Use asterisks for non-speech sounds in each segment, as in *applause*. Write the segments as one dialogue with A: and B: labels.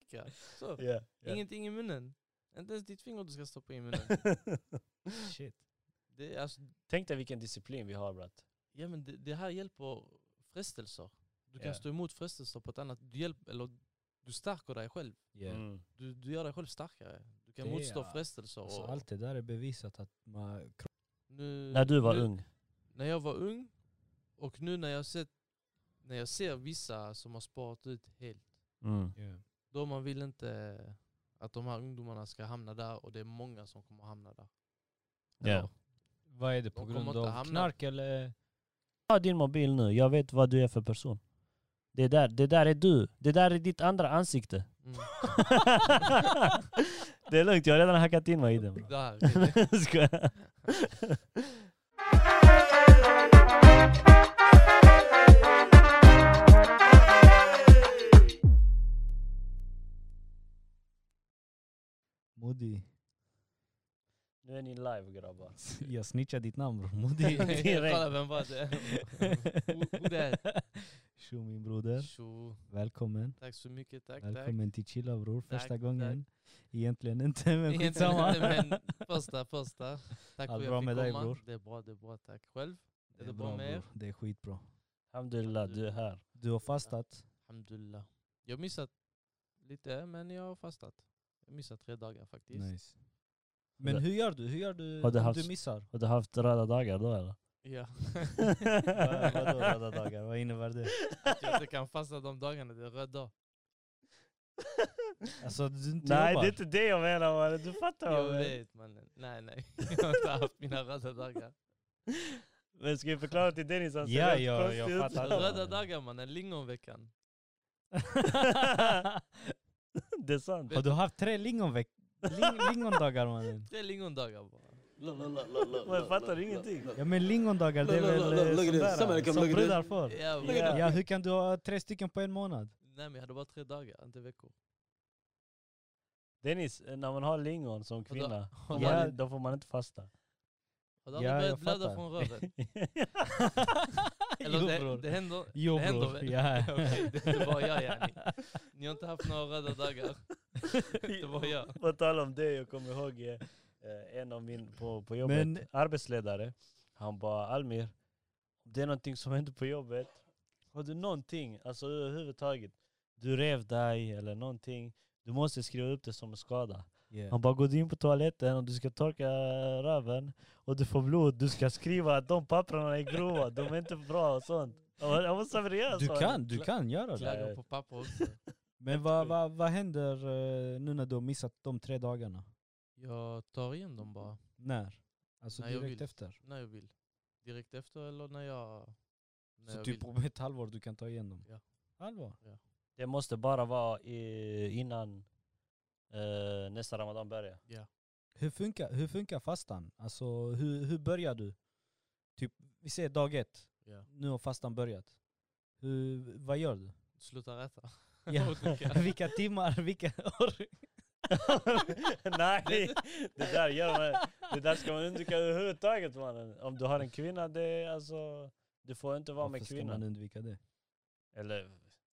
A: dricka. Så.
B: *laughs* Yeah,
A: Ingenting i munnen. Inte ens ditt finger du ska stoppa i
C: *laughs*
A: munnen.
B: *laughs* Shit.
A: Det, är alltså,
B: Tänk dig vilken disciplin vi har brat.
A: ja, men det, det här hjälper frestelser. Du kan
B: Ja.
A: stå emot frestelser på ett annat... Du, hjälp, eller, du stärker dig själv.
B: Mm.
A: Du, du gör dig själv starkare. Du kan
C: Det är-
A: motstå frestelser.
C: Alltså,
A: och-
C: allt det där är bevisat att man...
A: nu,
B: När du var
A: nu,
B: ung.
A: När jag var ung och nu när jag, sett, när jag ser vissa som har sparat ut helt.
B: Mm.
C: Yeah.
A: Då man vill inte att de här ungdomarna ska hamna där och det är många som kommer hamna där.
B: Ja.
A: Eller,
C: Vad är det på
A: De kommer
C: grund
A: inte
C: av
A: hamna-
C: knark eller?
B: Ta din mobil nu, jag vet vad du är för person. Det där, det där är du. Det där är ditt andra ansikte.
A: Mm.
B: *laughs* det är lugnt, jag har redan hackat in mig i den. bra. *laughs*
A: Där, det är det.
B: Skojar.
C: *laughs* Modi.
B: Nu är ni live grabbar.
C: Jag snitchar ditt namn bror.
A: *laughs*
C: Modi.
B: Direkt.
A: Kolla vem var det? Who- who that?
C: Tjo min broder.
A: Tjo,
C: Välkommen.
A: tack så mycket, tack tack.
C: Välkommen till Chilla bror. Första
A: Tack,
C: gången. Egentligen inte men
A: Egentligen
C: skitsamma. *laughs*
A: inte, men första, första. Tack för
C: Allt
A: att jag
C: bra
A: fick
C: med dig,
A: komma.
C: bror?
A: Det är bra, det är bra. Tack. Själv?
C: Det
A: Är det bra med er?
C: bror. Det är skitbra.
B: Alhamdulillah, du är här.
C: Du har fastat.
A: Alhamdulillah. Jag har missat lite, men jag har fastat. Jag har missat tre dagar faktiskt.
C: Nice. Men hur gör du? Hur gör du
B: Har du
C: om
B: haft-
C: du missar?
B: Har du haft röda dagar då *laughs* eller?
A: *laughs* Ja.
C: *laughs* Vad- Vadå röda dagar? Vad innebär det?
A: Att jag inte kan fasta de dagarna, det är röd dag.
C: Alltså du inte
B: *laughs* Nej
C: jobbar?
B: det är inte det jag menar mannen, du fattar vad
A: Jag
B: jag menar.
A: vet mannen. Nej nej, *laughs* jag har inte haft mina röda
C: *laughs*
A: dagar.
B: Men ska jag förklara till Dennis? Han ser
C: Ja,
B: helt
C: ja,
B: konstig
C: jag
B: ut.
C: fattar.
A: Röda dagar mannen, lingonveckan.
B: *laughs* Det är sant.
C: Har du haft tre lingonveck... Ling lingondagar mannen?
A: Tre lingondagar bara.
B: Man fattar ingenting.
C: Ja men lingondagar det är
D: Look, look,
C: väl eh,
D: look at
C: sån
D: this.
C: där,
D: Somebody come
C: som
D: look at
C: brudar får?
A: Ja, men-
B: Yeah.
C: Ja hur kan du ha tre stycken på en månad?
A: Nej men jag hade bara tre dagar, inte veckor.
B: Dennis, eh, när man har lingon som
A: Vadå?
B: kvinna,
A: Har
B: då får man-
C: man-
B: då får man inte fasta.
A: Har du aldrig
C: Ja,
A: börjat
C: jag
A: blöda
C: fattar.
A: från
C: *laughs*
A: röven?
C: Jo,
A: Eller
C: bror.
A: det, det händer?
C: Jo
A: det händer
C: bror,
A: väl? *laughs*
C: ja.
A: Okej, det, det var jag yani. Ni har inte haft några röda
C: *laughs*
A: dagar. Det var jag.
B: *laughs* På tal om det, jag kommer ihåg eh, eh, en av min på, på jobbet,
C: Men-
B: arbetsledare. Han bara Almir, om det är någonting som händer på jobbet, har du någonting, alltså överhuvudtaget, du rev dig eller någonting, du måste skriva upp det som en skada. Han bara, går du in på toaletten och du ska torka röven och du får blod, du ska skriva att de papperna är grova, de är inte bra och sånt. Jag var- Jag var seriös.
C: Du
A: alltså,
B: var jag.
C: kan, du kan göra det.
A: Klagar på papper också.
C: Men vad vad vad händer eh, nu när du har missat de tre dagarna?
A: Jag tar igen dem bara.
C: När? Alltså
A: När jag
C: direkt
A: vill.
C: efter?
A: När jag vill. Direkt efter eller när jag... När
C: Så
A: jag
C: typ
A: vill.
C: om ett halvår du kan ta igen dem?
A: Ja.
C: Halvår?
B: Det måste bara vara i, innan eh, nästa ramadan börjar.
C: Hur funkar, hur funkar fastan? Alltså hur, hur börjar du? Typ, vi säger dag ett,
A: Ja.
C: nu har fastan börjat. Hur, vad
A: *laughs*
C: gör du?
A: Slutar
C: *laughs*
A: äta.
C: Ja.
A: Och dricka.
C: vilka timmar, vilka *laughs* år?
B: *laughs* Nej, det där, gör man, det där ska man undvika överhuvudtaget mannen. Om du har en kvinna, det är alltså, du får inte vara med
C: Varför ska man
B: kvinnan.
C: undvika det?
B: Eller,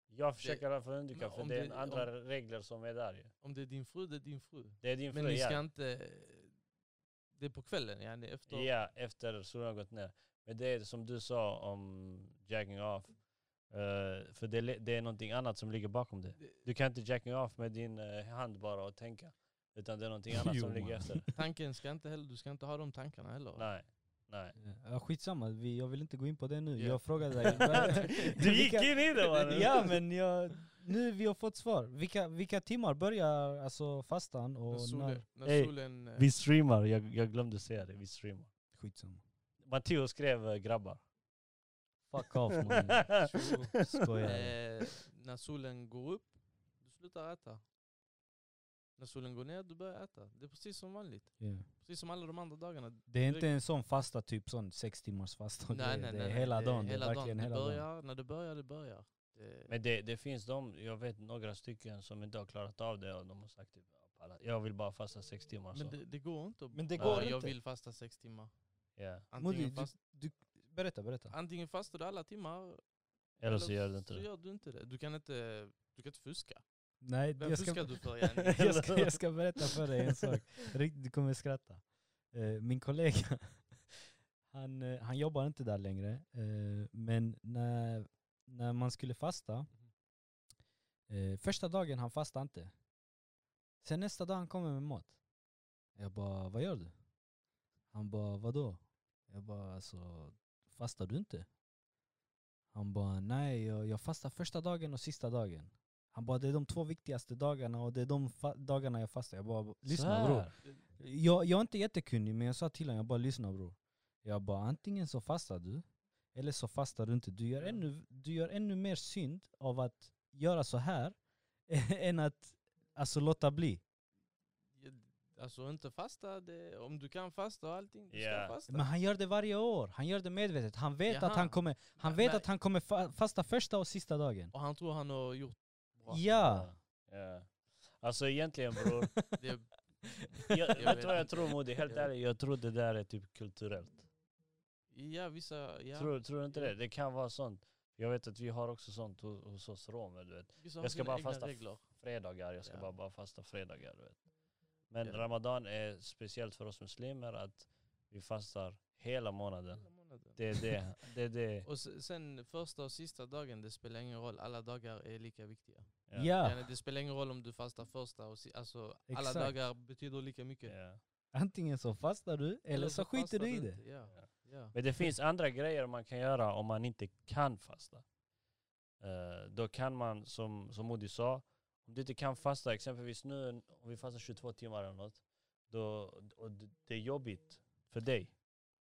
B: jag försöker att undvika
A: Men
B: för
A: om
B: det är
A: det-
B: andra regler som är där ju.
A: *laughs* Om det är din fru, det är din fru.
B: Det är din
A: Men
B: fru,
A: ni
B: ja.
A: ska inte... Det är på kvällen, yani efter...
B: Ja, efter solen har gått ner. Men det är som du sa om jacking off. Eh, för det, li- det är någonting annat som ligger bakom det.
A: Det-
B: Du kan inte jacking off med din eh, hand bara och tänka. Utan det är någonting annat
C: Jo,
B: som ligger
C: man.
B: efter.
A: Tanken ska inte heller... Du ska inte ha de tankarna heller.
B: Nej. Nej.
C: Eh, Ja, skitsamma, vi, jag vill inte gå in på det nu.
A: Ja.
C: Jag frågade dig. vad-
B: *laughs* Du
C: *laughs*
B: gick
C: vilka-
B: in i det mannen!
C: Ja men jag, nu vi har fått svar. Vilka, vilka timmar börjar alltså fastan
A: När
C: och när?
A: solen... När
B: Ey,
A: solen eh,
B: Vi streamar, jag, jag glömde säga det. Vi streamar.
C: Skitsamma.
B: Matteo skrev eh, grabbar.
C: Fuck off mannen.
A: tjo,
C: Skojar.
A: eh, när solen går upp, du slutar äta. När solen går ner, du börjar äta. Det är precis som vanligt.
C: Ja.
A: Precis som alla de andra dagarna.
C: Det är inte en sån fasta, typ sån sex timmars fasta. och grejer. det är hela dagen. Det är verkligen
A: det
C: hela dagen.
A: börjar, När det börjar, det börjar. Det,
B: *laughs* Men det, det finns de, jag vet några stycken som inte har klarat av det och de har sagt typ, jag vill bara fasta sex timmar.
A: men
B: så.
A: det, det går inte att
C: Men det
A: bara,
B: går
A: jag
C: inte.
A: vill fasta sex timmar.
B: Ja.
C: Modi,
A: Antingen,
C: du,
A: fast,
C: du, berätta, berätta.
A: antingen fastar du alla timmar
B: Eller så gör det inte
A: så
B: det.
A: gör du inte det. Du kan inte, du kan inte fuska.
C: Nej,
A: Vem
C: jag ska,
A: fuskar du för yani? *laughs*
C: jag, ska, jag ska berätta för dig en sak. Rikt- Du kommer skratta. Eh, min kollega, *laughs* han, eh, han jobbar inte där längre. Eh, men när, när man skulle fasta, eh, första dagen han fastade inte. Sen nästa dag han kommer med mat. Jag bara, vad gör du? Han bara, vadå? Jag bara, alltså, fastar du inte? Han bara, nej jag, jag fastar första dagen och sista dagen. Han bara, det är de två viktigaste dagarna och det är de fa- dagarna jag fastar. Jag bara, lyssna bror. Jag, jag är inte jättekunnig men jag sa till honom, jag bara lyssna bror. Jag bara antingen så fastar du, eller så fastar du inte. Du gör
A: Ja.
C: ännu, du gör ännu mer synd av att göra så här *laughs* än att alltså, låta bli.
A: Alltså inte fasta, det, om du kan fasta och allting, du
B: Ja.
A: ska fasta.
C: Men han gör det varje år, han gör det medvetet. Han vet att han
A: Jaha.
C: kommer, han
A: Men-
C: vet
A: men-
C: att han kommer fa- fasta första och sista dagen.
A: Och han tror han har gjort bra.
C: Ja,
B: Ja. Alltså egentligen
A: *laughs*
B: bror,
A: Det är
B: jag, vet
A: vet
B: du vad jag
A: inte.
B: tror Modi? Helt
A: Jag vet.
B: ärligt, jag tror det där är typ kulturellt.
A: Ja, vissa, ja,
B: Tror, tror du inte
A: Ja.
B: det? Det kan vara sånt. Jag vet att vi har också sånt hos, hos oss romer, du vet.
A: vissa har
B: Jag ska
A: sina
B: bara
A: egna
B: fasta
A: regler.
B: fredagar, jag ska
A: Ja.
B: bara, bara fasta fredagar, du vet. Men
A: Ja.
B: ramadan är speciellt för oss muslimer att vi fastar hela månaden.
A: Hela månaden.
B: Det är
A: *laughs*
B: det. det, är det.
A: Och se- sen första och sista dagen, det spelar ingen roll. Alla dagar är lika viktiga.
B: Ja.
C: ja.
A: Yani, det spelar ingen roll om du fastar första och si- alltså, alla
C: Exakt.
A: dagar betyder lika mycket.
B: Ja.
C: Antingen så fastar du, eller så skiter
A: fastar
C: du i det.
A: inte. Ja. Ja.
B: Men det finns andra grejer man kan göra om man inte kan fasta. Eh, då kan man, som, som Modi sa, om du inte kan fasta, exempelvis nu om vi fastar 22 timmar eller något, då, och d- det är jobbigt för dig,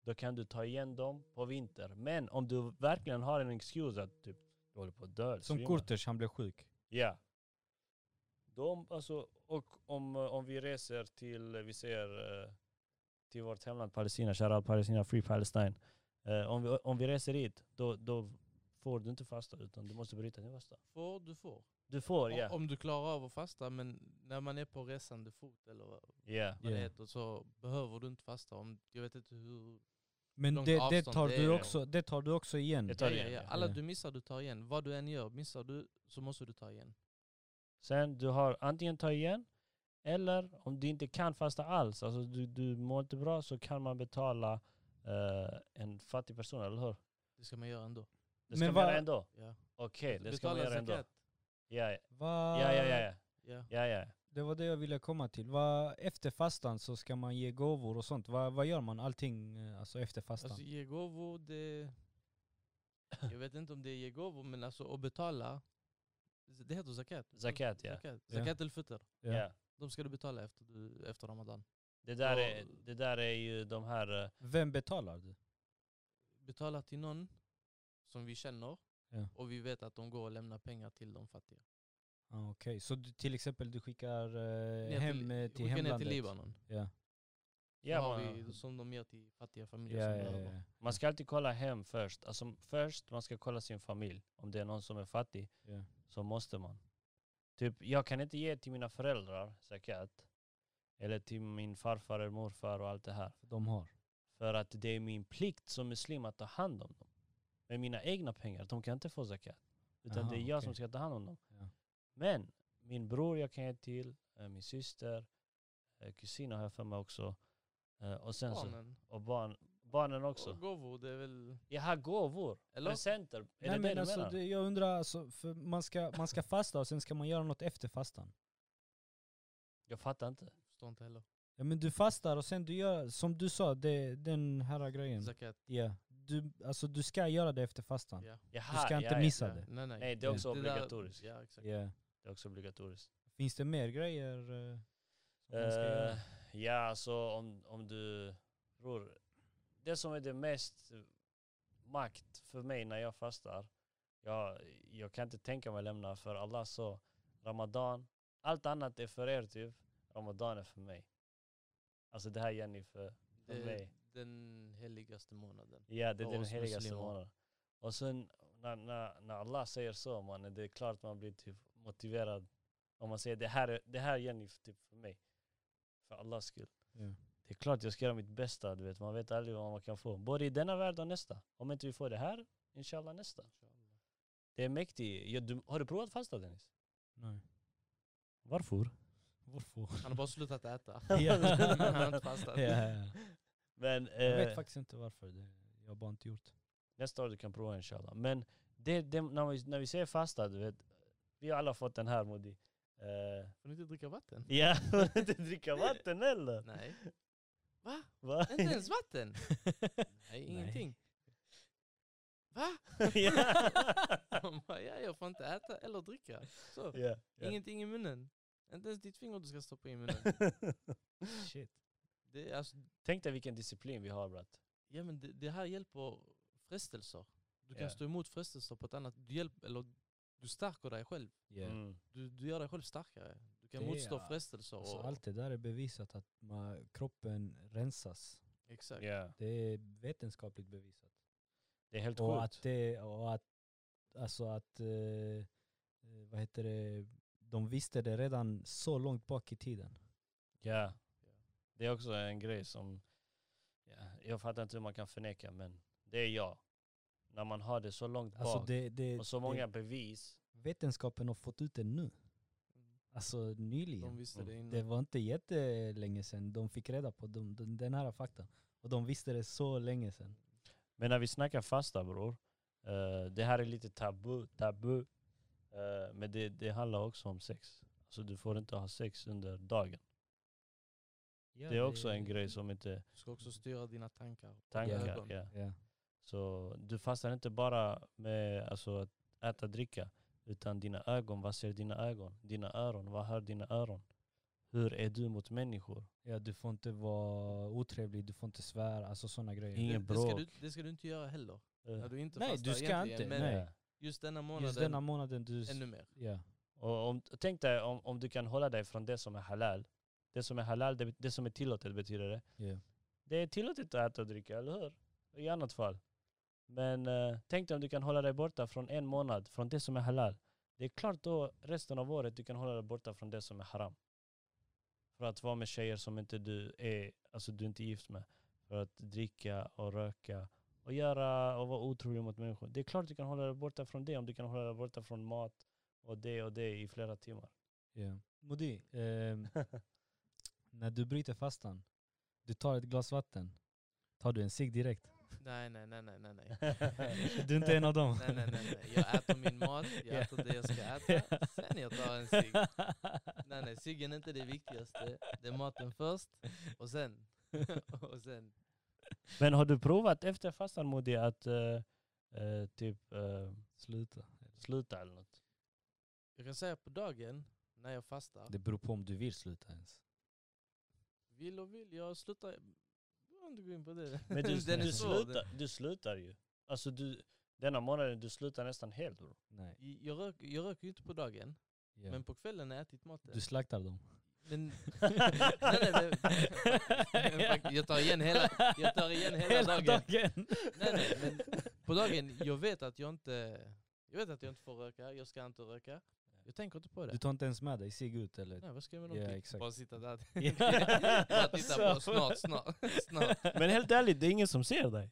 B: då kan du ta igen dem på vinter. Men om du verkligen har en excuse att typ, du håller på att dö. eller
C: Som
B: svimma.
C: Kurters, han blev sjuk.
B: Ja. De, alltså, och om, eh, om vi reser till, eh, vi säger, eh, till vårt hemland Palestina, kära Palestina, Free Palestine. Eh, om, vi, om vi reser hit, då, då får du inte fasta utan du måste bryta din fasta.
A: Får du får.
B: Du får,
A: Om-
B: ja.
A: Om du klarar av att fasta, men när man är på resande fot eller vad
B: Ja.
A: vad det
C: Ja.
A: heter så behöver du inte fasta. Om, jag vet inte hur...
C: Men
A: Långt
C: det, det,
A: avstånd,
C: tar
A: det
C: du
A: är-
C: också, det tar du också igen.
B: Det tar
A: Ja,
B: du
A: ja,
B: igen,
A: ja.
B: ja.
A: Alla
C: Ja.
A: du missar, du tar igen. Vad du än gör, missar du så måste du ta igen.
B: Sen du har antingen ta igen, eller om du inte kan fasta alls, alltså du, du mår inte bra så kan man betala eh, en fattig person, eller hur?
A: Det ska man göra ändå.
B: Det ska man
C: Men vad-
B: göra ändå.
A: Ja.
B: Okej, det ska man göra ändå.
A: zakat.
B: Ja, ja,
C: Va?
B: ja, ja, ja,
A: Ja.
B: ja, ja.
C: Det var det jag ville komma till. Va, efter fastan så ska man ge gåvor och sånt. Va, vad gör man allting eh, alltså efter fastan?
A: Alltså ge gåvor,
C: *laughs*
A: det... Jag vet inte om det är ge gåvor, men alltså att betala. Det heter zakat.
B: Zakat, ja.
A: Zakat,
C: Ja.
A: zakat al-fitr.
C: Ja.
B: ja.
A: De ska du betala efter, du, efter ramadan.
B: Det där,
A: Ja.
B: är, det där är ju de här... eh,
C: Vem betalar du?
A: Betala till någon som vi känner
C: Ja.
A: och vi vet att de går och lämnar pengar till de fattiga.
C: Ah, Okej, så du, till exempel du skickar eh,
A: Ner
C: hem eh, till
A: skicka ner
C: hemlandet?
A: till Libanon.
C: Ja,
A: Ja,
B: Ja,
A: har
B: man,
A: vi, som de ger till fattiga
C: ja,
A: familjer
C: ja,
A: som
C: ja,
A: behöver.
C: ja.
B: man ska alltid kolla hem först. Alltså, först man ska kolla sin familj. Om det är någon som är fattig
C: Ja.
B: så måste man. Typ, jag kan inte ge till mina föräldrar zakat. Eller till min farfar eller morfar och allt det här.
C: De har.
B: För att det är min plikt som muslim att ta hand om dem. Men mina egna pengar, de kan inte få zakat. Utan
C: Aha,
B: det är jag som
C: okej.
B: ska ta hand om dem.
C: Ja.
B: Men min bror jag kan ge till, eh, min syster, eh, kusiner har jag för mig också. Eh, Och sen så,
A: Barnen.
B: och barn, barnen
A: Och
B: också.
A: gåvor, det är väl...
B: Jag har gåvor,
A: Eller?
B: presenter. Är
C: Nej,
B: det det
C: men
B: du
C: alltså,
B: menar?
C: det, jag undrar, alltså, för man, ska, man ska fasta och sen ska man göra något efter fastan.
B: Jag fattar inte.
A: Förstår inte heller.
C: Ja, men du fastar och sen du gör, som du sa, det, den här grejen.
A: Zakat.
C: Ja, du, alltså, du ska göra det efter fastan.
A: Ja.
B: Jaha,
C: Du ska
B: ja,
C: inte
B: ja.
C: missa
A: ja.
C: det.
A: Nej, nej.
B: Nej, det är också
A: där-
B: obligatoriskt.
A: Ja, exakt.
C: Ja.
B: Det är också obligatoriskt.
C: Finns det mer grejer? eh, som man ska göra?
B: Eh, ja, så om, om du... Bror, det som är det mest eh, makt för mig när jag fastar, jag, jag kan inte tänka mig lämna för Allah så Ramadan, allt annat är för er typ, Ramadan är för mig. Alltså det här gör ni för, för
A: Det
B: mig.
A: är den heligaste månaden.
B: Ja, det är
A: för
B: den
A: oss
B: heligaste
A: muslimer.
B: månaden. Och sen när, när, när Allah säger så, man, det är klart man blir typ motiverad. Om man säger det här, är- det här gör ni för- typ för mig. För Allahs skull.
C: Ja.
B: Det är klart jag ska göra mitt bästa, du vet. Man vet aldrig vad man kan få. Både i denna värld och nästa. Om inte vi får det här, inshallah nästa. Det är mäktigt. Ja, du, har du provat fasta Dennis?
C: Nej.
B: Varför? *laughs*
C: Varför?
A: Han har bara slutat äta.
C: Ja.
A: *laughs* han har inte fastat.
C: Ja, ja.
B: Men
C: Jag
B: eh,
C: vet faktiskt inte varför. Det, jag har bara inte gjort.
B: nästa år du kan prova inshallah. Men det, det, när, vi, när vi säger fasta, du vet, vi har alla fått den här Modi. Eh,
A: Får ni inte dricka vatten?
B: ja, *laughs* får inte dricka vatten heller.
A: Nej.
B: Va?
A: Inte ens vatten?
C: *laughs*
A: Nej, ingenting. Va?
B: *laughs* ja.
A: Han bara, ja, jag får inte äta eller dricka. Så.
B: *laughs* ja, ja.
A: Ingenting i munnen. Inte ens ditt finger du ska stoppa i
C: *laughs*
A: munnen.
C: Shit.
A: Det, är alltså,
B: Tänk dig vilken disciplin vi har brat.
A: ja, men det, det här hjälper frestelser. Du kan
B: Ja.
A: stå emot frestelser på ett annat... Du, hjälp, eller, du stärker dig själv.
C: Yeah.
B: Mm.
A: Du, du gör dig själv starkare. Du kan
C: Det är-
A: motstå frestelser.
C: Alltså,
A: Och,
C: allt det där är bevisat att man, kroppen rensas.
A: Exakt.
B: Ja.
C: Det är vetenskapligt bevisat.
B: Det är helt
C: Och
B: sjukt.
C: att det, och att, alltså att, eh, eh, vad heter det, de visste det redan så långt bak i tiden.
B: Ja. Det är också en grej som, ja, jag fattar inte hur man kan förneka men det är jag. När man har det så långt
C: Alltså
B: bak
C: det, det,
B: och så många bevis.
C: det, vetenskapen har fått ut det nu. Alltså
A: De
C: nyligen.
A: visste det innan.
C: Det var inte jättelänge sedan de fick reda på de, de, den här faktan. Och de visste det så länge sedan.
B: Men när vi snackar fasta bror, eh, det här är lite tabu, tabu. Eh, men det, det handlar också om sex. Alltså du får inte ha sex under dagen. det är också en grej som inte
A: Du ska också styra dina tankar. och
B: tankar.
A: ögon.
B: ja.
C: Ja.
B: Så du fastar inte bara med alltså, att äta dricka, utan dina ögon, vad ser dina ögon? Dina öron, vad hör dina öron? Hur är du mot människor?
C: ja, du får inte vara otrevlig, du får inte svära, alltså sådana grejer.
B: Ingen
A: det, det, ska du,
B: bråk.
A: det ska du inte göra heller.
B: Eh,
A: När du inte
C: Nej,
A: fastar
C: du ska
A: egentligen,
C: inte,
A: Men
C: nej.
A: just denna månaden,
C: Just denna månaden du... s-
A: ännu mer.
C: Ja.
B: Och om, tänk dig om, om du kan hålla dig från det som är halal. Det som är halal, det, det som är tillåtet betyder det.
C: ja.
B: Det är tillåtet att äta och dricka, eller hur? I annat fall. Men eh, tänk dig om du kan hålla dig borta från en månad, från det som är halal. Det är klart då resten av året du kan hålla dig borta från det som är haram. För att vara med tjejer som inte du är, alltså du inte är gift med. För att dricka och röka och göra och vara otrolig mot människor. Det är klart du kan hålla dig borta från det om du kan hålla dig borta från mat och det och det i
A: *laughs*
B: flera timmar.
C: ja. Modi, ehm, när du bryter fastan, du tar ett glas vatten, tar du en
A: *laughs*
C: cigg direkt?
A: Nej, nej, nej, nej, nej,
C: *laughs*
A: nej.
C: Du är inte en av dem?
A: Nej, nej, nej, nej. Jag äter min mat, jag äter det jag ska äta, sen jag tar en
C: *laughs*
A: cigg. Nej, nej, ciggen är inte det viktigaste. Det är maten först, och sen. *laughs* och sen.
B: Men har du provat efter fastan Modi att eh, eh, typ eh,
C: Sluta.
B: sluta eller något?
A: Jag kan säga på dagen, när jag fastar,
C: Det beror på om du vill sluta ens.
A: vill och vill, jag slutar. Jag behöver inte gå in på *laughs* det.
B: Men du,
A: Den är
B: du,
A: svår, den.
B: slutar, du slutar ju. Alltså du, denna månaden du slutar nästan helt bror.
C: Nej.
A: Jag röker jag röker ju inte på dagen,
C: Ja.
A: men på kvällen har jag ätit maten.
C: du slaktar dem. *laughs*
A: Men *laughs* nej,
B: *laughs*
A: nej, men fakt- *laughs* jag tar igen hela- jag tar igen hela dagen. Nej, nej, men på dagen, jag vet att jag inte jag vet att jag inte får röka, jag ska inte röka. Jag tänker inte på
C: Du
A: det.
C: tar inte ens med dig cigg ut
A: *laughs*
C: eller?
A: Nej, vad ska jag med dem
C: Ja,
A: till?
C: exakt.
A: Bara sitta där.
C: *laughs*
B: Ja.
A: Bara titta på
B: Så.
A: snart, snart, snart.
B: Men helt ärligt, det är ingen som ser dig.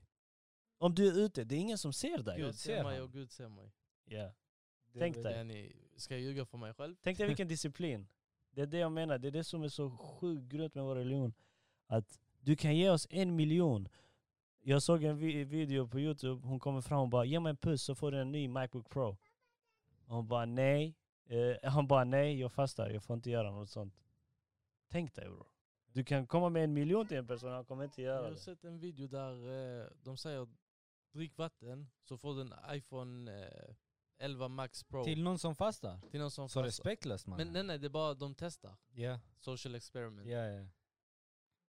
B: Om du är ute, det är ingen som ser dig.
A: Gud
C: ser
A: ser mig
C: han.
A: och Gud ser mig.
B: Ja.
C: Det
B: Tänk
C: är
B: dig.
C: väl-
A: Ja, ni, ska jag ljuga för mig själv?
B: Tänk dig vilken disciplin. Det är det jag menar, det är det som är så sjukt grymt med vår religion. Att du kan ge oss en miljon. Jag såg en vi- video på Youtube, hon kommer fram och bara ge mig en puss så får du en ny Macbook Pro. Hon bara nej. Eh, han bara nej, jag fastar, jag får inte göra något sånt. Tänk dig bror. Du kan komma med en miljon till en person, han kommer inte
A: Jag
B: göra
A: har
B: det.
A: sett en video där eh, de säger drick vatten så får du en iPhone eh, 11 Max Pro
C: Till
A: till,
C: någon som fastar?
A: någon som fastar.
C: Så respektlöst man.
A: Men nej, nej, det är bara de testar.
C: Ja,
A: Social experiment.
C: ja, ja.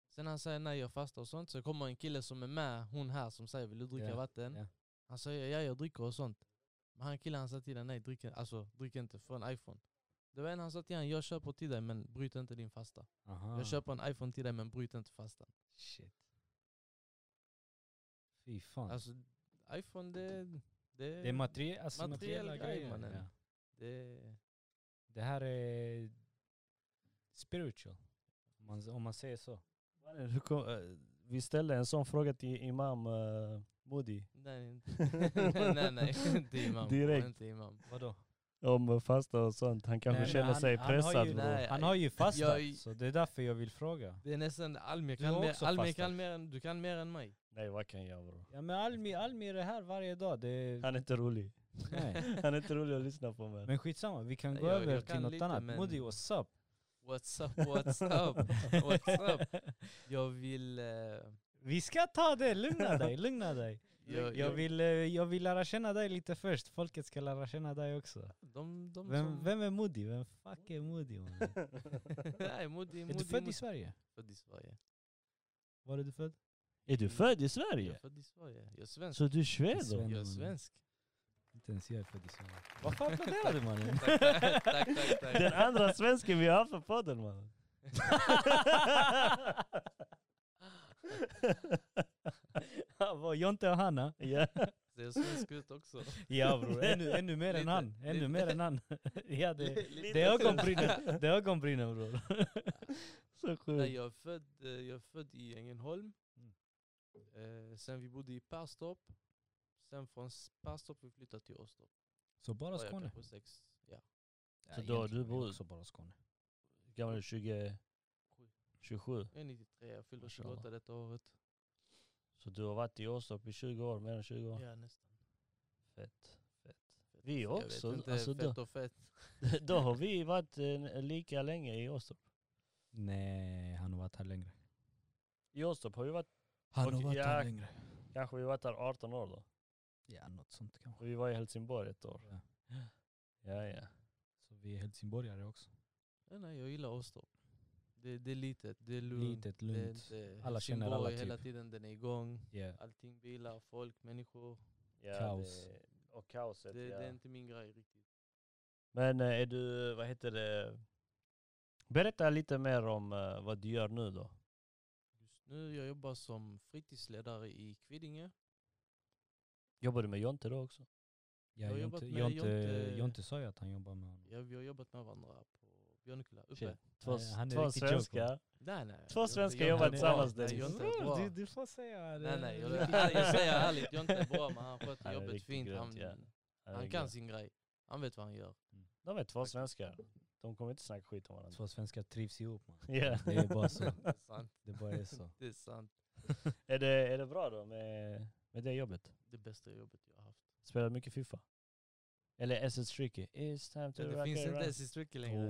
A: Sen han säger nej jag fastar och sånt, så kommer en kille som är med, hon här som säger vill du dricka
C: Ja,
A: vatten?
C: ja.
A: Han säger ja jag dricker och sånt. Men han killen han sa till den nej drick, alltså, drick inte, få en iPhone. Det var en han sa till han, jag köper till dig men bryt inte din fasta.
C: Aha.
A: Jag köper en iPhone till dig men bryt inte fastan.
C: Shit. Fy fan.
A: Alltså iPhone det, det,
C: Ah. det är materie- alltså
A: materiell
C: materiella
A: grej,
C: grejer.
A: mannen.
C: ja.
A: det
C: Det här är spiritual. Om man, om man säger så.
B: Mannen, hur kom- eh, Vi ställde en sån fråga till Imam eh, Modi.
A: *laughs*
C: *laughs*
A: Nej, inte- nej, nej, inte imam.
B: Direkt.
A: Inte imam.
C: Vadå?
B: om fasta och sånt. Han kanske
C: Nej, men
B: känner
C: han-
B: sig
C: han har ju-
B: pressad bror.
A: Nej,
C: Han har ju fastat,
A: Jag-
C: så det är därför jag vill fråga.
A: Det är nästan Almir
C: Du har
A: kan, mer,
C: också
A: Almir
C: fastat.
A: kan mer än, du kan mer än mig.
B: Nej vad kan jag bror?
C: Ja men Almi, Almi är här varje dag. Det är,
B: Han är inte rolig.
C: nej.
B: Han är inte rolig att lyssna på
C: *laughs*
B: men.
C: Men skitsamma, vi kan gå
A: Jag-
C: över
A: jag
C: till
A: kan
C: något
A: lite,
C: annat.
A: men-
C: Modi, what's up?
A: What's up, what's up, what's up? Jag vill... eh,
C: Vi ska ta det, lugna dig, lugna dig.
A: jag,
C: Jag vill, eh, jag vill lära känna dig lite först, folket ska lära känna dig också.
A: De, de
C: Vem,
A: som...
C: vem är Modi? Vem fuck är Modi? man?
A: *laughs* Nej, Modi,
C: Är
A: Modi,
C: du född i
A: Modi.
C: Sverige?
A: född i Sverige.
C: Var är du född?
B: Är du född i
A: Jag är
B: Sverige?
A: född i Sverige. Jag är svensk.
B: Så du är sved då?
C: Sven-
A: Jag är
C: man.
A: svensk.
C: Inte ens jag är född i Sverige. Varför applåderar du
A: *laughs*
C: mannen? *laughs*
A: tack,
B: *laughs*
A: tack, tack, tack.
B: Den andra svensken vi har för podden man.
C: Han var Jonte och Hanna.
B: ja.
A: Ser svensk ut också.
C: Ja bror, ännu, ännu mer än
A: Lite,
C: han. Ännu
A: lite.
C: mer än han. *laughs* Ja, det,
A: Lite
C: det är
A: så.
C: ögonbrynen. Det är ögonbrynen bror.
B: Så
A: Nej,
B: sjukt.
A: jag, är född, eh, jag är född i Ängelholm.
C: Mm.
A: Eh, sen vi bodde i Perstorp. Sen från S- Perstorp vi flyttade till Åstorp.
C: Så bara
A: Var jag
C: Skåne?
A: kanske sex. Ja.
B: Så då har du bor-
C: också bara Skåne.
B: Gammal är du? 20, 27.
A: Jag är 93, jag fyller
B: Mashallah.
A: 28 detta året.
B: Så du har varit i Åstorp i 20 år, mer än 20 år.
A: Ja, nästan.
B: Fett. fett. Vi också.
A: Jag vet inte,
B: alltså,
A: fett
B: då,
A: och fett.
B: *laughs* då har vi varit eh, lika länge i Åstorp.
C: Nej, han har varit här längre.
B: I Åstorp har vi varit,
C: Han
B: Okej,
C: har varit
B: ja.
C: här längre.
B: kanske vi varit där 18 år då.
C: Ja, något sånt kanske.
B: Och vi var i Helsingborg ett år.
C: Ja.
B: Ja, ja.
C: Så vi är helsingborgare också.
A: Ja, nej, jag gillar Åstorp. Det, det är litet, det är lugnt.
C: Litet,
A: Det är
C: lugnt.
A: inte
C: Alla känner alla
A: Helsingborg hela
C: typ.
A: tiden, den är igång.
C: Ja.
A: Allting bilar, folk, människor.
B: ja
C: Kaos.
B: Det, och kaoset,
A: Det,
B: ja.
A: det är inte min grej riktigt.
B: Men eh, är du, vad heter det? Berätta lite mer om eh, vad du gör nu då.
A: Just nu jag jobbar som fritidsledare i Kvidinge.
B: Jobbar du med Jonte då också?
A: Jag har
C: Ja, Jonte,
A: jobbat med
C: Jonte,
A: Jonte-
C: Jonte sa ju att han jobbar med honom.
A: Ja, vi har jobbat med varandra på Björnekulla. Uppe.
B: Shit. Två,
C: Nej, han är
B: två
C: riktigt joker.
B: svenskar.
A: Nej, nej.
B: Två
A: jag är inte-
B: svenskar
A: jag är
B: jobbar
A: inte bra.
B: tillsammans,
A: Nej, jag är
B: Dennis.
A: inte bra.
C: får säga
A: Nej, nej, jag, jag, jag säger ärligt, jag är inte bra men han sköter
B: Han är
A: jobbet
B: riktigt
A: fint.
B: grymt,
A: Han,
B: ja.
A: han kan sin grej. Han vet vad han
C: *laughs*
A: gör.
B: De är två svenskar. De kommer inte snacka skit om varandra.
C: Två svenskar trivs ihop man.
B: *laughs* Ja.
C: Det är bara så.
A: Det är sant.
C: Det bara är så.
A: Det är sant.
B: Är, det, är det bra då med, med det jobbet?
A: Det bästa jobbet jag har haft.
B: Spelar mycket Fifa? Eller SS Tricky? It's time to
A: Men det
B: rock
A: finns
B: and
A: inte
B: roll.
A: ens i Stricky längre.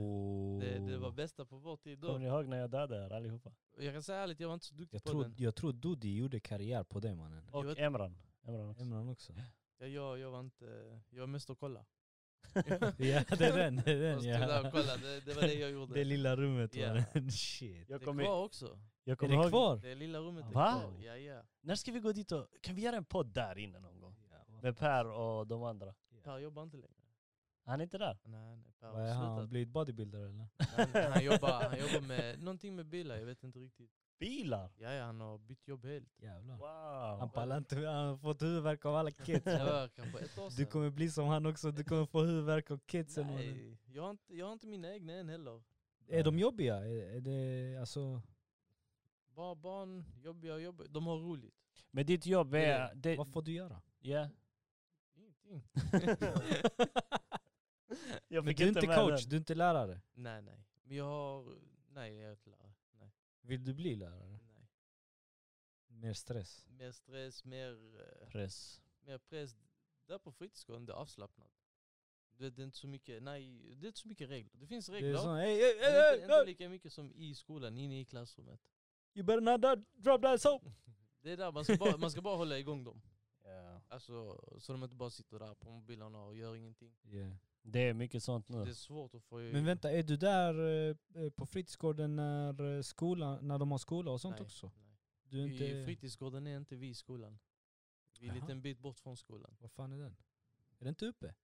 A: Det, det
C: Oh.
A: var bästa på vår tid
B: Kommer ni
A: då.
B: ihåg när jag dödade er allihopa?
A: Jag kan säga ärligt, jag var inte så duktig
C: Jag
A: på
C: tror,
A: den.
C: jag tror Dudi gjorde karriär på
A: *laughs*
C: det mannen.
A: Jag
B: Och
A: vet-
B: Emran. Emran också.
C: Emran också.
A: Ja, jag, jag var inte... Jag var mest att kolla.
C: *laughs* ja det
A: *laughs*
C: är den, det är
A: Jag
C: den
A: stod där
C: ja.
A: och kollade, det, det var det jag
B: *laughs*
A: gjorde.
C: Det lilla rummet
A: Ja.
C: mannen. *laughs* Shit.
A: Det
B: Jag
A: är
B: kommer
A: kvar också.
B: jag
C: Är
B: kommer
C: det
B: ihåg...
C: kvar?
A: Det lilla rummet är
B: Va?
A: kvar. Ja, ja.
B: När ska vi gå dit och... Kan vi göra en podd där inne någon gång?
C: Ja, vad-
B: Med Per och de andra.
A: Per jobbar inte längre.
B: Han är inte där?
A: Nej, nej, Per
C: Vad
A: har
C: är han?
A: slutat.
C: han? Blivit bodybuilder eller?
A: Nej, nej, Han jobbar, han jobbar med någonting med bilar, jag vet inte riktigt.
B: Bilar!
A: Ja, ja han har bytt jobb
C: *laughs*
A: helt.
C: Jävlar. Han
B: Wow!
C: pallar inte, han har fått huvudvärk av alla kids.
A: Det var kanske ett år
C: Du
A: sedan.
C: kommer bli som han också, du kommer få huvudvärk av kidsen. mannen.
A: Nej, jag har, inte, jag har inte mina egna än heller.
C: Är de jobbiga? Är, är det, alltså,
A: Bara barn, jobbiga, jobbiga. De har roligt.
B: Men ditt jobb
A: Det
B: är...
A: är
B: Det,
C: vad får du göra?
B: ja.
A: Ingenting.
B: *laughs* Jag
C: Men
B: fick
C: du är inte
B: med
C: coach, du är inte lärare.
A: nej, nej. Men jag har... Nej, jag är inte lärare. Nej,
C: Vill du bli lärare?
A: nej.
C: Mer stress.
A: Mer stress, mer, eh,
B: den. Press.
A: mer press. Där på fritidsgården, det är avslappnat. Det, det är inte så mycket, nej, det är inte så mycket regler. Det finns
C: Det är
A: regler.
C: sån, hey, hey,
A: men
C: hey,
A: inte,
C: hey,
A: inte
C: hey.
A: lika mycket som i skolan, inne i klassrummet.
C: You better not that, drop that soap!
A: Det är där man ska bara, man ska bara hålla igång dem.
B: Ja.
A: Alltså, så de inte bara sitter där på mobilerna och gör ingenting.
B: Det är mycket sånt nu.
A: Det är svårt att få...
C: Men vänta, är du där eh, på fritidsgården när, eh, skolan, när de har skola och sånt
A: Nej,
C: också?
A: nej.
C: Du är
A: I
C: inte...
A: fritidsgården är inte vi i skolan. Vi är en
C: Jaha.
A: liten bit bort från skolan.
C: Vad fan är den? Är den inte uppe?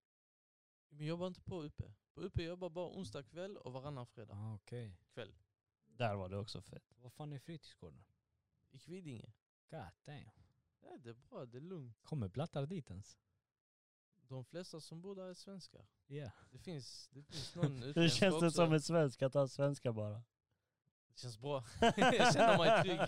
A: Vi jobbar inte på uppe. På uppe jobbar bara onsdag kväll och varannan fredag
C: Ah, okej.
A: kväll.
B: Där var det också fett.
C: Vad fan är fritidsgården?
A: I Kvidinge.
C: God damn.
A: Ja, det är bra, det är lugnt.
C: Kommer blattar dit ens?
A: De flesta som bor där är svenskar.
C: Ja.
A: Det finns, det finns någon
B: Hur
A: utländsk
B: känns det
A: också.
B: som en svensk *laughs* att ha svenska bara?
A: Det känns bra. Jag känner mig trygg.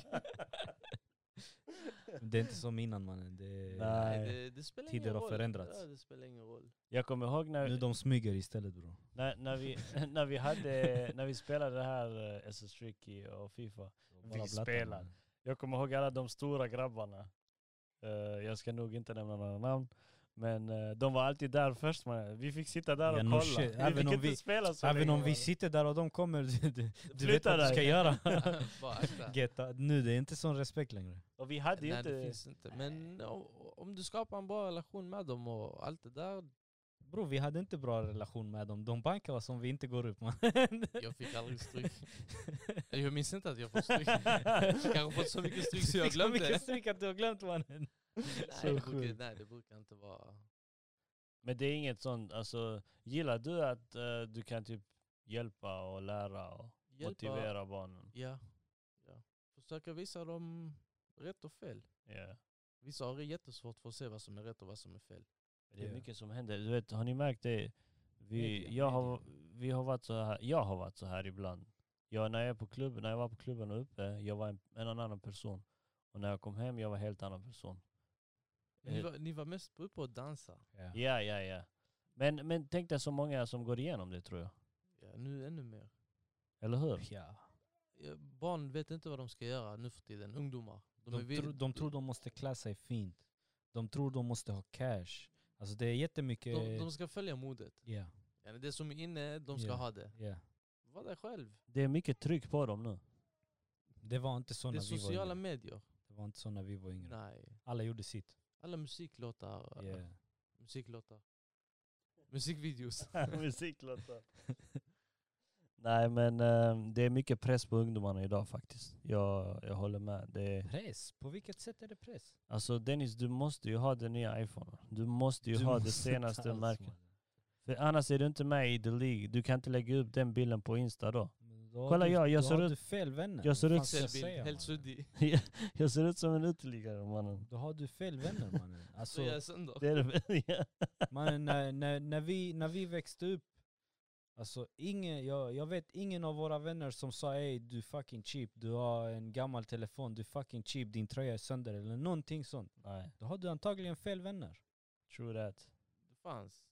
C: Det är inte som innan mannen. Det är,
B: Nej.
A: det, det spelar
C: Tider
A: ingen
C: har
A: roll.
C: förändrats.
A: Ja, det spelar ingen roll.
B: *laughs*
A: *laughs*
B: Jag kommer ihåg
C: Nu
B: när,
C: de smyger istället bror.
B: när, när, vi, *laughs* när, vi, hade, när vi spelade det här eh, SS Tricky och Fifa. Vi spelar. Jag kommer ihåg alla de stora grabbarna. Eh, jag ska nog inte nämna några namn. Men eh, de var alltid där först. Man. Vi fick sitta där och
C: Ja, no
B: kolla.
C: shit.
B: Vi
C: Även
B: fick
C: om
B: inte
C: vi-
B: spela så
C: Även
B: länge,
C: om vi
B: mannen.
C: sitter där och de kommer, *laughs* du, du, du vet
B: Flytta
C: vad du ska
B: dig.
C: göra.
B: *laughs*
A: Bara akta.
C: Geta, nu det är inte sån respekt längre.
B: Och vi hade ju
A: Nej,
B: inte...
A: det finns inte. Men o- om du skapar en bra relation med dem och allt det där.
C: Bror vi hade inte bra relation med dem. De bankar oss om vi inte går upp man.
A: Jag fick aldrig stryk. Jag minns inte att jag fått
C: *laughs*
A: stryk. Jag kanske fått så mycket stryk så jag glömde.
C: Vilket stryk att du har glömt mannen.
B: Så
A: Nej, det brukar,
B: sjukt.
A: nej, det brukar inte vara...
B: Men det är inget sånt, alltså gillar du att eh, du kan typ hjälpa och lära och
A: Hjälpa.
B: motivera barnen?
A: Ja. ja. Försöka visa dem rätt och fel.
B: Ja.
A: Vissa har jättesvårt för att se vad som är rätt och vad som är fel.
B: Det är
C: Ja.
B: mycket som händer. Du vet, har ni märkt det? Vi,
C: Media,
B: jag, har, vi har varit så här, jag har varit så här ibland. Jag, när, jag är på klubben, när jag var på klubben och uppe, jag var en, en annan person. Och när jag kom hem, jag var en helt annan person.
A: Ni
B: Eh,
A: var, ni var mest uppe och dansa.
B: Ja, ja, ja. Men, men tänk dig så många som går igenom det tror jag.
A: Ja, nu ännu mer.
B: Eller hur?
C: Ja.
A: Ja, Barn vet inte vad de ska göra nu för tiden. Ungdomar.
C: De,
A: är vi-
C: tror- de tror de måste klä sig fint. De tror de måste ha cash. Alltså det är jättemycket...
A: de, de ska följa modet.
C: Ja,
A: Ja, Det som är inne, de ska
C: Ja.
A: ha det.
C: ja.
A: Var dig själv.
B: Det är mycket tryck på *laughs* dem nu.
C: Det var inte så
A: Det är
C: när vi var
A: sociala
C: yngre.
A: medier.
C: Det var inte så när vi var yngre.
A: Nej.
C: Alla gjorde sitt.
A: Alla musiklåtar.
C: Ja.
A: Musiklåtar. Musikvideos.
B: Musiklåtar. *laughs* Nej men eh, det är mycket press på ungdomarna idag faktiskt. Jag, jag håller med. Det är,
C: Press? På vilket sätt är det press?
B: alltså Dennis, du måste ju ha den nya iPhone. Du måste ju ha det senaste märket. För annars är du inte med i The League. Du kan inte lägga upp den bilden på Insta då. Kolla, jag- jag ser
C: Då har
B: ut-
C: du fel vänner.
B: jag ser
C: Vad
B: ut-
C: fan ska
A: Pixelbild,
C: säga,
A: helt
C: mannen?
A: suddig.
B: *laughs* jag ser ut som en uteliggare mannen.
C: Då har du fel vänner mannen.
A: *laughs* Så
C: Alltså,
A: jag är sönder.
B: Det är det. *laughs* ja.
C: mannen när, när, när, vi, när vi växte upp, alltså ingen, jag, jag vet ingen av våra vänner som sa ey du fucking cheap, du har en gammal telefon, du fucking cheap, din tröja är sönder eller någonting sånt.
B: Nej,
C: Då har du antagligen fel vänner.
B: true that.
A: Det fanns.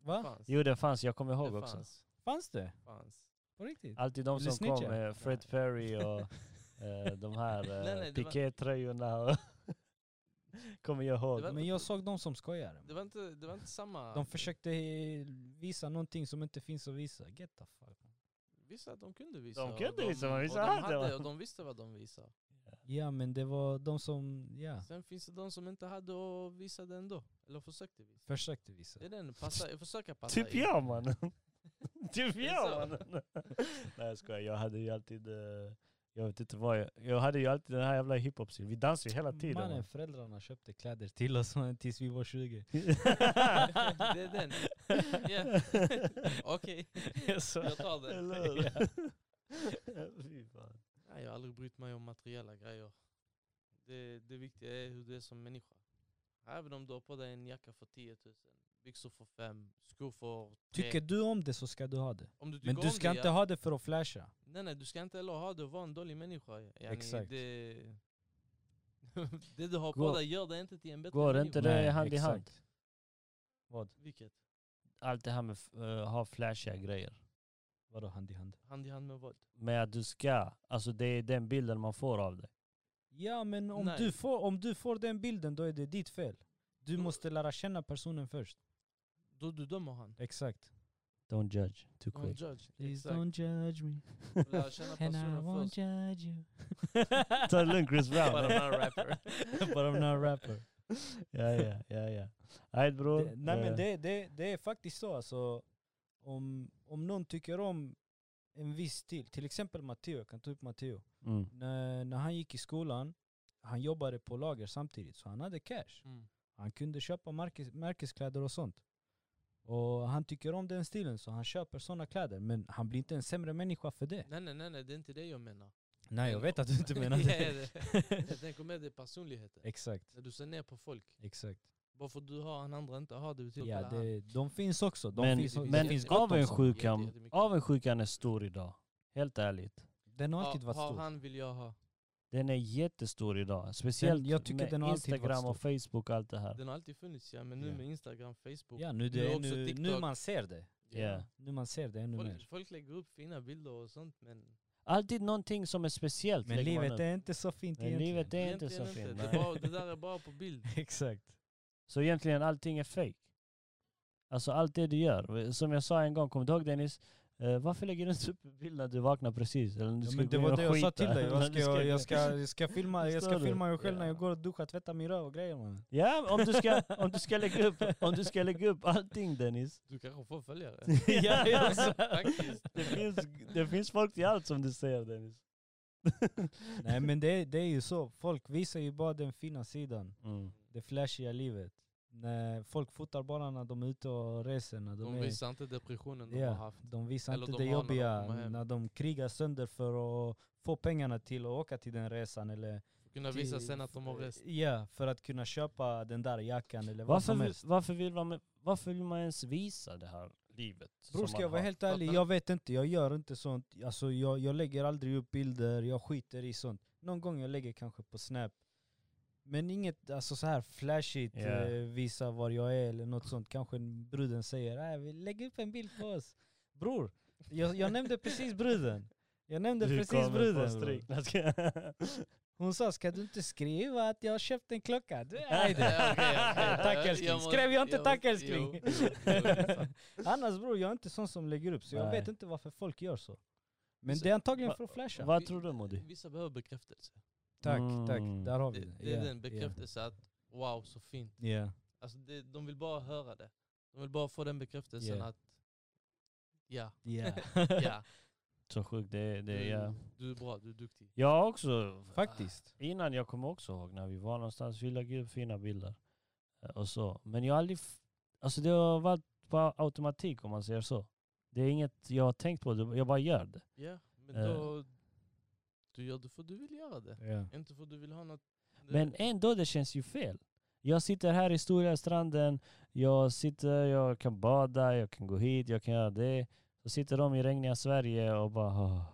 C: Va?
A: fanns.
B: Jo det fanns, jag kommer ihåg
A: det
B: också.
A: fanns.
C: Fanns det?
A: fanns.
C: På riktigt?
B: Alltid de
C: Vill du
B: som kom,
C: snitcha?
B: eh, Fred
A: Nej.
B: Perry *laughs* och eh, de här
A: Nej,
B: eh,
A: nej, det var-
B: pikétröjorna. och *laughs* kommer jag ihåg.
A: Det var-
C: Men jag såg de som skojade.
A: Det var inte, det var inte samma...
C: De försökte eh, visa någonting som inte finns att visa. Get the fuck.
A: Vissa att de kunde visa.
B: De
A: och
B: kunde visa, men vissa
A: och de
B: hade
A: hade
B: va?
A: och de visste vad de visade.
C: Ja men det var de som, ja,
A: Sen finns det de som inte hade och visade ändå. Eller försökte visa.
C: försökte visa.
A: Det är den, passa, försöka passa
B: Typ
A: in.
B: jag *laughs* mannen. typ
A: är så.
B: jag mannen. *laughs* Nej jag skojar, jag hade ju alltid, eh, jag vet inte vad jag, jag hade ju alltid den här jävla hiphop-stilen. Vi dansade ju hela tiden.
C: Mannen,
B: man.
C: föräldrarna köpte kläder till oss *laughs* man, tills vi var 20.
A: *laughs* det är den.
B: *laughs*
A: Ja. *laughs* Okej, jag tar den.
B: Eller hur? *laughs*
C: Ja.
B: Fy fan.
A: Nej, jag har aldrig brytt mig om materiella grejer. Det, det viktiga är hur du är som människa. Även om du har på dig en jacka för 10 000, byxor för 5, skor för 3.
C: Tycker du om det så ska du ha det.
A: om du
C: Men
A: tycker
C: du
A: om
C: ska
A: det,
C: inte
A: ja.
C: ha det för att flasha.
A: Nej, nej, du ska inte heller ha det och vara en dålig människa. Yani,
C: Exakt.
A: Det, *laughs* det du har på
B: Går-
A: dig gör dig inte till en bättre
B: Går det
A: människa.
B: inte det
C: Nej,
B: hand i hand?
C: exakt. Vad?
A: Vilket?
B: Allt det här med att ha flashiga grejer.
C: Vadå hand i hand?
A: Hand i hand med vad?
B: Med att du ska, alltså det är den bilden man får av dig.
C: Ja men om
A: Nej.
C: du, får, om du får den bilden då är det ditt fel. Du
A: Då-
C: måste lära känna personen först.
A: Då du dömer han.
C: Exakt.
B: Don't judge too
A: Don't
B: quick.
A: judge.
C: Please
A: Exakt.
C: don't judge me
A: Lära känna
C: *laughs* and I
A: personen
C: won't
A: först. *laughs*
C: judge you.
B: Ta det lugnt Chris Brown.
A: But I'm not a
C: *laughs*
A: rapper.
B: *laughs*
C: But I'm not a rapper.
B: ja, ja, ja, ja. Alright bror.
C: Det, nej men
B: Eh,
C: det, det, det är faktiskt så alltså, om, om någon tycker om en viss stil, till exempel Matteo, jag kan ta upp Matteo.
B: mm.
C: När, när han gick i skolan, han jobbade på lager samtidigt så han hade cash.
A: Mm.
C: Han kunde köpa märkes, märkeskläder och sånt. Och han tycker om den stilen så han köper såna kläder men han blir inte en sämre människa för det.
A: Nej, nej, nej, nej, det är inte det jag menar.
C: Nej jag vet att *laughs* du
A: *laughs*
C: inte menar
A: Ja,
C: det.
A: det. Jag tänker med det personligheten.
C: Exakt,
A: När du ser ner på folk.
C: exakt.
A: Bara för att du har en andra inte har det betyder
C: Ja,
A: inte att han-
C: det, de finns också. De
B: men
C: finns,
A: det
B: men
C: det finns gott om sånt.
A: Jätte-
B: avundsjukan,
A: jättemycket.
B: avundsjukan är stor idag. Helt ärligt.
C: Den har alltid varit
A: har
C: stor.
A: han vill jag ha.
B: Den är jättestor idag. Speciellt
C: jag tycker
B: med
C: den har alltid varit
B: Instagram och Facebook och allt det här.
A: Den har alltid funnits ja, men nu
B: Ja.
A: med Instagram, Facebook.
C: Ja, nu,
A: Nu
C: det, är-
A: också
C: nu, nu
A: TikTok.
C: man ser det.
B: Ja.
C: Nu man ser det ännu mer.
A: Folk, folk lägger upp fina bilder och sånt men
B: Alltid någonting som är speciellt.
C: Men
B: lägger man
C: livet
B: upp.
C: är inte så fint
B: Men
C: egentligen.
B: livet är inte så
A: egentligen
B: fint.
A: Det, är
B: nej.
A: bara, det där är bara på bild.
C: *laughs* Exakt.
B: Så egentligen allting är fake. Alltså allt det du gör. Som jag sa en gång, kommer du ihåg Dennis? Eh, varför lägger du inte upp en bild när du vaknar precis? Eller när du
C: Ja,
B: ska
C: men
B: gå
C: det
B: in
C: var
B: och
C: det jag sa
B: skita.
C: till
B: *laughs*
C: dig.
B: När
C: Jag
B: du
C: ska, jag ska, jag ska filma, jag ska
B: Förstår du?
C: filma mig själv när jag
B: Ja.
C: går och duschar, tvättar min röv och grejer mannen.
B: Ja, om du ska, om du ska, lägga, upp, om du ska lägga upp allting
C: *laughs*
B: Dennis.
A: Du kanske får följare.
B: *laughs*
A: *laughs*
B: Ja, ja, så-
A: Faktiskt.
B: Det finns, det finns folk till allt som du säger Dennis.
C: *laughs* Nej men det, det är ju så, folk visar ju bara den fina sidan.
B: Mm.
C: Det flashiga livet. När folk fotar bara när de är ute och reser, när de,
A: De
C: är...
A: visar inte depressionen de
C: Ja,
A: har haft.
C: de visar
A: Eller
C: inte
A: de
C: det
A: har när de
C: jobbiga
A: kommer hem.
C: när de krigar sönder för att få pengarna till att åka till den resan eller
A: Kunna visa
C: till-
A: sen att de har rest.
C: Ja, för att kunna köpa den där jackan eller vad
B: Varför,
C: som
B: vill-
C: helst.
B: varför, vill man, varför vill man ens visa det här livet?
C: Bror
B: som
C: ska
B: man
C: jag vara
B: har?
C: helt ärlig,
A: Fattar du?
C: jag vet inte, jag gör inte sånt. Alltså jag, jag lägger aldrig upp bilder, jag skiter i sånt. Någon gång jag lägger kanske på snap. Men inget alltså så här flashigt,
B: Ja.
C: eh, visa var jag är eller något sånt. Kanske bruden säger äh, vi lägger upp en bild på oss. Bror, jag, jag nämnde precis bruden. Jag nämnde
B: Du
C: precis
B: kommer på
C: bruden. bror.
B: stryk. *laughs* Jag ska-
C: Hon sa, ska du inte skriva att jag har köpt en klocka? Du
B: Ja, *laughs*
C: är det.
A: Ja, okej, okej.
C: Tack
A: Jag
C: älskling.
A: må-
C: Skrev jag inte
A: må-
C: tack
A: jo,
C: älskling?
A: jo, jo,
C: Annars bror, jag är inte sån som lägger upp så jag
B: Nej.
C: vet inte varför folk gör så. Men
A: Så-
C: det är antagligen
B: Va-
C: för att flasha.
B: Vad tror du *laughs* Modi?
A: Vissa behöver bekräftelse.
C: Tack,
B: Mm.
C: tack. Där har vi
A: Det,
C: det.
A: det är den bekräftelse att wow så fint.
C: Ja, yeah.
A: Alltså det, de vill bara höra det. De vill bara få den bekräftelsen
C: Ja.
A: att
B: *laughs*
A: ja, *laughs*
C: yeah.
A: ja,
B: Så sjukt det är. Det, är- ja.
A: du är bra, du är duktig.
B: Jag har också,
C: Faktiskt.
B: innan jag kommer också ihåg när vi var någonstans, vi lägger upp fina bilder. eh, Och så. Men jag har aldrig, f- alltså det har varit på automatik om man säger så. Det är inget jag har tänkt på, det- jag bara gör det.
A: Ja, men
B: Eh.
A: då du gör det för du vill göra det.
C: Ja.
A: Inte för du vill ha något.
B: Men ändå, det känns ju fel. Jag sitter här i stora stranden, jag sitter, jag kan bada, jag kan gå hit, jag kan göra det. Så sitter de i regniga Sverige och bara... "Åh."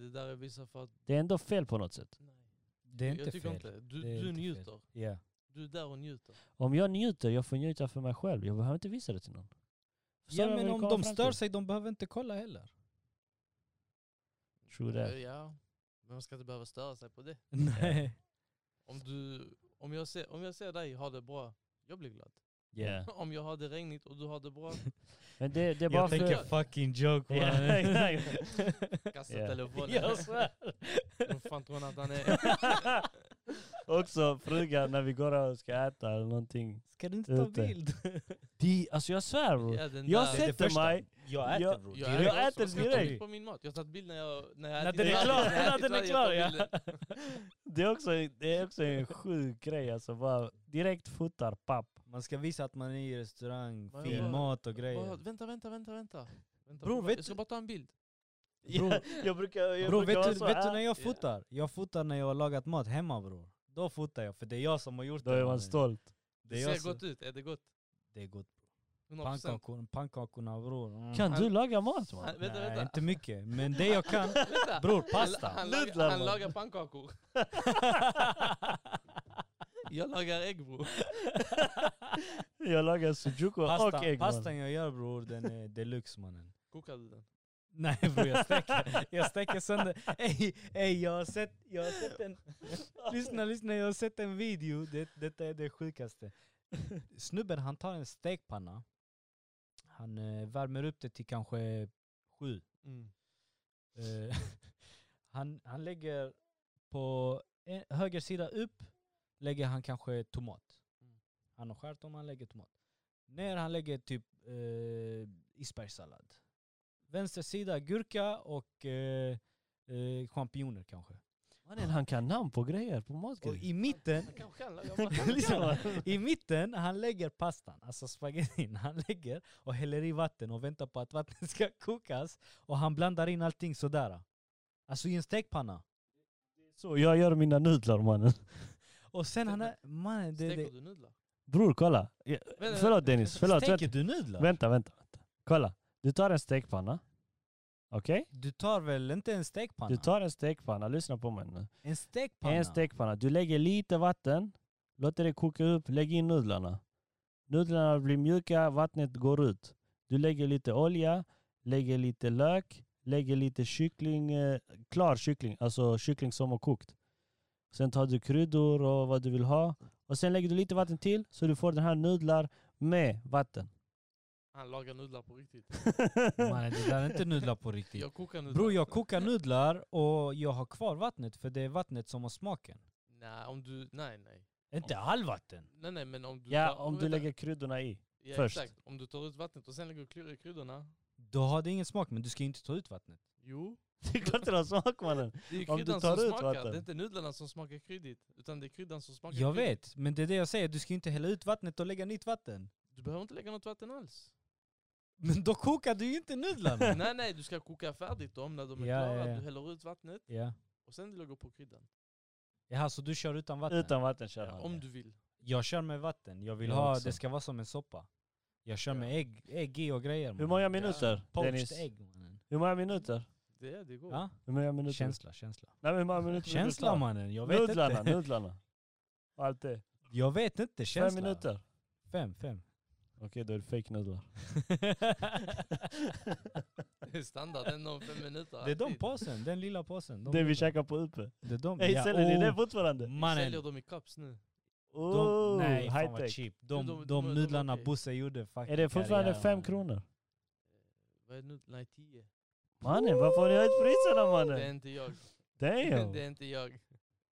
A: Det där är vissa för att
B: Det är ändå fel på något sätt.
A: nej.
C: Det är
A: jag
C: inte
A: tycker
C: fel.
A: inte. Du,
C: Det är
A: du
C: inte fel.
A: njuter.
C: Ja.
A: Du är där och njuter.
B: Om jag njuter, jag får njuta för mig själv. Jag behöver inte visa det till någon. Förstår
C: ja
B: du vad
C: men
B: jag
C: om
B: kommer
C: de
B: fram
C: stör
B: till?
C: sig, de behöver inte kolla heller.
B: True that.
A: Ja, men man ska inte behöva störa sig på det.
C: *laughs* Nej.
A: Om, du, om, jag, ser, om jag ser dig ha det bra, jag blir glad.
B: Yeah.
A: *laughs* Om jag har det regnigt och du har det bra,
B: Men det, det är bara
C: Jag
B: för...
C: tänker fucking joke
B: Ja, *laughs*
C: mannen.
B: exakt.
A: kasta
B: *laughs* Ja.
A: telefonen. *laughs*
B: Jag svär.
A: Vad fan tror han att han är?
B: *laughs* Också frugan när vi går och ska äta eller någonting.
C: *laughs* Ska du inte ta
B: Ute.
C: *laughs* bild?
B: De, alltså jag svär bror.
A: Ja, den
B: Jag
A: där.
C: ser-
B: sätter
C: första.
B: mig äter,
C: Jag äter
B: Jag-
C: bror.
A: Jag
B: direkt.
A: äter
B: Jag
A: också. Jag
B: äter
A: tar bild
B: direkt.
A: på min mat. Jag har tagit bild när jag när jag
B: När
A: ätit
B: den är
A: klart.
B: klar,
A: jag
B: när
A: ätit
B: den är
A: klart, jag tar
B: klar, ja.
A: bilden.
B: Det är också, det är också en sjuk grej alltså. Bara direkt fotar papp.
C: Man ska visa att man är i restaurang,
A: Vad-
C: fin
A: vad-
C: mat och
A: Bara,
C: *laughs* grejer.
A: Vänta, vänta, vänta, vänta. vänta
C: Bror,
A: jag
C: vet
A: ska
C: du-
A: bara ta en bild.
B: Ja, jag brukar, jag
C: Bror
B: brukar
C: vet,
B: vara
C: du,
B: så
C: vet du
B: här.
C: när jag
A: Ja.
C: fotar? Jag fotar när jag har lagat mat hemma bror. Då fotar jag, för det är jag som har gjort
B: Då
C: det.
B: är man
C: mannen.
B: stolt.
C: Det är alltså-
A: Det
C: jag
A: ser
C: som-
A: gott ut, är det gott?
C: Det är gott.
A: 100%.
C: Pannkakorna, pannkakorna bror. Mm.
B: Kan
A: Han-
B: du laga mat man?
A: Han, vänta,
C: Nej,
A: vänta.
C: inte mycket. Men det jag *laughs* kan,
B: *laughs*
A: Vänta.
C: bror
A: Han-
C: pasta.
A: Han, lagar-
B: Nudlar,
A: han
B: man.
A: lagar pannkakor.
B: *laughs*
A: Jag lagar ägg bror.
B: jag lagar sujuku och
C: Pasta,
B: ägg man.
C: pastan jag gör bror, den är deluxe mannen.
A: Kokar du den?
C: *laughs* Nej bror jag steker, jag steker sönder. Ey, ey jag har sett, jag har sett en, lyssna lyssna jag har sett en video, det, detta är det sjukaste. Snubben han tar en stekpanna, han eh, värmer upp det till kanske sju.
A: Mm.
C: Eh, *laughs* han, han lägger på en, höger sida upp, lägger han kanske tomat.
A: Mm.
C: Han har skärt om, han lägger tomat. Ner han lägger typ eh, isbergssallad. Vänster sida gurka och eh, eh, champinjoner kanske.
B: Mannen han kan namn på grejer, på
C: Och
B: matgrejer.
C: i mitten,
A: Han kanske kan laga mat.
B: *laughs* Liksom.
C: lyssna, i mitten han lägger pastan, alltså spagettin, *laughs* han lägger och häller i vatten och väntar på att vattnet ska kokas och han blandar in allting sådär. Alltså i en stekpanna.
B: Så jag gör mina nudlar mannen.
C: Och sen han är, mannen det, det,
A: Steker du nudlar?
B: Bror kolla. Ja,
A: Vänta,
B: Förlåt Dennis, förlåt.
C: Steker
B: Vänta,
C: du nudlar?
B: vänta, vänta. Kolla. Du tar en stekpanna. Okej?
C: Du tar väl inte en stekpanna?
B: Du tar en stekpanna, lyssna på mig nu.
C: en stekpanna?
B: En
C: *laughs*
B: stekpanna. Du lägger lite vatten, låter det koka upp, lägg in nudlarna. Nudlarna blir mjuka, vattnet går ut. Du lägger lite olja, lägger lite lök, lägger lite kyckling, eh, klar kyckling, alltså kyckling som har kokt. Sen tar du kryddor och vad du vill ha. Och sen lägger du lite vatten till så du får den här nudlar med vatten.
A: Han lagar nudlar på riktigt.
C: Man, det där är inte nudlar på riktigt.
A: Jag kokar nudlar.
C: Bror jag kokar nudlar och jag har kvar vattnet för det är vattnet som har smaken.
A: Nej, om du... Nej, nej.
C: Inte all vatten.
A: Nej, nej, men om du...
B: Ja,
A: tar-
B: om du
A: vänta.
B: lägger kryddorna i.
A: ja,
B: först.
A: Exakt. Om du tar ut vattnet och sen lägger du kry- kryddorna.
C: Då har det ingen smak men du ska ju inte ta ut vattnet.
A: Jo.
B: Det är klart det har smak mannen.
A: Det är ju
B: Om du
A: kryddan
B: tar
A: som
B: ut
A: smakar.
B: vatten.
A: Det är inte nudlarna som smakar kryddigt. Utan det är kryddan som smakar
C: Jag
A: kryddigt.
C: vet, men det är det jag säger. Du ska ju inte hälla ut vattnet och lägga nytt vatten.
A: Du behöver inte lägga något vatten alls.
C: Men då kokar du ju
B: *laughs*
C: inte nudlarna.
A: *laughs* nej, nej, du ska koka färdigt dem när de är
C: Ja, ja,
A: klara.
C: ja.
A: Du häller ut vattnet
C: ja.
A: och sen du lägger på kryddan.
C: Jaha, så du kör utan vatten?
B: Utan vatten kör han.
A: Om du vill.
C: Jag kör med vatten. Jag vill
B: Jag
C: ha,
B: också.
C: det ska vara som en soppa. Jag kör
A: Ja.
C: med ägg, ägg i och grejer.
B: Hur
C: mannen.
B: många minuter? Dennis? Oh,
C: Poached ägg mannen.
B: Hur många minuter?
A: Det, det går.
C: Ja?
B: Hur många minuter?
C: Känsla, känsla.
B: Nej, men hur många minuter vill du
C: Känsla
B: ta?
C: mannen, jag vet
B: Nudlarna,
C: inte.
B: nudlarna. Och Allt det.
C: *laughs* Jag vet inte, känsla.
B: Fem minuter. *laughs*
C: Fem, fem.
B: Okej, då är det fake nudlar.
A: Det är *laughs* standard, ändå om fem minuter.
C: Det är de
A: alltid.
C: påsen, den lilla påsen. De
B: det vi
C: lilla.
B: käkar på uppe.
C: Det är de.
B: Ey,
C: ja,
B: säljer ni
C: oh,
B: det fortfarande?
A: Säljer
C: Mannen,
A: dem i cups nu.
B: Oh,
C: de, nej fan
B: high
C: vad
B: tech.
C: cheap.
A: De-
C: De,
A: de-
C: de,
A: de är
C: nudlarna
A: okej.
C: Bosse gjorde fucking
B: Är det fortfarande
C: karriär,
B: fem
C: mannen.
B: kronor?
A: Vad är det nu? Nej, tio.
B: Mannen, varför har ni höjt priserna
A: Det är
B: mannen?
A: inte
C: *laughs*
A: jag. Det
B: Damn!
A: är inte jag.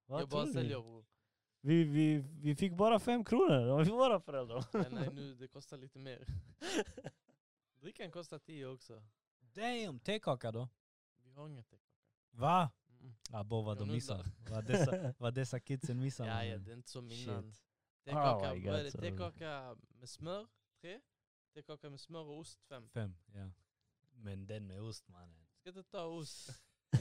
B: Vad
A: jag bara
B: tror ni?
A: säljer
C: *laughs*
A: bror.
B: Vi, vi, vi fick bara fem kronor av våra föräldrar.
A: Men nej, nu det kostar lite
C: *laughs*
A: mer. Drickan kostar tio också.
C: Damn, tekaka då?
A: Vi har inget.
C: Va?
A: Mm.
C: Abo vad
A: Jag
C: de missar.
A: nudlar.
C: Vad dessa,
B: *laughs*
C: vad dessa kidsen missar.
A: Ja, ja,
C: mannen.
A: det är inte som
C: Shit. Ah,
A: innan. Tekaka,
B: my
A: vad är
B: God,
A: det?
B: så-
A: Tekaka med smör, tre. Tekaka med smör och ost, fem.
C: Fem, ja. Men den med ost mannen.
A: Ska inte ta
C: *laughs*
A: ost.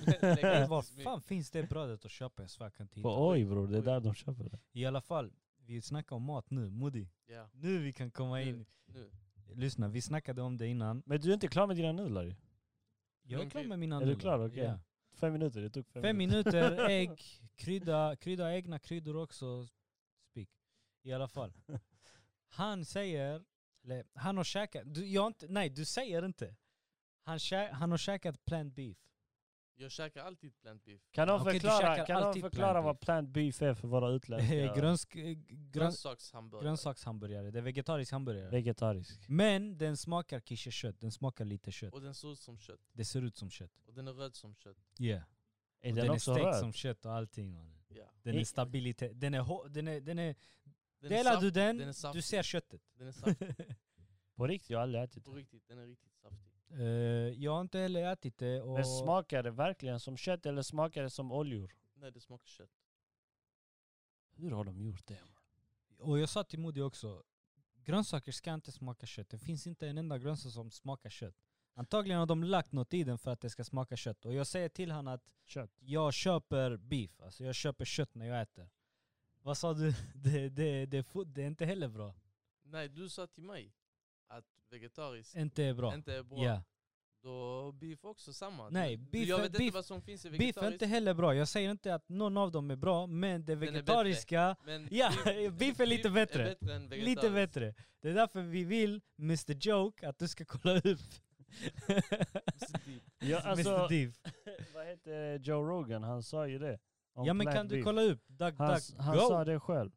C: Ey,
A: Lägg *laughs*
C: Var
A: ost i smink.
C: fan finns det brödet att köpa? Jag svär, jag kan inte hitta.
B: På oj bror, det är
A: Oj.
B: där de köper det.
C: I alla fall, vi snackar om mat nu. Moody,
A: Ja,
C: nu vi kan komma
A: Nu.
C: in.
A: nu.
C: Lyssna, vi snackade om det innan.
B: Men du är inte klar med dina nudlar ju.
C: Jag är
A: Lång
C: klar
A: tid.
C: med mina
B: Är du
C: nudlar.
B: klar? Okej.
C: Ja.
B: Fem minuter, det tog fem,
C: Fem *laughs* minuter, ägg, krydda, krydda egna kryddor också. Spik. I alla fall. Han säger, eller han har käkat, du, jag har inte, nej du säger inte. Han, kä, han har käkat plant beef.
A: Jag käkar alltid plant beef.
B: Kan de
C: Okej, du
B: förklara,
C: käkar
B: kan de
C: alltid
B: förklara
C: plant
B: vad plant beef är för våra
C: *laughs*
B: utländska?
C: Grönsk, eh, grön,
A: Grönsakshamburgare.
C: grönsakshamburgare, det är vegetarisk hamburgare.
B: Vegetarisk.
C: Men den smakar kishekött, den smakar lite kött.
A: Och den ser ut som kött.
C: Det ser ut som kött.
A: Och den är röd som kött.
C: Yeah.
B: Är den,
C: Och den är
B: också
C: stekt
B: röd?
C: som kött och allting. mannen.
A: Ja.
C: Den är
B: I-
C: stabilitet, den är, hår- den är, den är
A: Den är
C: delar
A: saft-
C: du den,
A: den är saftig.
C: du ser köttet.
A: Den är saftig.
C: *laughs*
B: På riktigt, jag har aldrig ätit
A: På
B: det.
A: riktigt, den är riktigt saftig.
C: Eh, jag har inte heller ätit det. Och
B: Men smakar det verkligen som kött eller smakar det som oljor?
A: Nej, det smakar kött.
B: Hur har de gjort det?
C: Och jag sa till Modi också, grönsaker ska inte smaka kött. Det finns inte en enda grönsak som smakar kött. Antagligen har de lagt något i den för att det ska smaka kött. Och jag säger till honom att
B: Kött.
C: jag köper beef, alltså jag köper kött när jag äter. Vad sa du? *laughs* Det, det, det, är fo- det är inte heller bra.
A: Nej, du sa till mig att vegetariskt
C: Inte är bra.
A: inte är bra.
C: Ja.
A: Då beef också samma. Du-
C: Nej,
A: du-
C: beef
A: jag
C: är-
A: vet
C: beef-
A: inte vad som finns i
C: Beef är
A: vegetariskt.
C: inte heller bra. Jag säger inte att någon av dem är bra, men det
A: Den är bättre.
C: vegetariska,
A: men
C: Ja, *laughs* beef är lite bättre.
A: än
C: lite
A: vegetariskt.
C: bättre. Det är därför vi vill, Mr Joke, att du ska kolla upp *laughs*
A: Så deep.
B: Ja, alltså,
C: Mr Div.
B: *laughs* vad heter Joe Rogan? Han sa ju det. om
C: Ja men
B: plant
C: kan du
B: beef.
C: kolla upp Duck
B: Han,
C: Duck
B: han
C: Go?
B: sa det själv.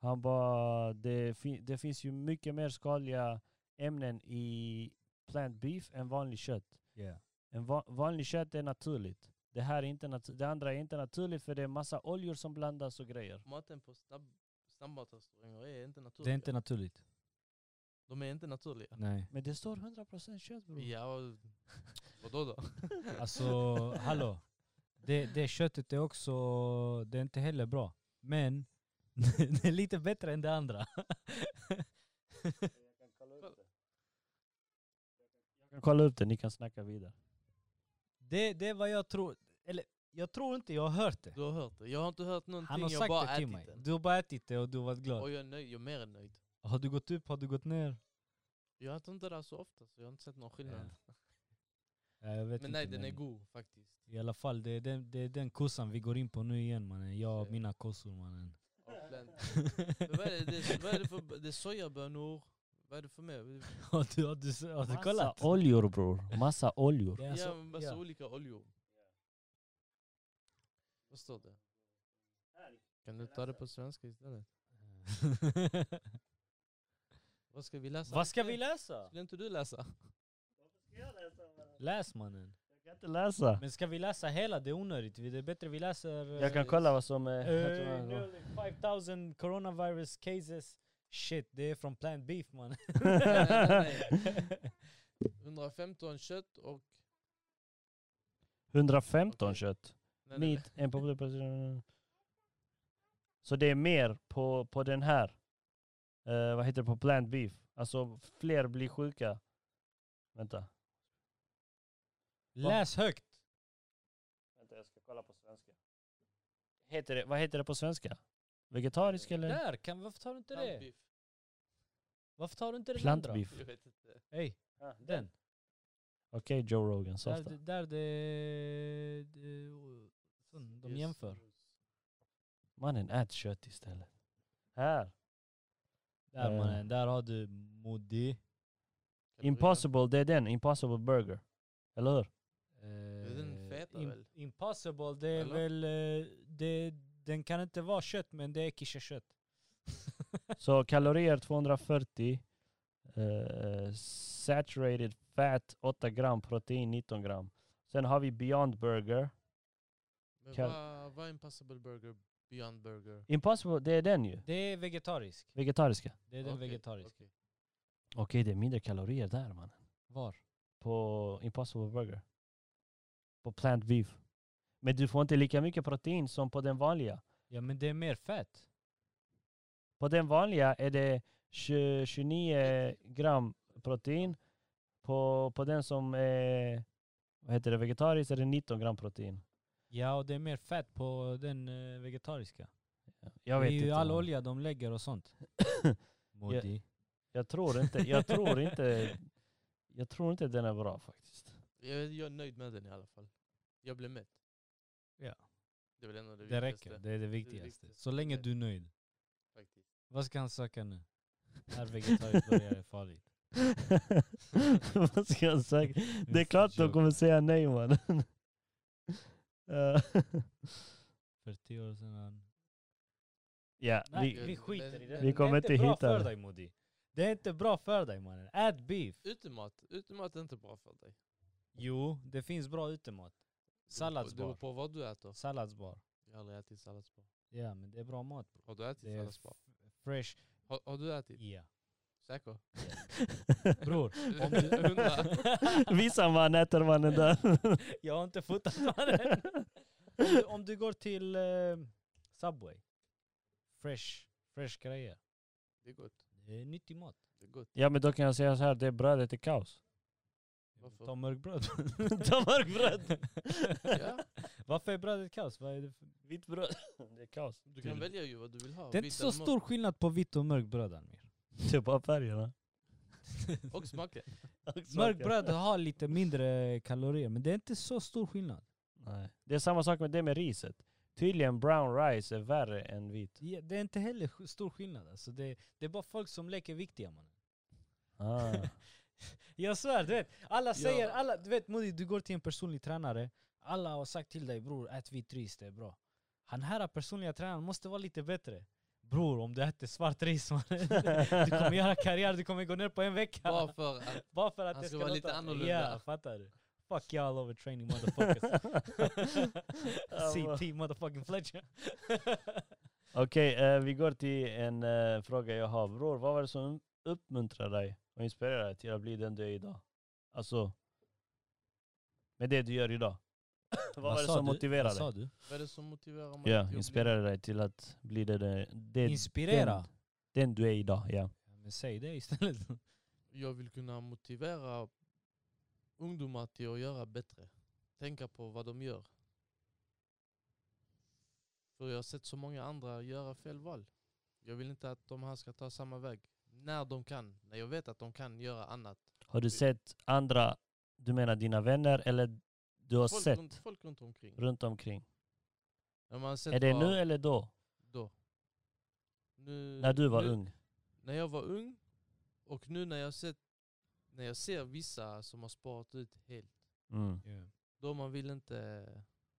B: Han bara, det, fi- det finns ju mycket mer skadliga ämnen i plant beef än vanligt kött.
C: Yeah.
B: En va- vanlig kött är naturligt. Det här är inte nat- det andra är inte naturligt för det är massa oljor som blandas och grejer.
A: Maten på snabb, snabbmatsrestauranger är inte naturlig.
C: Det är inte naturligt.
A: De är inte naturliga.
C: Nej.
B: Men det står 100% kött bror.
A: Ja, och- Mm. *laughs* vadå då?
C: *laughs* Alltså, hallå. Det, det köttet är också, det är inte heller bra. Men *laughs* det är lite bättre än det andra.
B: Jag kan kolla upp det, ni kan snacka vidare.
C: Det, det är vad jag tror, eller jag tror inte jag har hört det.
A: Du har hört det. Jag har inte hört någonting,
C: Han har
A: jag
C: sagt
A: bara
C: det till
A: ätit
C: mig.
A: den.
C: Du har bara ätit det och du har varit glad.
A: Och jag är nöjd, jag är mer än nöjd.
C: Har du gått upp, har du gått ner?
A: Jag äter inte det här så ofta så jag har inte sett någon skillnad.
C: Ja, jag vet
A: Men
C: inte,
A: nej, den är god
C: *laughs*
A: faktiskt.
C: I alla fall, det är, den, det är den kossan vi går in på nu igen mannen. Jag och
A: Shit.
C: mina kossor mannen. *laughs*
A: Av plant. Men vad, är det, det, vad är det för det är sojabönor? Vad är det för mer?
C: har du, har du, har du kollat?
B: Massa oljor bror. Massa oljor.
C: Det är
A: Ja,
C: alltså-
A: en massa
C: ja. *laughs*
A: olika oljor. Vad står det? Kan du ta det på svenska istället? Vad ska vi läsa?
B: Vad ska vi läsa?
A: Skulle inte du
C: *laughs*
A: läsa?
C: Läs mannen.
B: Jag kan inte läsa.
C: Men ska vi läsa hela? Det är onödigt. Vi- Det är bättre vi läser... eh,
B: Jag kan kolla vad som är... jag tror
C: eh,
B: jag går.
C: nearly 5000 coronavirus cases. Shit, det är från Plant Beef mannen.
A: nej, nej,
C: *laughs*
A: nej. 115 kött och...
B: 115 *laughs*
A: Okej.
B: kött.
A: Nej, nej, nej.
B: Meat and popular president. Så det är mer på, på den här. Eh, vad heter det? På plant beef. Alltså fler blir sjuka. Vänta.
C: Läs högt.
B: Vänta jag ska kolla på svenska. Heter det, vad heter det på svenska? Vegetarisk eller?
C: Där, kan, varför tar du inte det?
A: Plantbiff.
C: Varför tar du inte den
B: Plant
C: andra?
B: beef.
A: Jag vet inte.
C: Hej,
B: Ah,
C: den.
B: Okej Joe Rogan,
C: Där,
B: softa.
C: det- där det... det sån, de
A: Yes.
C: jämför.
B: Mannen ät kött istället. Här.
C: Där
B: Eh.
C: mannen, där har du Modi.
B: Impossible, det är den. Impossible burger. Eller hur?
A: är den feta väl?
C: Eh, Impossible, det är
A: Eller?
C: väl... eh, Det, den kan inte vara kött men det är kisha-kött.
B: Så kalorier 240. eh, saturated fat 8 gram, protein 19 gram. Sen har vi Beyond Burger.
A: Men
B: Kall-
A: vad, vad är Impossible Burger? Beyond Burger?
B: Impossible, det är den ju.
C: Det är vegetarisk.
B: Vegetariska.
C: Det är den
A: Okej,
C: vegetariska.
A: okej.
B: Okej, det är mindre kalorier där mannen.
C: Var?
B: På Impossible Burger. På Plant Beef. Men du får inte lika mycket protein som på den vanliga.
C: Ja men det är mer fett.
B: På den vanliga är det 20, 29 gram protein. På, på den som är vad heter det, vegetarisk är det 19 gram protein.
C: Ja och det är mer fett på den eh, vegetariska.
B: Jag vet
C: det är ju
B: inte.
C: all
B: men
C: olja de lägger
B: *coughs*
C: och sånt. Modi.
B: Jag tror inte, jag tror inte, jag tror inte den är bra faktiskt.
A: Jag, jag är nöjd med den i alla fall. Jag blev mätt.
C: Ja.
A: Det är väl ändå det,
C: Det
A: viktigaste.
C: räcker, det är det viktigaste.
A: viktigaste.
C: Så länge du är nöjd.
A: Faktiskt.
C: Vad ska han söka nu? När vegetariskt börjar är farligt.
B: *laughs* Vad ska jag säga? Det är klart de kommer säga nej *laughs* mannen. Eh,
C: För tio år sedan. han-
B: Ja,
C: Nej,
B: vi,
C: vi skiter i det.
A: Vi
B: kommer
C: det. är
B: inte
C: bra
B: hitta
C: för
B: det.
C: dig Modi. Det är inte bra för dig mannen. Ät beef.
A: Utemat. Utemat är inte bra för dig.
C: Jo, det finns bra
A: Det
C: utemat.
A: beror
C: Salladsbar.
A: på vad du äter.
C: Salladsbar.
A: Jag har aldrig ätit salladsbar.
C: Ja men det är bra mat. bro.
A: Har du ätit
C: Det är
A: salladsbar?
C: f- fresh.
A: Har, har du ätit?
C: Ja.
A: Säker?
C: Bror.
A: *laughs* Om du undrar.
B: *laughs* Visa man äter mannen där.
C: *laughs* Jag har inte fotat mannen. om, du, om du går till eh, Subway. Fresh. Fresh grejer.
A: Det är gott.
C: Det är nyttig mat.
A: Det är gott.
B: *laughs* Ja men då kan jag säga så här, det är brödet är kaos.
A: Varför?
C: Ta mörkbröd. *laughs*
B: Ta mörkbröd.
A: Ja,
C: Varför är brödet kaos? Vad är det för?
B: Vitt bröd. Det är kaos.
A: du kan välja ju vad du vill ha.
C: Det är inte
A: vitt
C: så
A: eller mörkt.
C: stor skillnad på vitt och mörkt bröd Amir.
B: Det är bara färgerna.
A: Och
C: *laughs*
A: smaken.
C: Mörkt bröd har lite mindre kalorier men det är inte så stor skillnad.
B: Nej. Det är samma sak med det med riset. Tydligen brown rice är värre än vit.
C: Ja, Det är inte heller sk- stor skillnad alltså. Det, det är bara folk som leker viktiga man.
B: Ah.
C: Jag svär, du vet. Alla säger,
A: Ja.
C: alla, du vet Modi, du går till en personlig tränare. Alla har sagt till dig bror, ät vitt ris, det är bra. Han här personliga tränaren måste vara lite bättre. Bror, om du äter svart ris man, *laughs* du kommer göra karriär, du kommer gå ner på en vecka.
A: Bara för att...
C: Bara för att
A: Han
C: det
A: ska vara lite
C: låta-
A: annorlunda.
C: Ja, fattar du? Fuck y'all over
A: *laughs*
C: training motherfuckers. *laughs* CT motherfucking Fletcher.
B: *laughs* Okej, eh, vi går till en eh, fråga jag har. Bror, vad var det som uppmuntrade dig och inspirerade dig till att bli den du är idag? Alltså, med det du gör idag. vad, var det som motiverade dig?
C: Vad sa du?
A: Vad är det som motiverar mig? till att
B: Ja,
A: bli-
B: inspirerade dig till att bli den, den,
C: Inspirera.
B: den, den du är idag. Ja.
C: Ja, Men säg det istället.
A: Jag vill kunna motivera ungdomar till att göra bättre. Tänka på vad de gör. För jag har sett så många andra göra fel val. Jag vill inte att de här ska ta samma väg. När de kan. När jag vet att de kan göra annat.
B: Har du sett andra Du menar dina vänner eller du har
A: Folk,
B: sett
A: runt, folk runt omkring.
B: runt omkring?
A: När man har sett
B: Är det
A: bara
B: nu eller då?
A: Då. Nu,
B: När du var
A: nu,
B: ung?
A: När jag var ung och nu när jag, sett, när jag ser vissa som har sparat ut helt.
B: Mm.
C: Yeah.
A: Då man vill inte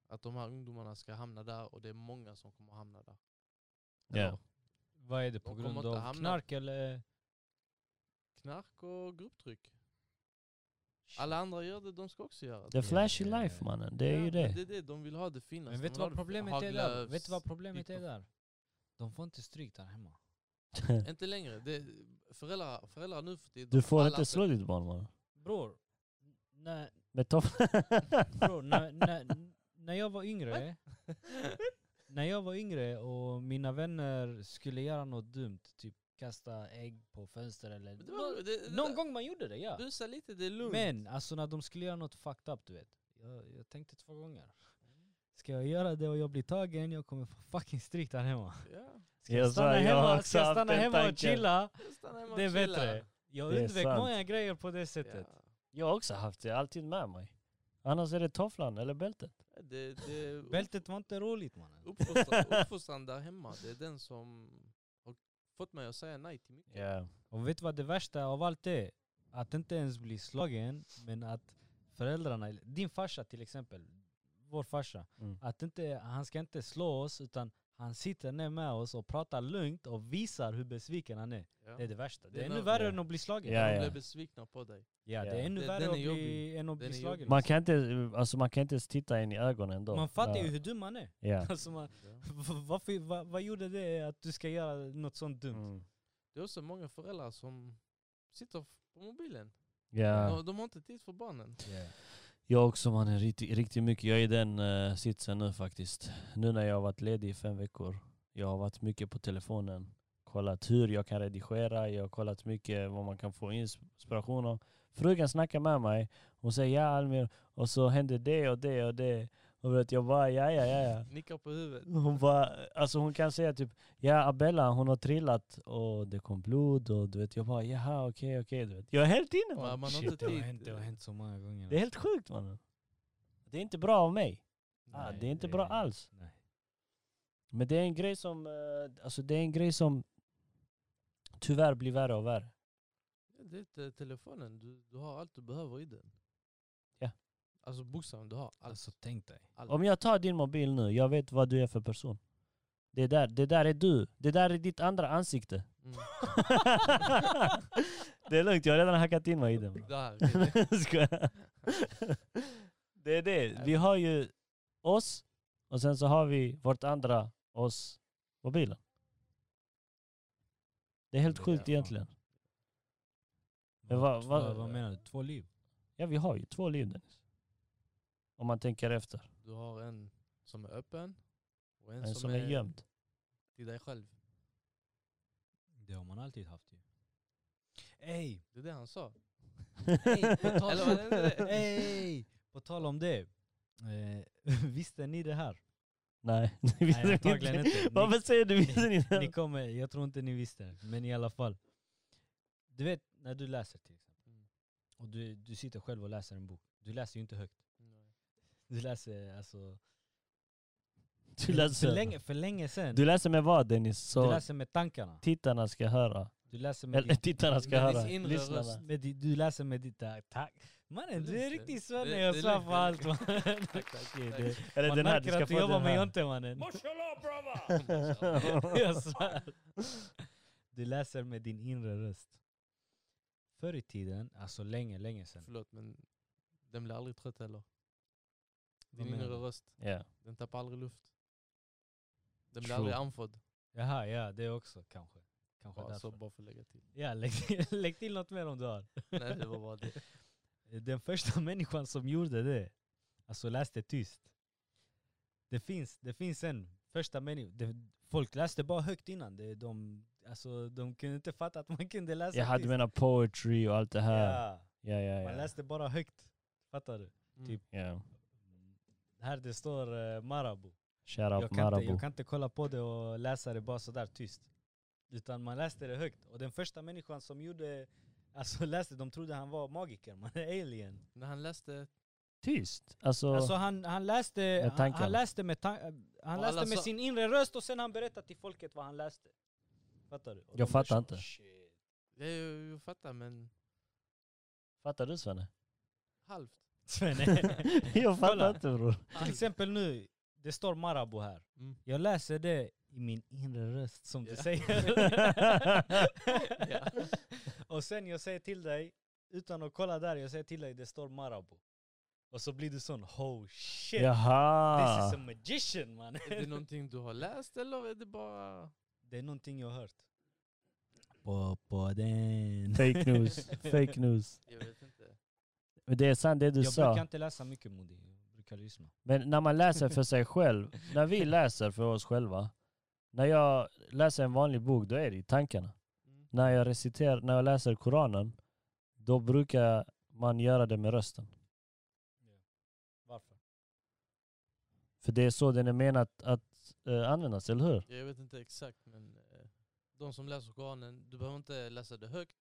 A: att de här ungdomarna ska hamna där och det är många som kommer hamna där.
B: Ja.
C: Vad är det på
A: De kommer
C: grund
A: inte
C: av?
A: hamna-
C: Knark eller?
A: Knark och grupptryck. Alla andra gör det, de ska också göra det.
B: The flashy
C: Ja.
B: life mannen, det är
A: Ja,
B: ju
A: men
B: det.
A: Det är det de vill ha, det finnas.
C: Men
A: De
C: vet
A: vill
C: du
A: ha
C: vad
A: det
C: problemet är där?
A: Haglöfs.
C: Vet du vad problemet är
A: Hitler.
C: där? De får inte stryk där hemma.
A: Inte längre. Det, föräldrar, föräldrar nu för tiden.
B: Du får
A: alla
B: inte slå
A: sätt-
B: ditt barn mannen.
C: Bror, när,
B: Med tofflan.
C: bror, när, när, när jag var yngre *laughs* När jag var yngre och mina vänner skulle göra något dumt, typ kasta ägg på fönster eller...
A: Men det var- det- det-
C: Någon
A: det-
C: gång man gjorde det ja!
A: Busa lite, det är lugnt.
C: Men alltså när de skulle göra något fucked up, du vet. Jag, jag tänkte två gånger. Ska jag göra det och jag blir tagen, jag kommer få fucking stryk där hemma.
A: Ja,
C: Ska jag,
B: Jag sa,
C: stanna
B: jag har
C: hemma,
B: också
C: ska jag
B: haft
C: stanna
B: den
C: hemma och
B: tanken.
C: chilla?
A: stanna hemma och
C: Det är
A: chilla.
C: bättre. Jag
B: Det är
C: undvek
B: sant.
C: många grejer på det sättet.
B: *laughs* Jag har också haft det, alltid med mig. Annars är det tofflan eller bältet.
A: Ja, det, det,
C: Bältet var inte roligt mannen.
A: uppfostran, uppfostran där hemma, det är den som har fått mig att säga nej till mycket.
B: Ja.
C: Och vet du vad det värsta av allt är? Att inte ens bli slagen, men att föräldrarna, eller din farsa till exempel, vår farsa,
B: Mm.
C: att inte, han ska inte slå oss utan han sitter ner med oss och pratar lugnt och visar hur besviken han är.
A: Ja.
C: Det är det värsta. Det
A: Det
C: är
A: är
C: ännu
A: när-
C: värre
B: Ja.
C: än att bli slagen.
B: Ja,
A: De
B: ja.
A: blev besvikna på dig.
C: Ja, det
B: Ja.
C: är ännu
A: Den-
C: värre
A: den
C: att
A: är
C: bli,
A: jobbig.
C: än att
A: Den
C: bli
A: är
C: slagen.
B: Man, kan inte, alltså man kan inte ens titta in i ögonen då.
C: man fattar
B: Ja.
C: ju hur dum man är.
B: Ja.
C: Alltså man, varför, vad, vad gjorde det att du ska göra något sånt *laughs* dumt?
B: Mm.
A: Det är också många föräldrar som sitter f- på mobilen.
B: Ja.
A: De, de har inte tid för barnen.
B: Jag också mannen, riktigt, riktigt mycket. Jag är i den eh, sitsen nu faktiskt. Nu när jag har varit ledig i fem veckor. Jag har varit mycket på telefonen. Kollat hur jag kan redigera, jag har kollat mycket vad man kan få inspiration av. Frugan snackar med mig, hon säger ja Almir, och så händer det och det och det. Och vet, jag bara ja ja ja ja.
A: Nickar på huvudet.
B: Hon bara, alltså hon kan säga typ Ja Abella hon har trillat och det kom blod och du vet jag bara jaha okej okej du vet. Jag är helt inne
A: Man,
B: man.
A: man har
B: Shit.
A: inte
C: Det har
A: tid.
C: hänt, det har hänt så många gånger.
B: Det är helt sjukt mannen. Det är inte bra av mig. Ah,
C: Nej,
B: det är inte
C: det
B: bra
C: är-
B: alls.
C: Nej.
B: Men det är en grej som, eh, alltså det är en grej som tyvärr blir värre och värre.
A: Ja, Det är inte telefonen, du, du har allt du behöver i den.
B: Ja.
A: Alltså bokstavligen, du har allt.
C: Alltså tänk dig.
A: allt.
B: Om jag tar din mobil nu, jag vet vad du är för person. Det där, det där är du. Det där är ditt andra
C: *laughs*
B: ansikte. *laughs*
A: Mm.
B: det är lugnt, jag har redan hackat in mig i den. bro.
A: Där, det är det.
B: *laughs* Skojar. det är det. Vi har ju oss och sen så har vi vårt andra oss mobilen. Det är helt
C: Det är
B: sjukt
C: fan.
B: egentligen. Men vad-
C: Två-
B: vad-
C: vad menar du? Två liv?
B: Ja, vi har ju två liv Dennis. Om man tänker efter.
A: Du har en som är öppen och en,
B: En som är gömd.
C: *laughs*
A: till dig själv.
C: Det har man alltid haft ju. Ey!
A: Det är det han
B: *laughs*
A: sa.
C: Ey! På tal
A: Eller vad
C: om,
A: är det?
C: ey, på tal om det. Eh, *laughs* visste ni det här?
B: Nej, det visste vi
C: antagligen inte. Ni-
B: *laughs* Varför säger du visste ni
C: Ni
B: inte?
C: kommer, jag tror inte ni visste det, men i alla fall. Du vet när du läser till exempel.
A: Mm.
C: Och du, du sitter själv och läser en bok. Du läser ju inte högt. Du läser alltså...
B: Du läser,
C: För länge, för länge sedan.
B: du läser med vad Dennis?
C: du
B: Så
C: läser med tankarna.
B: tittarna ska höra.
C: Du läser med
B: Eller
C: din
B: tittarna ska
A: Dennis
B: höra.
A: inre röst.
B: Lyssnarna.
C: Men du, du läser med ditt... Tack. tack. Mannen,
A: Det är
C: du är
A: lugnt,
C: riktigt
A: det-
C: svenne.
A: det-
C: Jag
A: det är
C: svär
A: lugnt,
C: för
A: det är lugnt.
C: allt. mannen.
A: Tack, tack,
B: Okej,
A: tack.
B: det- Eller
C: Man
B: den här, du
C: märker
B: ska
C: att du
B: få den
C: jobbar med
B: här.
C: Jonte
B: *laughs*
C: mannen. *laughs*
A: alltså.
C: Jag svär. Du läser med din inre röst. Förr i tiden, alltså länge, länge sedan.
A: Förlåt men den blir aldrig trött heller.
C: Vad
A: Din
C: menar
A: inre
C: du?
A: röst,
B: Ja.
A: den tappar aldrig luft. Den blir
B: True.
A: aldrig andfådd.
C: Jaha, ja det också kanske. Kanske
A: Ja, så
C: därför.
A: bara för att lägga till.
C: Ja, lägg, lägg till *laughs* något mer om du har.
A: *laughs* Nej det var bara det.
C: Den första *laughs* människan som gjorde det, alltså läste tyst. Det finns, det finns en första människa. Folk läste bara högt innan. Det, de, alltså, de kunde inte fatta att man kunde läsa
B: Jag hade
C: tyst.
B: menat poetry och allt det här.
C: ja,
B: Ja, ja,
C: man
B: ja.
C: läste bara högt. Fattar du?
A: Mm.
C: Typ.
B: ja.
C: Här det står eh, Marabou.
B: Shout
C: Jag
B: out
C: kan, inte,
B: Marabou.
C: jag kan inte kolla på det och läsa det bara sådär tyst. Utan man läste det högt. Och den första människan som gjorde Alltså *laughs* läste, de trodde han var magiker, man är alien.
A: När han läste...
B: Tyst. Alltså,
C: Alltså han, han läste, han,
B: tankar.
C: han läste, med, tan- han
A: Och
C: läste
A: alla
C: med
A: sa-
C: sin inre röst och sen han berättade till folket vad han läste. Fattar du? Och
B: Jag
C: de bara,
B: fattar inte. *laughs*
C: "Shit."
A: Jag, jag, jag fattar, men
B: fattar du
C: *laughs*
B: Svenne? *laughs*
A: halvt.
C: Svenne.
B: jag fattar
C: Kolla.
B: inte bror.
C: Till exempel nu, det står Marabou här.
A: Mm.
C: Jag läser det i min inre röst som du
A: Ja.
C: säger.
A: Ja.
C: *laughs* Och sen jag säger till dig, utan att kolla där, jag säger till dig det står Marabou. Och så blir du sån, oh shit, this
B: Jaha.
C: is a magician man.
A: Är det någonting du har läst eller är det bara...
C: det är någonting jag har hört. På, på
B: *laughs*
C: den.
A: *laughs*
B: Fake
C: *laughs*
B: news. Fake news.
A: Jag vet inte.
B: Men det är sant det du
C: Jag
B: sa.
C: brukar inte läsa mycket Modi, jag brukar lyssna.
B: Men när man läser för sig själv, när vi läser för oss själva, när jag läser en vanlig bok, då är det i tankarna.
A: Mm.
B: När jag reciterar, när jag läser Koranen, då brukar man göra det med rösten.
C: Varför?
B: För det är så den är menad att eh, användas, eller hur?
A: Jag vet inte exakt, men eh, de som läser Koranen, du behöver inte läsa det högt,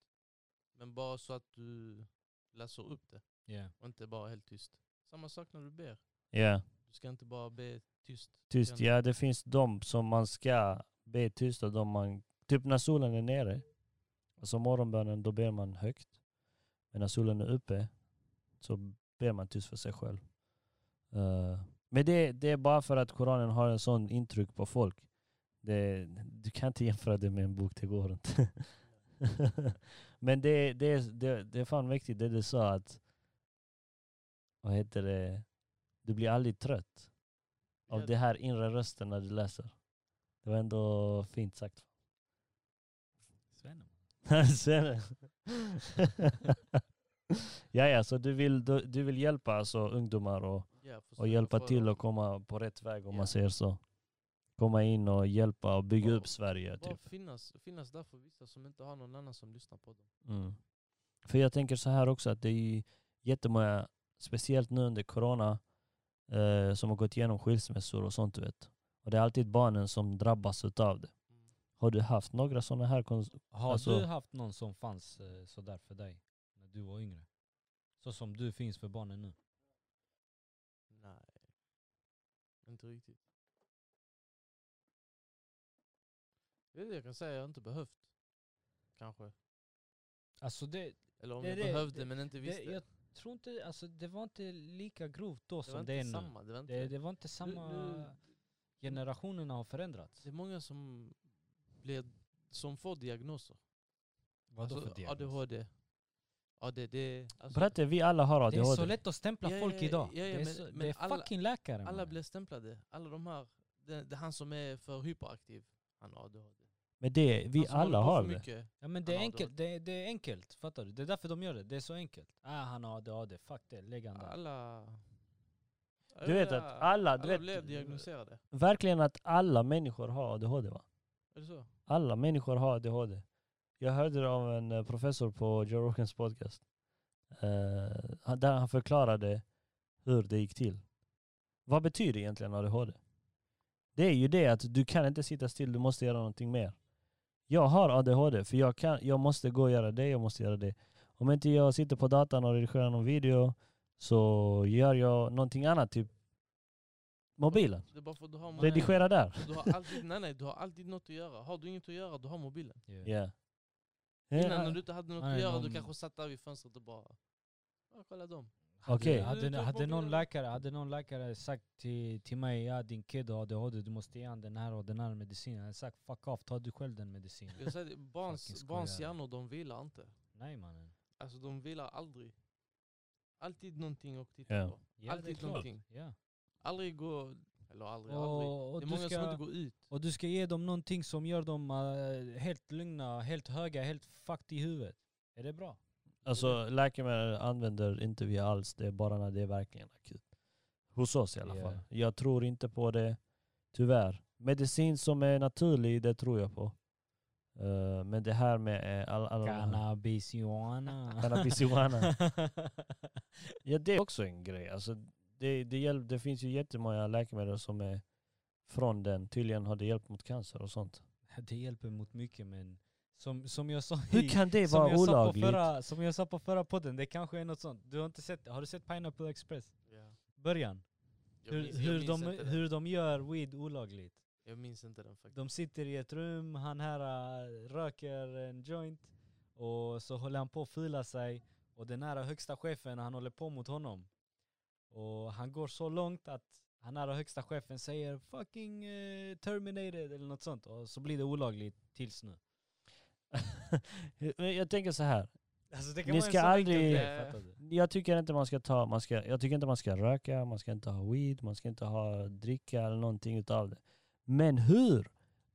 A: men bara så att du läser upp det
C: Yeah.
A: och inte bara helt tyst. Samma sak när du ber.
B: Ja,
A: Du ska inte bara be tyst.
B: tyst.
A: Kan-
B: Ja, det finns de som man ska be tysta, de man, typ när solen är nere, alltså morgonbönen, då ber man högt. Men när solen är uppe så ber man tyst för sig själv. Eh, men det, det är bara för att Koranen har en sån intryck på folk. Det, du kan inte jämföra det med en bok, det går inte. *laughs* men det, det, är- det, det är fan viktigt det du sa att, vad heter det, du blir aldrig trött av
A: Ja.
B: det här inre rösten när du läser. Det var ändå fint sagt. *laughs*
C: Svenne.
B: Ser du? *laughs* ja, ja, så du vill, du, du vill hjälpa alltså, ungdomar och,
A: Ja, försöka
B: och hjälpa
A: få
B: till
A: dem-
B: att komma på rätt väg om
A: Ja.
B: man säger så. Komma in och hjälpa och bygga
A: Ja,
B: upp Sverige.
A: Bara
B: Typ.
A: finnas, finnas där för vissa som inte har någon annan som lyssnar på dem.
B: Mm. För jag tänker så här också att det är ju jättemånga, speciellt nu under corona, eh, som har gått igenom skilsmässor och sånt du vet. Och det är alltid barnen som drabbas utav det. Har du haft några sådana här kon-
C: Har
B: Alltså-
C: du haft någon som fanns eh, sådär för dig när du var yngre? Så som du finns för barnen nu?
A: Nej, inte riktigt. Det är det jag kan säga, jag har inte behövt. Kanske.
C: Alltså det,
A: Eller om
C: Det-
A: jag
C: det-
A: behövde
C: det-
A: men inte
C: det
A: visste.
C: jag tror inte, alltså det var inte lika grovt då
A: det var
C: som
A: inte
C: det är nu.
A: samma. Det, var inte,
C: Det,
A: det,
C: det var inte samma,
A: nu-
C: generationerna har förändrats.
A: är många som, blir, som får diagnoser.
C: Vadå
A: alltså,
C: för diagnos?
A: ADHD. ADD. Alltså,
B: Berätta, vi alla har
C: Det är
B: ADHD.
C: så lätt att stämpla
A: Ja, ja,
C: folk
A: ja,
C: idag.
A: ja, ja,
C: det är,
A: men-
C: så, det
A: men
C: är
A: alla-
C: fucking läkare.
A: alla
C: mannen.
A: blir stämplade. Alla de här. Det, det är han som är för hyperaktiv. Han har ADHD.
B: Men det, vi
A: han som
B: alla
A: Alltså, håller på
B: har
A: för
B: det.
A: mycket.
C: ja, men det, är
A: alla har
C: enkelt, det, är- det är enkelt, fattar du? Det är därför de gör det, det är så enkelt. Ah, han har ADHD, fuck det, lägg han där.
A: Alla...
B: Du vet att alla, du
A: alla blev
B: vet,
A: diagnostiserade.
B: verkligen att alla människor har ADHD va?
A: Är det så?
B: Alla människor har ADHD. Jag hörde det av en eh, professor på Joe Rogans podcast. Eh, han- där han förklarade hur det gick till. Vad betyder egentligen ADHD? Det är ju det att du kan inte sitta still, du måste göra någonting mer. Jag har ADHD för jag, kan, jag måste gå och göra det, jag måste göra det. Om inte jag sitter på datan och redigerar någon video så gör jag någonting annat, typ mobilen.
A: Det är bara för att du har många-
B: Redigera där.
A: Du har alltid, nej, nej, du har alltid något att göra. Har du inget att göra, du har mobilen.
C: Yeah.
B: Ja.
A: Innan när du inte hade något
C: Nej,
A: att göra,
C: någon-
A: du kanske satt där vid fönstret och bara... Ja, kolla dem.
B: Okej.
A: Du
C: Hade,
A: tar
C: hade, någon
A: mobilen.
C: läkare, hade någon läkare sagt till, till mig ja din kid har ADHD, du måste ge han den här och den här medicinen. Jag hade sagt fuck off, ta du själv den medicinen.
A: Jag säger, det, barns,
C: Fucking
A: barns
C: skojare.
A: hjärnor, de vilar inte.
C: Nej mannen.
A: Alltså de vilar aldrig. Alltid någonting att titta
B: Ja.
A: på.
C: Ja, det är
A: Alltid
C: klart.
A: någonting.
C: Ja.
A: Aldrig gå... Eller aldrig, aldrig.
C: Och, och,
A: Det är
C: du
A: många som
C: ska,
A: inte går ut.
C: och du ska ge dem någonting som gör dem eh, helt lugna, helt höga, helt fucked i huvudet. Är det bra?
B: Alltså läkemedel använder inte vi alls, det är bara när det är verkligen akut. Hos oss i alla
C: Ja.
B: fall. Jag tror inte på det, tyvärr. Medicin som är naturlig, det tror jag på. Eh, men det här med eh, all, alla de här-
C: Cannabis,
B: *laughs*
C: Johanna. *laughs*
B: cannabis iguana. ja, det är också en grej. Alltså, det, det, hjälp, det finns ju jättemånga läkemedel som är
C: *laughs*
B: från den. Tydligen har det hjälpt mot cancer och sånt.
C: det hjälper mot mycket men Som, som jag sa i-
B: Hur kan det
C: som
B: vara
C: jag sa på
B: olagligt?
C: förra, Som jag sa på förra podden, det kanske är något sånt. Du har inte sett, har du sett Pineapple Express? Början.
A: Jag
C: Hur,
A: minns- jag
C: hur,
A: minns
C: de,
A: inte den.
C: hur de gör weed olagligt.
A: Jag minns inte den faktiskt.
C: De sitter i ett rum, han här äh, röker en joint och så håller han på att fila sig och den här högsta chefen han håller på mot honom. Och han går så långt att han här högsta chefen säger 'fucking eh, terminated' eller något sånt och så blir det olagligt tills nu.
B: Men jag tänker så här.
C: Alltså det
B: kan Ni vara en ska sån enkel aldrig-
A: grej, fattar
B: Jag tycker inte man ska ta, man ska, jag tycker inte man ska röka, man ska inte ha weed, man ska inte ha dricka eller någonting utav det. Men hur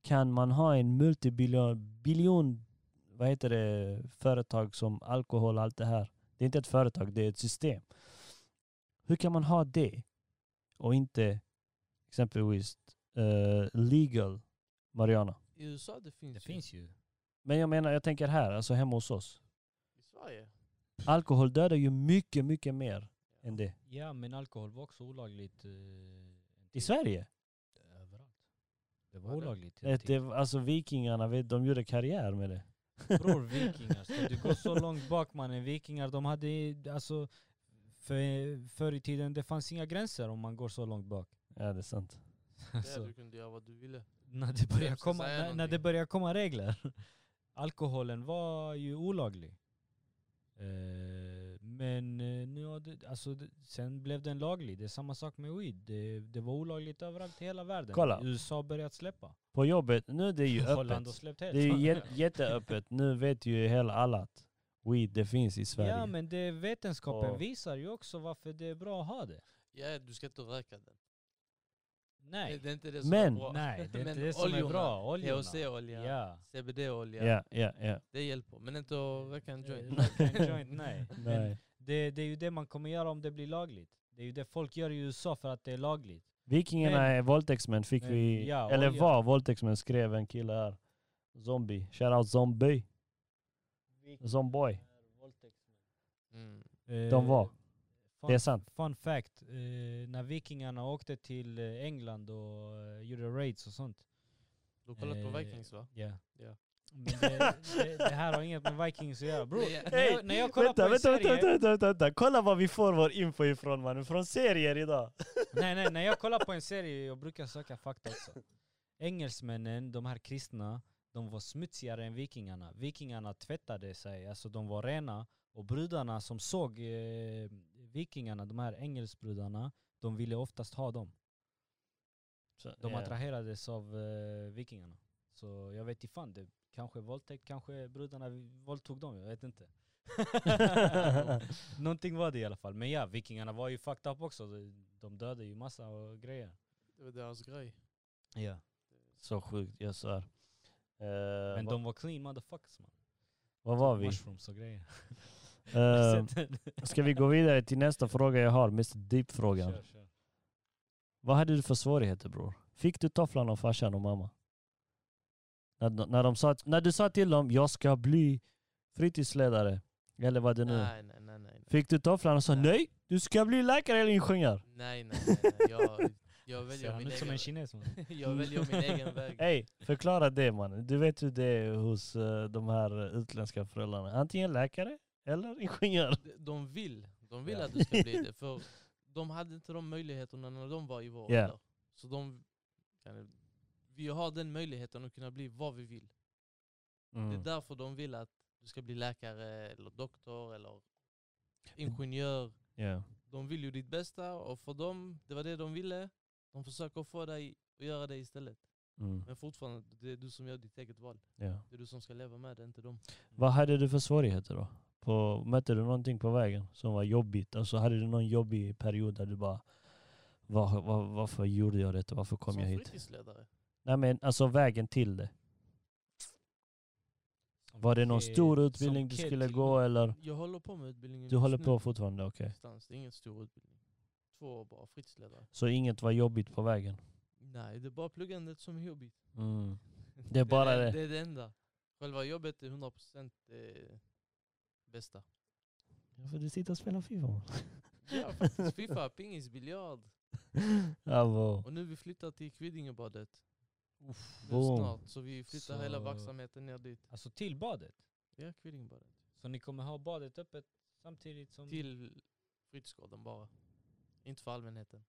B: kan man ha en multibiljon, biljon, vad heter det, företag som alkohol och allt det här. Det är inte ett företag, det är ett system. Hur kan man ha det och inte exempelvis eh, legal marijuana?
A: I USA det finns
C: Det
A: ju.
C: finns ju.
B: Men jag menar, jag tänker här, alltså hemma hos oss.
A: I
C: *laughs*
A: Sverige.
B: Alkohol dödar ju mycket, mycket mer än det.
C: Ja men alkohol var också olagligt. eh, en
B: I
C: tid.
B: Sverige?
C: Överallt. Det var
A: Var det?
C: olagligt. en
B: Det,
C: tid.
B: det, alltså vikingarna, vet, de gjorde karriär med det.
C: Bror, vikingar. Ska du gå så långt bak mannen. Vikingar, de hade alltså för, förr i tiden, det fanns inga gränser om man går så långt bak.
B: Ja, det är sant.
A: Där
C: Alltså,
A: du kunde göra vad du ville.
C: när, det börjar
A: Jag ska
C: komma,
A: säga
C: när, när det
A: någonting.
C: börjar komma regler. *laughs* Alkoholen var ju olaglig. Eh, men eh, nu har det, alltså, det, sen blev den laglig. Det är samma sak med weed. Det, det var olagligt överallt i hela världen.
B: Kolla.
C: USA har börjat släppa.
B: På jobbet, nu är det ju
C: *laughs* Holland har
B: öppet.
C: släppt
B: Det är
C: *laughs* helt.
B: ju jä- jätteöppet. Nu vet ju hela alla att weed, det finns i Sverige.
C: Ja men det, vetenskapen
B: Och-
C: visar ju också varför det är bra att ha det.
A: Ja, du ska inte röka den.
C: Nej.
A: Det, det är inte det som
B: Men-
A: är bra. *laughs*
C: Nej, det är
A: Men
C: inte det som är
A: oljorna, E
C: bra. Oljorna.
A: THC-olja,
C: Ja.
A: CBD-olja.
B: ja, ja. ja.
A: Det hjälper. Men inte att röka en joint.
C: Röka en Eh, joint, nej. Men
B: *laughs* Nej.
C: det, det är ju det man kommer göra om det blir lagligt. Det är ju det folk gör i USA för att det är lagligt.
B: Vikingarna
C: men-
B: är våldtäktsmän, fick
C: men,
B: vi...
C: ja,
B: eller
C: olja.
B: var våldtäktsmän, skrev en kille här. Zombie. Shoutout Zombie. Zomboy.
A: *laughs* Mm.
B: Alltså, De var.
C: Eh, Fun,
B: Det är sant.
C: fun fact. Eh, när vikingarna åkte till eh, England och eh, gjorde raids och sånt.
A: Du har kollat på
C: Eh,
A: Vikings va?
C: Ja.
A: Ja.
C: Men det, det, det här har inget med Vikings att göra. Bror,
A: Ja.
C: när jag, när jag kollar
B: vänta,
C: på en
B: vänta, vänta,
C: serie-
B: vänta, vänta, vänta. Kolla var vi får vår info ifrån mannen. Från serier idag.
C: Nej nej, när jag kollar på en serie, jag brukar söka fakta också. Engelsmännen, de här kristna, de var smutsigare än vikingarna. Vikingarna tvättade sig, alltså de var rena. Och brudarna som såg eh, vikingarna, de här engelsbrudarna, de ville oftast ha dem.
B: Så,
C: De
B: ja.
C: attraherades av eh, vikingarna. Så jag vet inte fan, det kanske våldtäkt, kanske brudarna våldtog dem, jag vet inte. Någonting var det i alla fall. Men ja, vikingarna var ju fucked up också. De- De dödade ju massa och grejer.
A: Det var deras grej.
C: Ja.
B: *laughs* Så sjukt, jag svär. Eh,
C: Men
B: vad,
C: de var clean motherfuckers man. Typ
B: vad var vi?
C: Mushrooms och grejer.
A: *laughs*
B: Eh,
C: *laughs* Så den-
B: Ska vi gå vidare till nästa fråga jag har, Mr Deep-frågan.
C: Kör, kör.
B: Vad hade du för svårigheter bror? Fick du tofflan av farsan och mamma? När, de- när, de sa, när du sa till dem, jag ska bli fritidsledare, eller vad det nu är.
A: Nej, nej, nej. nej.
B: Fick du tofflan och sa
A: Nej.
B: nej, du ska bli läkare eller ingenjör?
A: Nej, nej, nej, nej. Jag,
C: *laughs*
A: jag,
C: Ser
A: väljer
C: han
A: min
C: ut som
A: egen,
C: en
A: *laughs*
C: kines man?
A: jag väljer min
C: *laughs*
A: egen väg.
B: Ey, förklara det mannen. Du vet hur det är hos eh, de här eh, utländska föräldrarna. Antingen läkare eller ingenjör.
A: De- De vill, de vill
C: Ja.
A: att du ska bli
B: *laughs*
A: det. För de hade inte de möjligheterna när de var i vår
B: Ja.
A: ålder. Så de, kan, vi har den möjligheten att kunna bli vad vi vill.
B: Mm.
A: Det är därför de vill att du ska bli läkare eller doktor eller ingenjör.
B: Ja.
A: De vill ju ditt bästa och för dem, det var det de ville. De försöker få dig att göra det istället.
B: Mm.
A: Men fortfarande, det är du som gör ditt eget val.
B: Ja.
A: Det är du som ska leva med det, inte de.
B: Vad hade du för svårigheter då? På, mötte du någonting på vägen som var jobbigt? Alltså hade du någon jobbig period där du bara var, var, varför gjorde jag detta? Varför kom
A: som
B: jag hit?
A: fritidsledare.
B: Nej men alltså vägen till det. Var det någon
C: Som
B: stor
C: kid-
B: utbildning
C: som
B: du
C: kid
B: skulle
C: till
B: gå
C: nu.
B: eller?
A: Jag håller på med utbildningen
B: Du
A: just
B: håller
A: nu.
B: på fortfarande, okej.
A: Distans, det är ingen stor utbildning. Två år bara, fritidsledare.
B: Så inget var jobbigt på vägen?
A: Nej, det är bara pluggandet som är jobbigt.
B: Mm. *laughs* Det är bara det.
A: Det är det enda. Själva jobbet är 100% det bästa.
B: Ja, för du sitter och spelar Fifa. *laughs* man.
A: Ja, faktiskt. Fifa, pingis, biljard.
B: Alltså,
A: Och nu vi flyttar till Kvidingebadet. nu
B: Boom.
A: snart. Så vi flyttar hela
C: Så-
A: verksamheten ner dit.
C: Alltså till badet?
A: Ja, Kvillingbadet.
C: Så ni kommer ha badet öppet samtidigt som...
A: Till fritidsgården bara. Inte för allmänheten.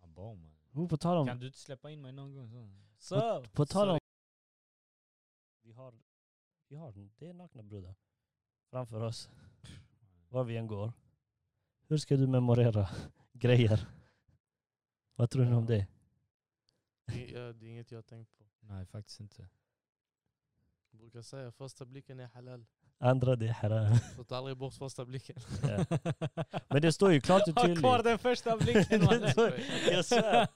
C: Ja, Ah, bra, man.
B: Oh, på tal om...
C: Kan du inte släppa in mig någon gång? Så?
B: På, på tal om... Vi har, vi har... Det är nakna brudar framför oss. Var vi än går. Hur ska du memorera grejer? Vad tror ni om det?
A: Det, är- ja, det är inget jag har tänkt på.
C: Nej,
B: *laughs*
C: faktiskt inte.
A: Jag brukar säga första blicken är *laughs* halal.
B: Andra det är haram.
A: Så ta aldrig bort första *laughs* blicken.
B: Ja. *laughs* Men det står ju klart
C: *laughs*
B: och
C: ha
B: tydligt.
C: kvar den första
B: *laughs*
C: blicken mannen!
A: Det är-
B: Jag
C: *laughs*
B: svär.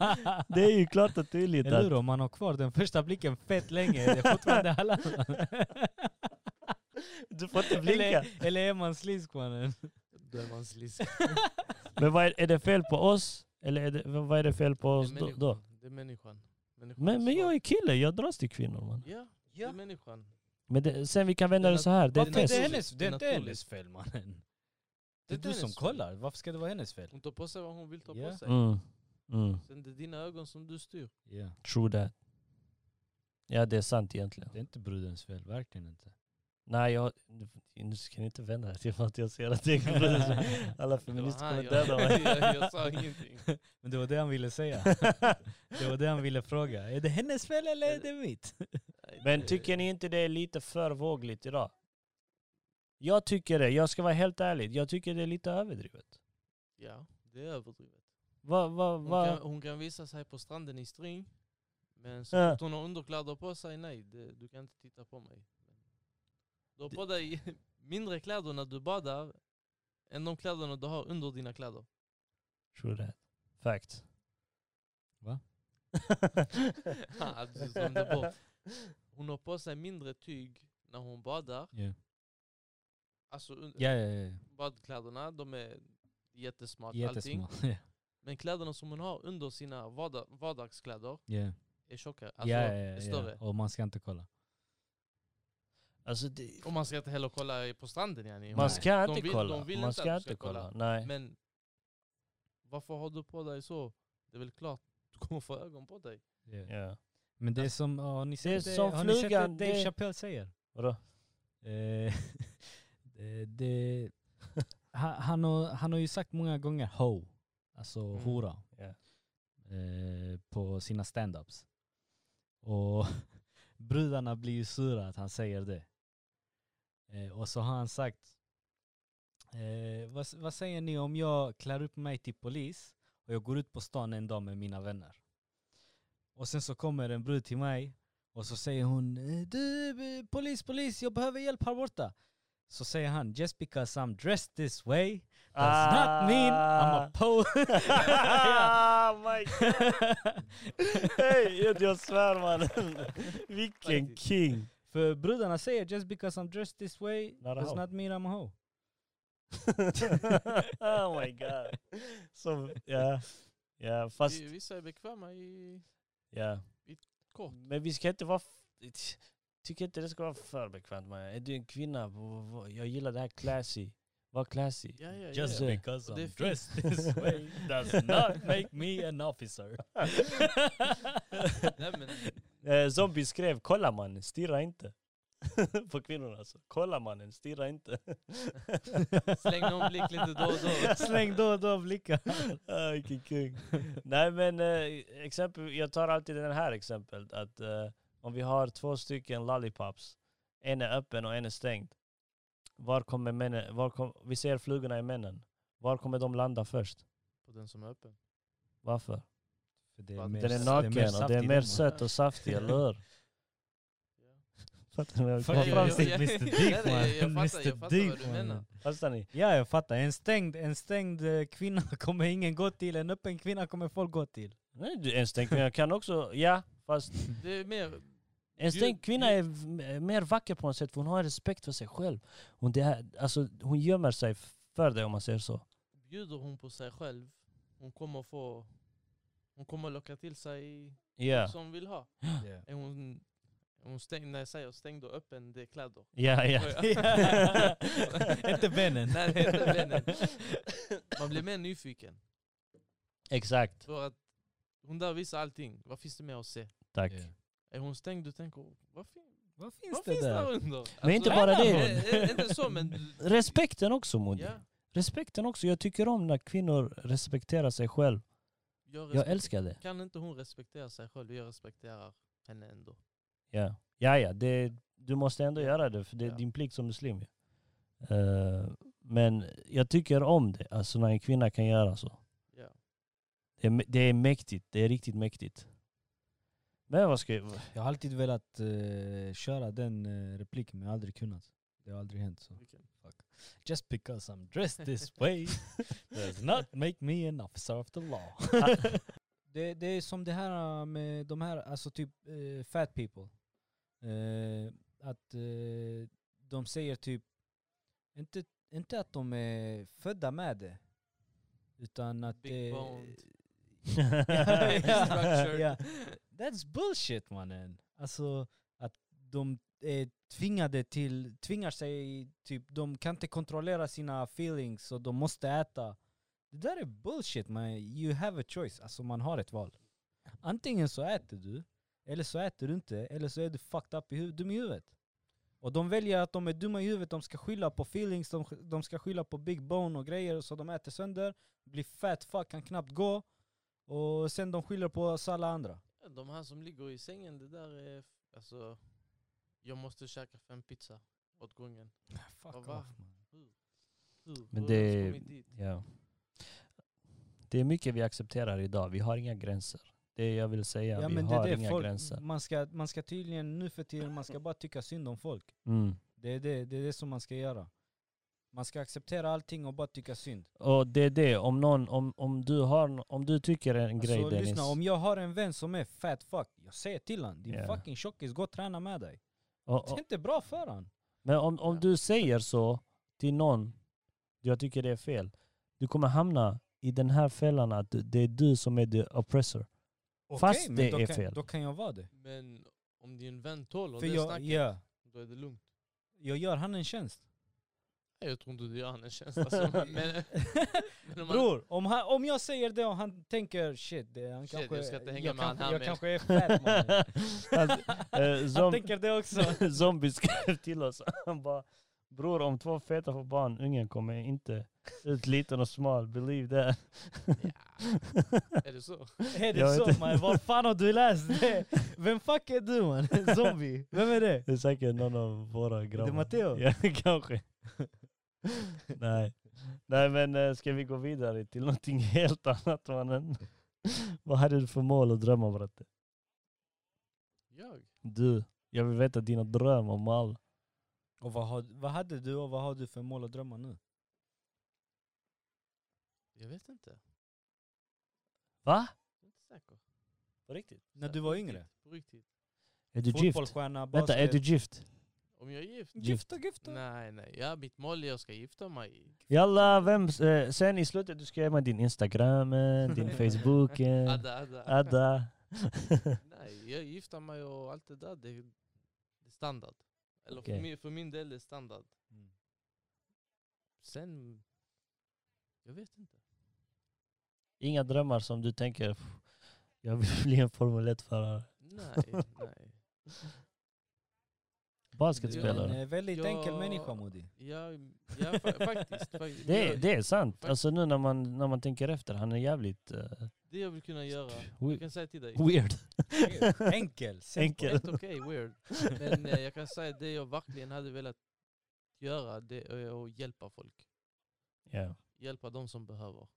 B: Det är ju klart och tydligt
C: Eller
B: att
C: hur? Om man har kvar den första blicken fett länge, är det fortfarande halal?
B: *laughs* du får inte blinka.
C: eller, eller är man slisk mannen?
A: Då är man slisk.
B: Men vad är, är det fel på oss? Eller är det, vad är det fel på
A: Det är
B: oss då?
A: människan.
B: då?
A: Det är människan. Människan
B: Men, men
A: som-
B: jag är kille, jag dras till kvinnor man.
A: Ja, det
C: Ja.
A: är människan.
B: Men det, sen vi kan vända
A: Det är
B: det så här, det är
A: nat-
B: ett
C: Varför är
B: test.
C: det
A: naturligt.
C: hennes, det är inte
A: Det är
C: hennes fel mannen? Det är
A: inte
C: du som
A: hennes fel.
C: kollar, varför ska det vara hennes fel?
A: Hon tar på sig vad hon vill ta
C: Ja.
A: på sig.
B: Mm. Mm.
A: Sen det är dina ögon som du styr.
C: Ja.
B: True that. Ja det är sant egentligen.
C: Det är inte brudens fel, verkligen *laughs* inte.
B: Nej jag, nu ska ni inte vända er till att jag ser att det
A: *laughs*
B: är
A: Det
B: Alla
A: var
B: feminister
A: han,
B: kommer
A: jag-
B: döda
A: *laughs*
B: mig.
A: jag- Jag
B: *laughs*
A: sa ingenting.
C: *laughs* Men det var det han ville *laughs* säga. det var det han ville fråga. Är det hennes fel eller är det mitt?
A: Nej,
B: Men
A: det-
B: tycker ni inte det är lite för vågligt idag? Jag tycker det, jag ska vara helt ärlig. Jag tycker det är lite överdrivet.
A: Ja, det är överdrivet.
B: Va, va,
A: Hon,
B: va?
A: Kan, hon kan visa sig på stranden i string. Men så
B: Ja.
A: fort hon har underkläder på sig, nej, det, du kan inte titta på mig. Du har på dig *laughs* mindre kläder när du badar än de kläderna du har under dina kläder.
B: True that. Fact.
C: Va?
A: *laughs* Ja, du glömde bort. Hon har på sig mindre tyg när hon badar.
C: Ja.
A: Alltså un-
C: Ja, ja,
A: badkläderna, de är jättesmart,
C: ja.
A: allting.
C: Jättesmå. Ja,
A: Men kläderna som hon har under sina vardag, vardagskläder
C: *laughs* ja.
A: är tjockare,
C: Ja,
A: alltså
C: ja,
A: är
C: ja,
A: större.
C: ja. Och man ska inte kolla.
B: Alltså det,
A: Och man ska inte heller kolla i- på stranden yani.
B: man
A: Men-
B: ska
A: de
B: inte
A: vill-
B: kolla.
A: de vill
B: man
A: inte
B: ska
A: att du
B: inte
A: ska kolla.
B: kolla. Nej.
A: Men varför har du på dig så? Det är väl klart du kommer få ögon på dig.
C: Ja.
B: ja.
C: Men det är som, har ni sett det,
B: Alltså, som
C: har ni sett det
B: flugan,
C: Dave
B: det-
C: Chappelle säger?
B: Vadå?
C: Eh, *laughs* det, det, han, han, har, han har ju sagt många gånger ho, alltså
A: Mm.
C: hora,
B: Ja.
C: eh, på sina stand-ups. Och *laughs* brudarna blir ju sura att han säger det. Eh, och så har han sagt, eh, vad, s- vad säger ni om jag klär upp mig till polis och jag går ut på stan en dag med mina vänner? Och sen så kommer en brud till mig och så säger hon eh, Du eh, polis, polis, jag behöver hjälp här borta. Så säger han Just because I'm dressed this way does not mean I'm a *laughs* poet.
B: *laughs* Ah, my god! Hej, jag- jag svär mannen. Vilken
A: Faktiskt. *laughs*
B: king.
C: För brudarna säger Just because I'm dressed this way
B: Not a
C: does
B: hoe."
C: not mean I'm a hoe.
B: oh my god. Som, ja. ja, fast
A: Vi- Vissa är bekväma i
B: ja.
A: kort.
B: Men vi ska inte vara... f- Tycker inte det ska vara för bekvämt mannen. Är du en kvinna? v- v- Jag gillar det här classy. Var classy.
A: Ja, *laughs* ja, ja.
B: Just
A: ja.
B: det.
C: because
A: Och det är fint.
C: this way does not make me an *laughs* officer.
A: Nej, men,
B: Eh, zombie skrev, kolla mannen, stirra inte. *laughs* På kvinnorna alltså. Kolla mannen, stirra inte.
A: *laughs* Släng någon blick lite då och
B: *laughs*
A: då.
C: Släng då och då blickar.
B: ah, vilken kung. Nej men eh, exempel, jag tar alltid den här exemplet. Att eh, om vi har två stycken lollipops. En är öppen och en är stängd. Var kommer männen, var kom, vi ser flugorna i männen. Var kommer de landa först?
A: På den som är öppen.
B: Varför?
C: Det
A: är mer-
B: Den är
A: s-
B: naken och
C: saft
B: den
C: i
B: är mer
C: den.
B: söt och saftig, eller hur? Fattar ni vad jag
C: Fattar
B: kommer fram
C: jag-
B: till?
C: jag- Mr.
A: Nej,
C: Dick,
A: nej,
C: man.
A: jag fattar- jag
C: Mr.
A: fattar vad
C: Dick,
A: du
C: man.
A: menar.
B: Fattar ni?
C: Ja, jag fattar. En stängd, en stängd eh, kvinna *laughs* kommer ingen gå till. En öppen kvinna kommer folk gå till.
B: Nej, du, en stängd kvinna kan också, ja, fast
A: Det är mer...
B: en
A: Bjud-
B: stängd kvinna är v- m- mer vacker på något sätt, för hon har respekt för sig själv. Hon, det är, alltså, hon gömmer sig f- för dig om man säger så.
A: Bjuder hon på sig själv, hon kommer få... Hon kommer locka till sig
B: Ja,
A: som vill ha.
C: Eh,
A: Är hon, är hon stängd, när jag säger stängd och öppen, det är kläder.
B: ja, ja.
A: Oh, *laughs*
B: *laughs*
C: inte benen.
A: Nej, det är inte vännen. Man blir mer nyfiken.
B: Exakt.
A: För att hon där visar allting. Vad finns det mer att se?
B: Tack.
C: Ja.
A: Är hon stängd? Du tänker, vad, fin-
C: Vad finns
A: vad
C: det
A: finns
C: där?
A: där under?
B: Men inte bara
A: nej,
B: det.
A: nej, eh, Inte så, men...
B: *laughs*
A: du-
B: Respekten också Modi.
A: Ja,
B: Respekten också. Jag tycker om när kvinnor respekterar sig själv.
A: jag,
B: Jag
A: respek-
B: älskar det.
A: Kan inte hon respektera sig själv? Jag respekterar henne ändå.
B: Ja, ja, ja det, du måste ändå göra det för det är
A: Ja.
B: din plikt som muslim. ju. Eh, men jag tycker om det, alltså när en kvinna kan göra så.
A: Ja.
B: Det är, mä- det är mäktigt, det är riktigt mäktigt. Men vad ska jag... *laughs*
C: Jag har alltid velat eh, köra den eh, repliken men jag har aldrig kunnat. Det har aldrig hänt. Så.
A: Vilken-
C: Just because I'm dressed this way does not make me an officer of the law. *laughs* det, det är som det här äh, med de här, alltså typ eh, fat people. Eh, att eh, de säger typ, inte, inte att de är födda med det. Utan att
A: Big
C: det-
A: boned.
B: *laughs*
C: Ja, *laughs* ja,
A: Structured.
C: ja. That's bullshit mannen. Alltså att de är tvingade till, tvingar sig, typ de kan inte kontrollera sina feelings så de måste äta. Det där är bullshit man. You have a choice. Alltså man har ett val. Antingen så äter du, eller så äter du inte, eller så är du fucked up i huvudet, dum i huvudet. Och de väljer att de är dumma i huvudet, de ska skylla på feelings, de, de ska skylla på big bone och grejer så de äter sönder, blir fat fuck, kan knappt gå. Och sen de skyller på oss alla andra.
A: Ja, De här som ligger i sängen, det där är... f- Alltså, jag måste käka fem pizza åt gången.
C: Fuck
A: Vad va? Hur? Hur
B: Men
A: har vi
B: det-
A: ens kommit dit?
B: Ja. Det är mycket vi accepterar idag, vi har inga gränser. Det är jag vill säga,
C: Ja,
B: vi
C: men det
B: har
C: är det
B: inga
C: folk,
B: gränser.
C: man, ska, man ska tydligen nu för tiden, man ska bara tycka synd om folk.
B: Mm.
C: Det är det, det, är det som man ska göra. Man ska acceptera allting och bara tycka synd.
B: Och det är det, om, någon, om, om, du, har, n- om du tycker en grej
C: alltså,
B: Dennis.
C: lyssna, om jag har en vän som är fat fuck, jag säger till han, din
B: Ja.
C: fucking tjockis, gå och träna med dig.
B: och,
C: Det är
B: och,
C: inte bra för han.
B: men om, om
A: Ja.
B: du säger så till någon, jag tycker det är fel, du kommer hamna i den här fällan att du- det är du som är the oppressor. Fast
C: Okej, men
B: det
C: då
B: är
C: kan,
B: fel.
C: Då kan jag vara det.
A: Men om din vän tål
C: För
A: det
C: jag,
A: snacket,
C: ja,
A: då är det lugnt.
C: jag gör han
B: *laughs*
C: en tjänst.
A: Nej, Jag tror inte du gör han en *laughs* tjänst alltså. men, men om man-
C: Bror, om, han, om jag säger det och han tänker shit, det, han
A: Shit,
C: kanske,
A: jag ska inte hänga
C: jag
A: med han
C: kanske,
A: här
C: jag
A: med."
C: kanske är
B: *laughs*
C: fat mannen.
B: Att, eh,
C: Han
B: zom-
C: tänker det
B: *laughs*
C: också.
B: zombie skrev till oss, han bara Bror om två feta får barn, ungen kommer inte ut liten och smal, believe that. *laughs*
A: är det så?
C: Är det
B: Jag vet
C: så
B: inte.
C: man? Vad fan har du läst det? Vem fuck är
B: *laughs*
C: du man? Zombie? Vem är det?
B: Det är säkert någon av våra grabbar. *laughs*
C: Matteo?
B: Ja, kanske. Nej. Nej men eh, ska vi gå vidare till någonting *laughs* helt annat mannen? *laughs* Vad hade du för mål och drömmar bratte?
A: Jag?
B: Du, jag vill veta dina drömmar om all.
C: Och vad, har, vad hade du och vad har du för mål och drömmar nu?
A: Jag vet inte.
B: Va?
A: Jag är inte säker.
B: På riktigt?
C: När
A: Så-
C: du var
A: på riktigt,
C: yngre?
A: På riktigt.
B: Är du gift?
C: Fotbollsstjärna, basket?
B: Vänta, är du gift?
A: Om jag är gift?
C: Gifta, gifta.
A: Nej, nej. Ja, mitt mål är att jag ska gifta mig.
B: Jalla, vem, eh, sen i slutet du ska ge mig din Instagram, eh,
C: *laughs*
B: din Facebook, eh,
A: Adda, adda.
B: Adda.
A: Nej, jag gifter mig och allt det där, det är det är standard. Eller
B: Okej.
A: för, min, för min del det är standard. Sen, jag vet inte.
B: Inga drömmar som du tänker, "Pff, jag vill bli en Formel 1-förare. *laughs*
A: Nej, nej.
C: Du är
B: Basketspelare.
C: en eh, väldigt
A: Jag-
C: enkel människa Modi.
A: Ja, ja fa- faktiskt. faktiskt.
B: Det, är-
A: jag,
B: det är sant. Alltså nu när man, när man tänker efter, han är jävligt eh,
A: det jag vill kunna göra, jag
B: we-
A: kan säga till dig.
B: *laughs* weird. *laughs*
C: Enkel,
B: Enkel.
A: Helt okej, weird. Men eh, jag kan säga det jag verkligen hade velat göra, det är att hjälpa folk.
B: Ja.
A: Hjälpa de som behöver.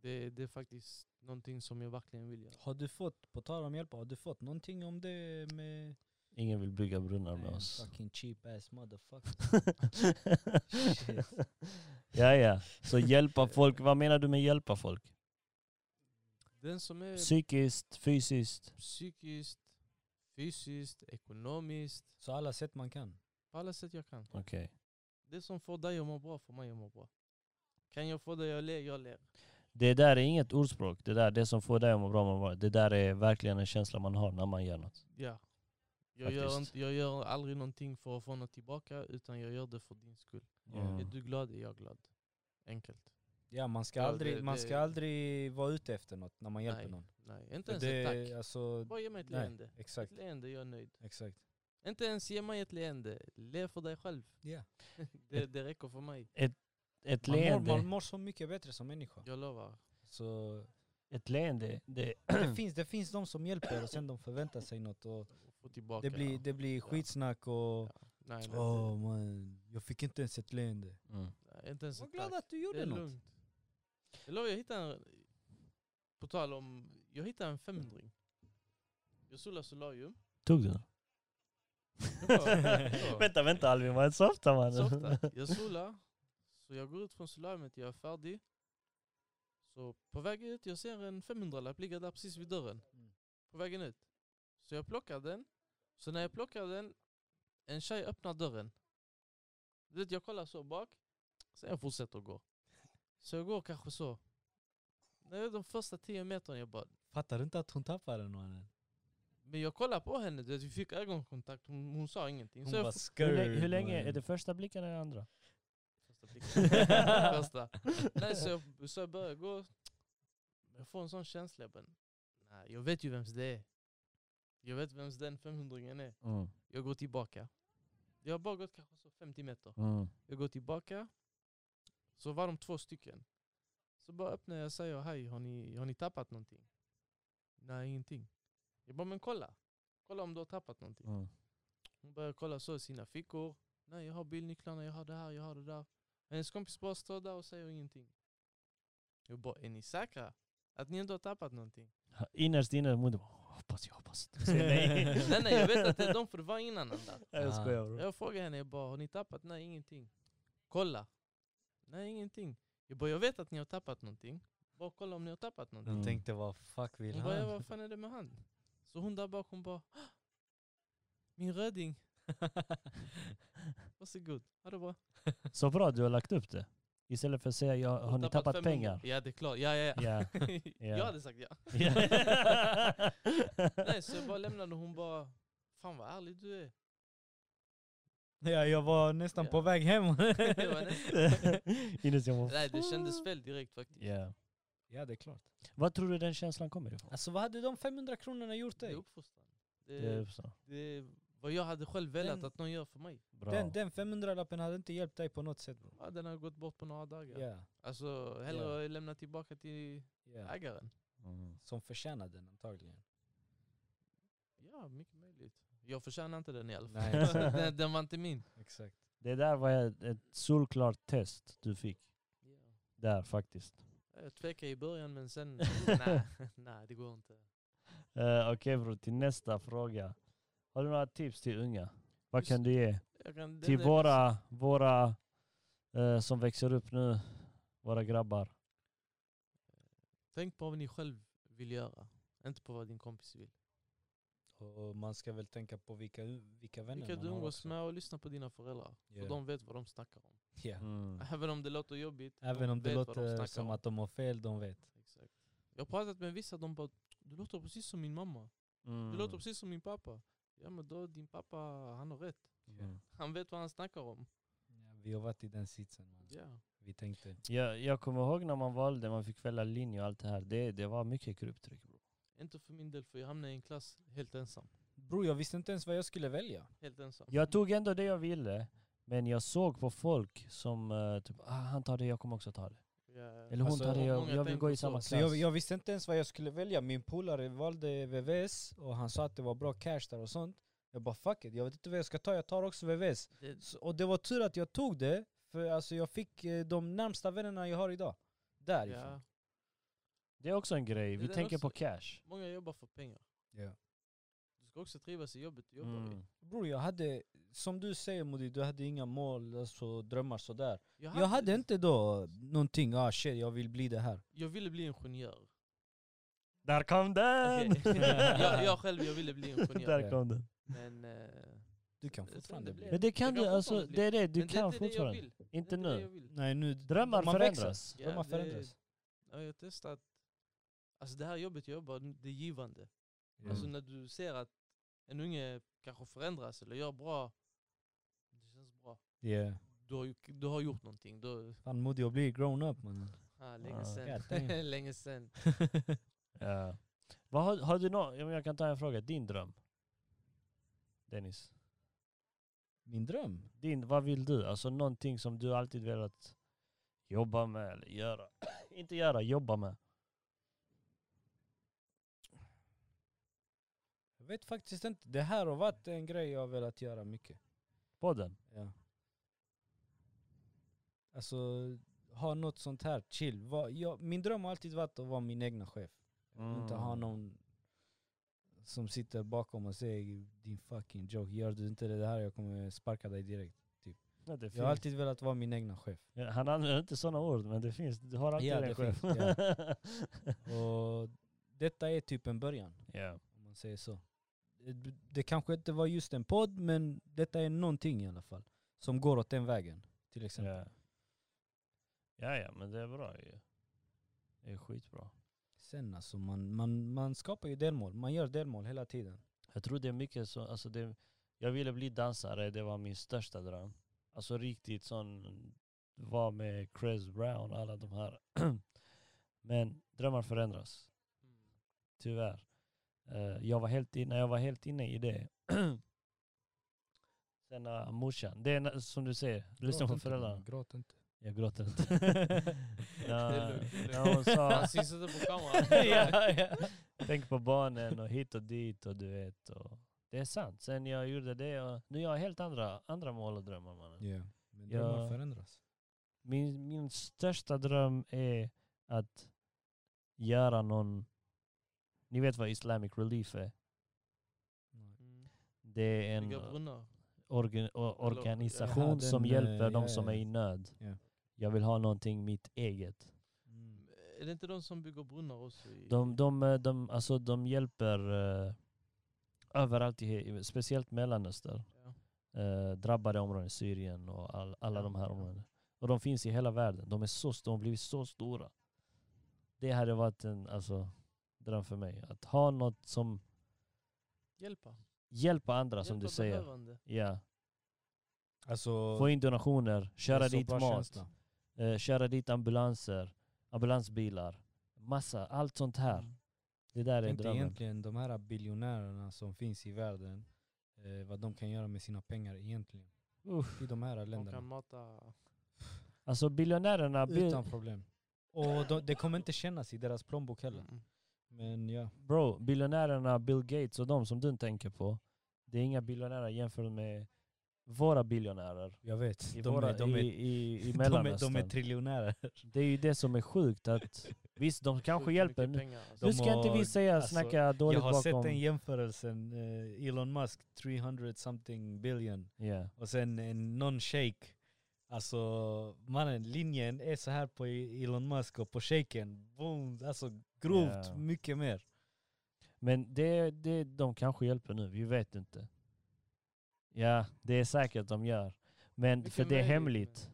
A: Det, det är faktiskt någonting som jag verkligen vill göra.
C: Har du fått, på tal om hjälp, har du fått någonting om det med...
B: Ingen vill bygga brunnar med
C: Nej,
B: oss.
C: Fucking cheap ass motherfucker. Shit.
B: *laughs* ja, ja. Så hjälpa folk. Vad menar du med hjälpa folk?
A: Den som är
B: Psykiskt, fysiskt?
A: psykiskt, fysiskt, ekonomiskt.
C: Så alla sätt man kan.
A: På alla sätt jag kan.
B: Okej.
A: Det som får dig att må bra får mig att må bra. Kan jag få dig att le, jag ler.
B: Det där är inget ordspråk. Det där, det som får dig att må bra, må bra. Det där är verkligen en känsla man har när man gör något.
A: Ja. Jag gör,
B: Faktiskt.
A: inte, jag gör aldrig någonting för att få något tillbaka utan jag gör det för din skull.
B: Mm.
A: Är du glad är jag glad. Enkelt.
C: Ja, man ska,
A: Ja,
C: aldrig,
A: det-
C: man
A: det-
C: ska aldrig vara ute efter något när man hjälper
A: Nej.
C: någon.
A: Nej, inte ens ett
C: det,
A: tack.
C: alltså,
A: Bara ge mig ett
C: nej,
A: leende. Ett
C: exakt,
A: leende, jag är nöjd.
C: exakt.
A: Inte ens ge mig ett leende. Le för dig själv.
C: Ja.
A: *laughs* Det, det räcker för mig.
B: Ett
C: Man, mår,
B: leende,
C: man mår så mycket bättre som människa.
A: Jag lovar.
C: Så
B: ett leende, det,
C: det, finns, det finns de som hjälper och sen de förväntar sig något. Och
A: Få tillbaka.
C: det, blir, det blir skitsnack och
A: Nej, det,
C: Åh man, jag fick inte ens ett leende.
B: mm.
A: nej, inte ens
C: Jag var
A: ett
C: glad
A: tack.
C: att du
A: Det
C: gjorde
A: är
C: något.
A: lugnt. Jag lovar, jag hittade en... På tal om... Jag hittade en 500
C: Mm.
A: Jag solade
C: *laughs*
A: solarium.
B: Tog du? vänta, vänta Alvin, man softar man.
C: *laughs*
A: Softa. Alltså, Jag solar. Så jag går ut från solariumet, jag är färdig. Så på väg ut, jag ser en 500-lapp ligga där precis vid dörren.
C: Mm.
A: På vägen ut. Så jag plockar den. Så när jag plockar den, en tjej öppnar dörren. Du vet, jag kollar så bak. Sen jag fortsätter gå. Så jag går kanske så. Det är de första tio metrarna jag bara...
C: Fattar du inte att hon tappade den mannen?
A: Men jag kollar på henne, du vet, vi fick ögonkontakt, hon, hon sa ingenting.
C: Hon
A: så jag
C: var
B: Hur,
C: scared.
B: lä- hur länge,
C: mannen.
B: är det första blicken eller andra?
A: Första blicken. Första. Nej, så jag, så jag börjar gå. Jag får en sån känsla. Jag, bara, nej, jag vet ju vems det är. Jag vet vems den 500-ringen är.
B: Mm.
A: Jag går tillbaka. Jag har bara gått kanske så 50 meter.
B: Mm.
A: Jag går tillbaka. Så var de två stycken. Så bara öppnar jag och säger hej, har ni, har ni tappat någonting? Nej, ingenting. Jag bara, men kolla. Kolla om du har tappat någonting.
B: Mm.
A: Hon börjar kolla så i sina fickor. Nej, jag har bilnycklarna, jag har det här, jag har det där. Hennes kompis bara står där och säger ingenting. Jag bara, är ni säkra? Att ni inte har tappat någonting?
B: Innerst inne mot dig, hoppas
A: *laughs*
B: jag, hoppas du säger nej.
A: nej, nej, jag vet att det är de för det var innan den där.
B: *laughs* Jag skojar bror.
A: Jag frågar henne, jag bara, har ni tappat? Nej, ingenting. Kolla. Nej, ingenting. Jag bara, jag vet att ni har tappat någonting. Bara kolla om ni har tappat någonting.
C: Hon
B: Mm.
C: tänkte vad fuck vill
A: Hon bara, ja,
C: han?
A: vad fan är det med han? Så hon där bak, hon bara, "Hå! min röding. Varsågod, ha det bra.
B: Så bra du har lagt upp det. Istället för att säga, jag, har ni tappat
A: 500?
B: pengar?
A: Ja, det är klart. Ja, *laughs* ja, ja.
B: Ja.
A: *laughs*
B: Ja.
A: Jag hade sagt ja. *laughs* Nej, så jag bara lämnade och hon bara, fan vad ärlig du är. *laughs*
C: *laughs* Ja, jag var nästan
A: Ja.
C: på väg
A: *laughs*
C: hem.
A: Jag bara, nej.
B: *laughs* *laughs* Innerst jag bara,
A: Nej, det kändes fel direkt faktiskt.
B: ja.
C: ja det är klart.
B: Vad tror du den känslan kommer ifrån?
C: Alltså vad hade de 500 kronorna gjort
A: Det är
C: dig?
A: uppfostran. Det,
B: Det är så.
A: det är vad jag hade själv velat
C: Den-
A: att någon gör för mig.
B: Bra.
C: Den, den 500-lappen hade inte hjälpt dig på något sätt bro.
A: Ja, den har gått bort på några
C: Ja,
A: dagar. Alltså, hellre lämna tillbaka till
C: ja.
A: ägaren.
B: Mm.
C: Som förtjänade den antagligen.
A: Ja, mycket möjligt. Jag förtjänar inte den i alla fall.
B: *laughs*
C: Nej, exakt.
A: den, den var inte min.
C: exakt.
B: Det där var ett, ett solklart test du fick. Där faktiskt.
A: Jag tvekade i början men
B: *laughs*
A: sen, nej, *laughs* nej det går inte.
B: Eh, Okej bror, till nästa fråga. Har du några tips till unga? Vad kan du ge?
A: Jag kan,
B: Till
A: den-
B: våra, våra eh, som växer upp nu, våra grabbar.
A: Tänk på vad ni själv vill göra. Inte på vad din kompis vill.
C: Och man ska väl tänka på vilka, vilka vänner
A: Vilka
C: man
A: du
C: har
A: umgås
C: också.
A: med och lyssna på dina föräldrar.
C: Ja.
A: För de vet vad de snackar om.
C: Ja.
B: Mm.
A: Även om det låter jobbigt.
C: Även
A: de
C: om det
A: vet vad de
C: låter
A: snackar
C: som
A: om.
C: att de har fel, de vet.
A: Exakt. Jag har pratat med vissa, de bara du låter precis som min mamma. Du
B: mm.
A: låter precis som min pappa. Ja men då, din pappa, han har rätt.
B: Mm.
A: Han vet vad han snackar om.
C: Ja, vi har varit i den sitsen. Man.
A: Ja.
C: Vi tänkte.
B: Jag, jag kommer ihåg när man valde, man fick välja linje och allt det här. Det, det var mycket grupptryck. Bro.
A: Inte för min del, för jag hamnade i en klass helt ensam.
C: Bro, jag visste inte ens vad jag skulle välja.
A: Helt ensam.
B: Jag tog ändå det jag ville, men jag såg på folk som eh, typ, ah, han tar det, jag kommer också ta det.
A: Ja.
B: Eller hon
C: Alltså,
B: tar det, jag,
A: många
B: jag vill gå i
A: tänker så.
B: samma
A: Så
B: klass.
C: Så jag, jag visste inte ens vad jag skulle välja. Min polare valde VVS och han sa att det var bra cash där och sånt. Jag bara fuck it, jag vet inte vad jag ska ta, jag tar också VVS.
A: Det,
C: Så, och det var tur att jag tog det, för alltså, jag fick eh, de närmsta vännerna jag har idag. Därifrån.
A: ja.
B: Det är också en grej,
A: Det
B: vi
A: där
B: tänker på
A: också-
B: cash.
A: Många jobbar för pengar. Du ska också trivas i jobbet du jobbar i.
B: Mm.
C: Bror jag hade, som du säger Modi, du hade inga mål, alltså, drömmar sådär.
A: Jag
C: Jag hade inte då någonting, ah shit jag vill bli det här.
A: jag ville bli ingenjör.
B: Där kom den!
A: Okej. *laughs* jag, jag själv, jag ville bli ingenjör.
B: Där kom den.
A: Men, eh,
C: Du kan
A: Sen
C: fortfarande
A: det
C: bli
A: blev-
B: Men det kan
A: Jag
B: du,
A: kan
B: alltså
A: fortfarande bli-
B: det är det, du
A: men det är
B: kan
A: inte det jag
B: fortfarande.
A: vill. Det är
B: Inte
A: det jag
B: nu.
A: vill.
C: Nej nu,
B: Drömmar
C: man växer.
B: förändras.
A: Ja,
C: Drömmar
A: det-
C: förändras.
A: Ja, jag har testat. Alltså det här jobbet jag jobbar, det är givande.
B: Mm.
A: Alltså när du ser att en unge kanske förändras eller gör bra, det känns bra.
C: Yeah.
A: Du har, ju- du har gjort någonting. Du,
C: Fan Modi, jag blir grown up mannen.
A: Ah, länge
B: Ah.
A: sen.
C: God
B: *laughs*
C: damn.
A: länge sen.
B: Ja. Vad har, har du någon, jag kan ta en fråga, din dröm? Dennis?
C: Min dröm?
B: Din, vad vill du? Alltså någonting som du alltid velat jobba med eller göra? *coughs* Inte göra, jobba med.
C: Jag vet faktiskt inte. Det här har varit en grej jag har velat göra mycket.
B: Podden?
C: Ja. Alltså, ha något sånt här chill. Va, jag, min dröm har alltid varit att vara min egna chef.
B: Mm.
C: Inte ha någon som sitter bakom och säger din fucking joke, gör du inte det här jag kommer sparka dig direkt.
B: Ja, det
C: Jag har
B: finns.
C: alltid velat vara min egna chef.
B: Ja, Han använder inte sådana ord men det finns, du har alltid
C: Ja,
B: det
C: det
B: själv.
C: finns, Och detta är typ en början,
B: *laughs* ja.
C: om man säger så. Det, det kanske inte var just en podd, men detta är någonting i alla fall. Som går åt den vägen, till exempel.
B: Ja. ja, ja men det är bra ju. Det är skitbra.
C: Sen alltså, man, man, man skapar ju delmål. Man gör delmål hela tiden.
B: Jag tror det är mycket så, alltså det, jag ville bli dansare, det var min största dröm. Alltså riktigt sån, var med Chris Brown och alla de här. *clears throat* Men drömmar förändras, tyvärr. Eh, jag var helt inne, jag var helt inne i det. *clears throat* Sen uh, morsan, det är na- som du säger, lyssna
C: Gråt
B: på
C: inte,
B: föräldrarna.
C: man, Gråt inte.
B: Jag gråter
A: *laughs* *laughs*
B: inte. *laughs*
A: Det
B: när,
A: är lugnt, det är
B: när hon sa,
A: Han syns inte på kameran.
B: *laughs* ja, ja. Tänk på barnen och hit och dit och du vet. Och det är sant. Sen jag gjorde det och nu har jag helt andra, andra mål och drömmar mannen.
C: Ja. Men
B: Ja.
C: drömmar förändras.
B: Min, min största dröm är att göra någon, ni vet vad Islamic Relief är?
A: Mm.
B: Det är en
A: Bygga brunnar.
B: organ, o- organisation
C: Jaha, den,
B: som
C: eh,
B: hjälper
C: ja,
B: de
C: ja,
B: som
C: ja.
B: är i nöd.
C: Ja.
B: Jag vill ha någonting mitt eget. Mm.
A: Är det inte de som bygger brunnar också? I...
B: De, de, eh, de, alltså, de hjälper eh, överallt, i, he- speciellt Mellanöstern.
A: Ja.
B: Eh, drabbade områden, Syrien och all, alla
A: Ja,
B: de här
A: ja.
B: områdena. Och de finns i hela världen. De är så stora, de har blivit så stora. Det hade varit en alltså, dröm för mig. Att ha något som
A: Hjälpa.
B: hjälper andra som
A: Hjälpa
B: du säger.
A: behövande.
B: Ja.
C: Alltså,
B: Få in donationer, köra
C: så
B: dit
C: bra
B: mat,
C: känsla.
B: eh, köra dit ambulanser, ambulansbilar. Massa, allt sånt här.
A: Mm.
B: Det där är
C: Tänk dig
B: drömmen.
C: egentligen de här biljonärerna som finns i världen, eh, vad de kan göra med sina pengar egentligen.
B: Uff.
C: I de här
A: De kan
C: länderna.
A: mata...
B: Alltså biljonärerna... bil-
C: Utan problem. Och de, det kommer inte kännas i deras plånbok heller.
A: Mm.
C: Men ja.
B: Bro, biljonärerna Bill Gates och de som du tänker på, det är inga biljonärer jämfört med våra biljonärer
C: Jag vet.
B: i,
C: De
B: våra,
C: är, de är,
B: i, i, i
C: *laughs* de är,
B: Mellanöstern.
C: de är triljonärer.
B: det är ju det som är sjukt att, visst de kanske
A: Sjukt
B: hjälper
A: mycket
B: nu.
A: pengar, alltså.
B: Nu ska inte vi
C: har-
B: säga
C: alltså,
B: snacka
C: Jag
B: dåligt
C: har sett
B: bakom...
C: den jämförelsen, eh, Elon Musk 300 something billion
B: Ja.
C: och sen en någon shake. Alltså mannen, linjen är så här på i- Elon Musk och på shaken, boom, alltså grovt
B: Ja.
C: mycket mer.
B: Men det, det, de kanske hjälper nu, vi vet inte. Ja, det är säkert de gör. Men
A: Mycket
B: för det är
A: möjligt,
B: hemligt.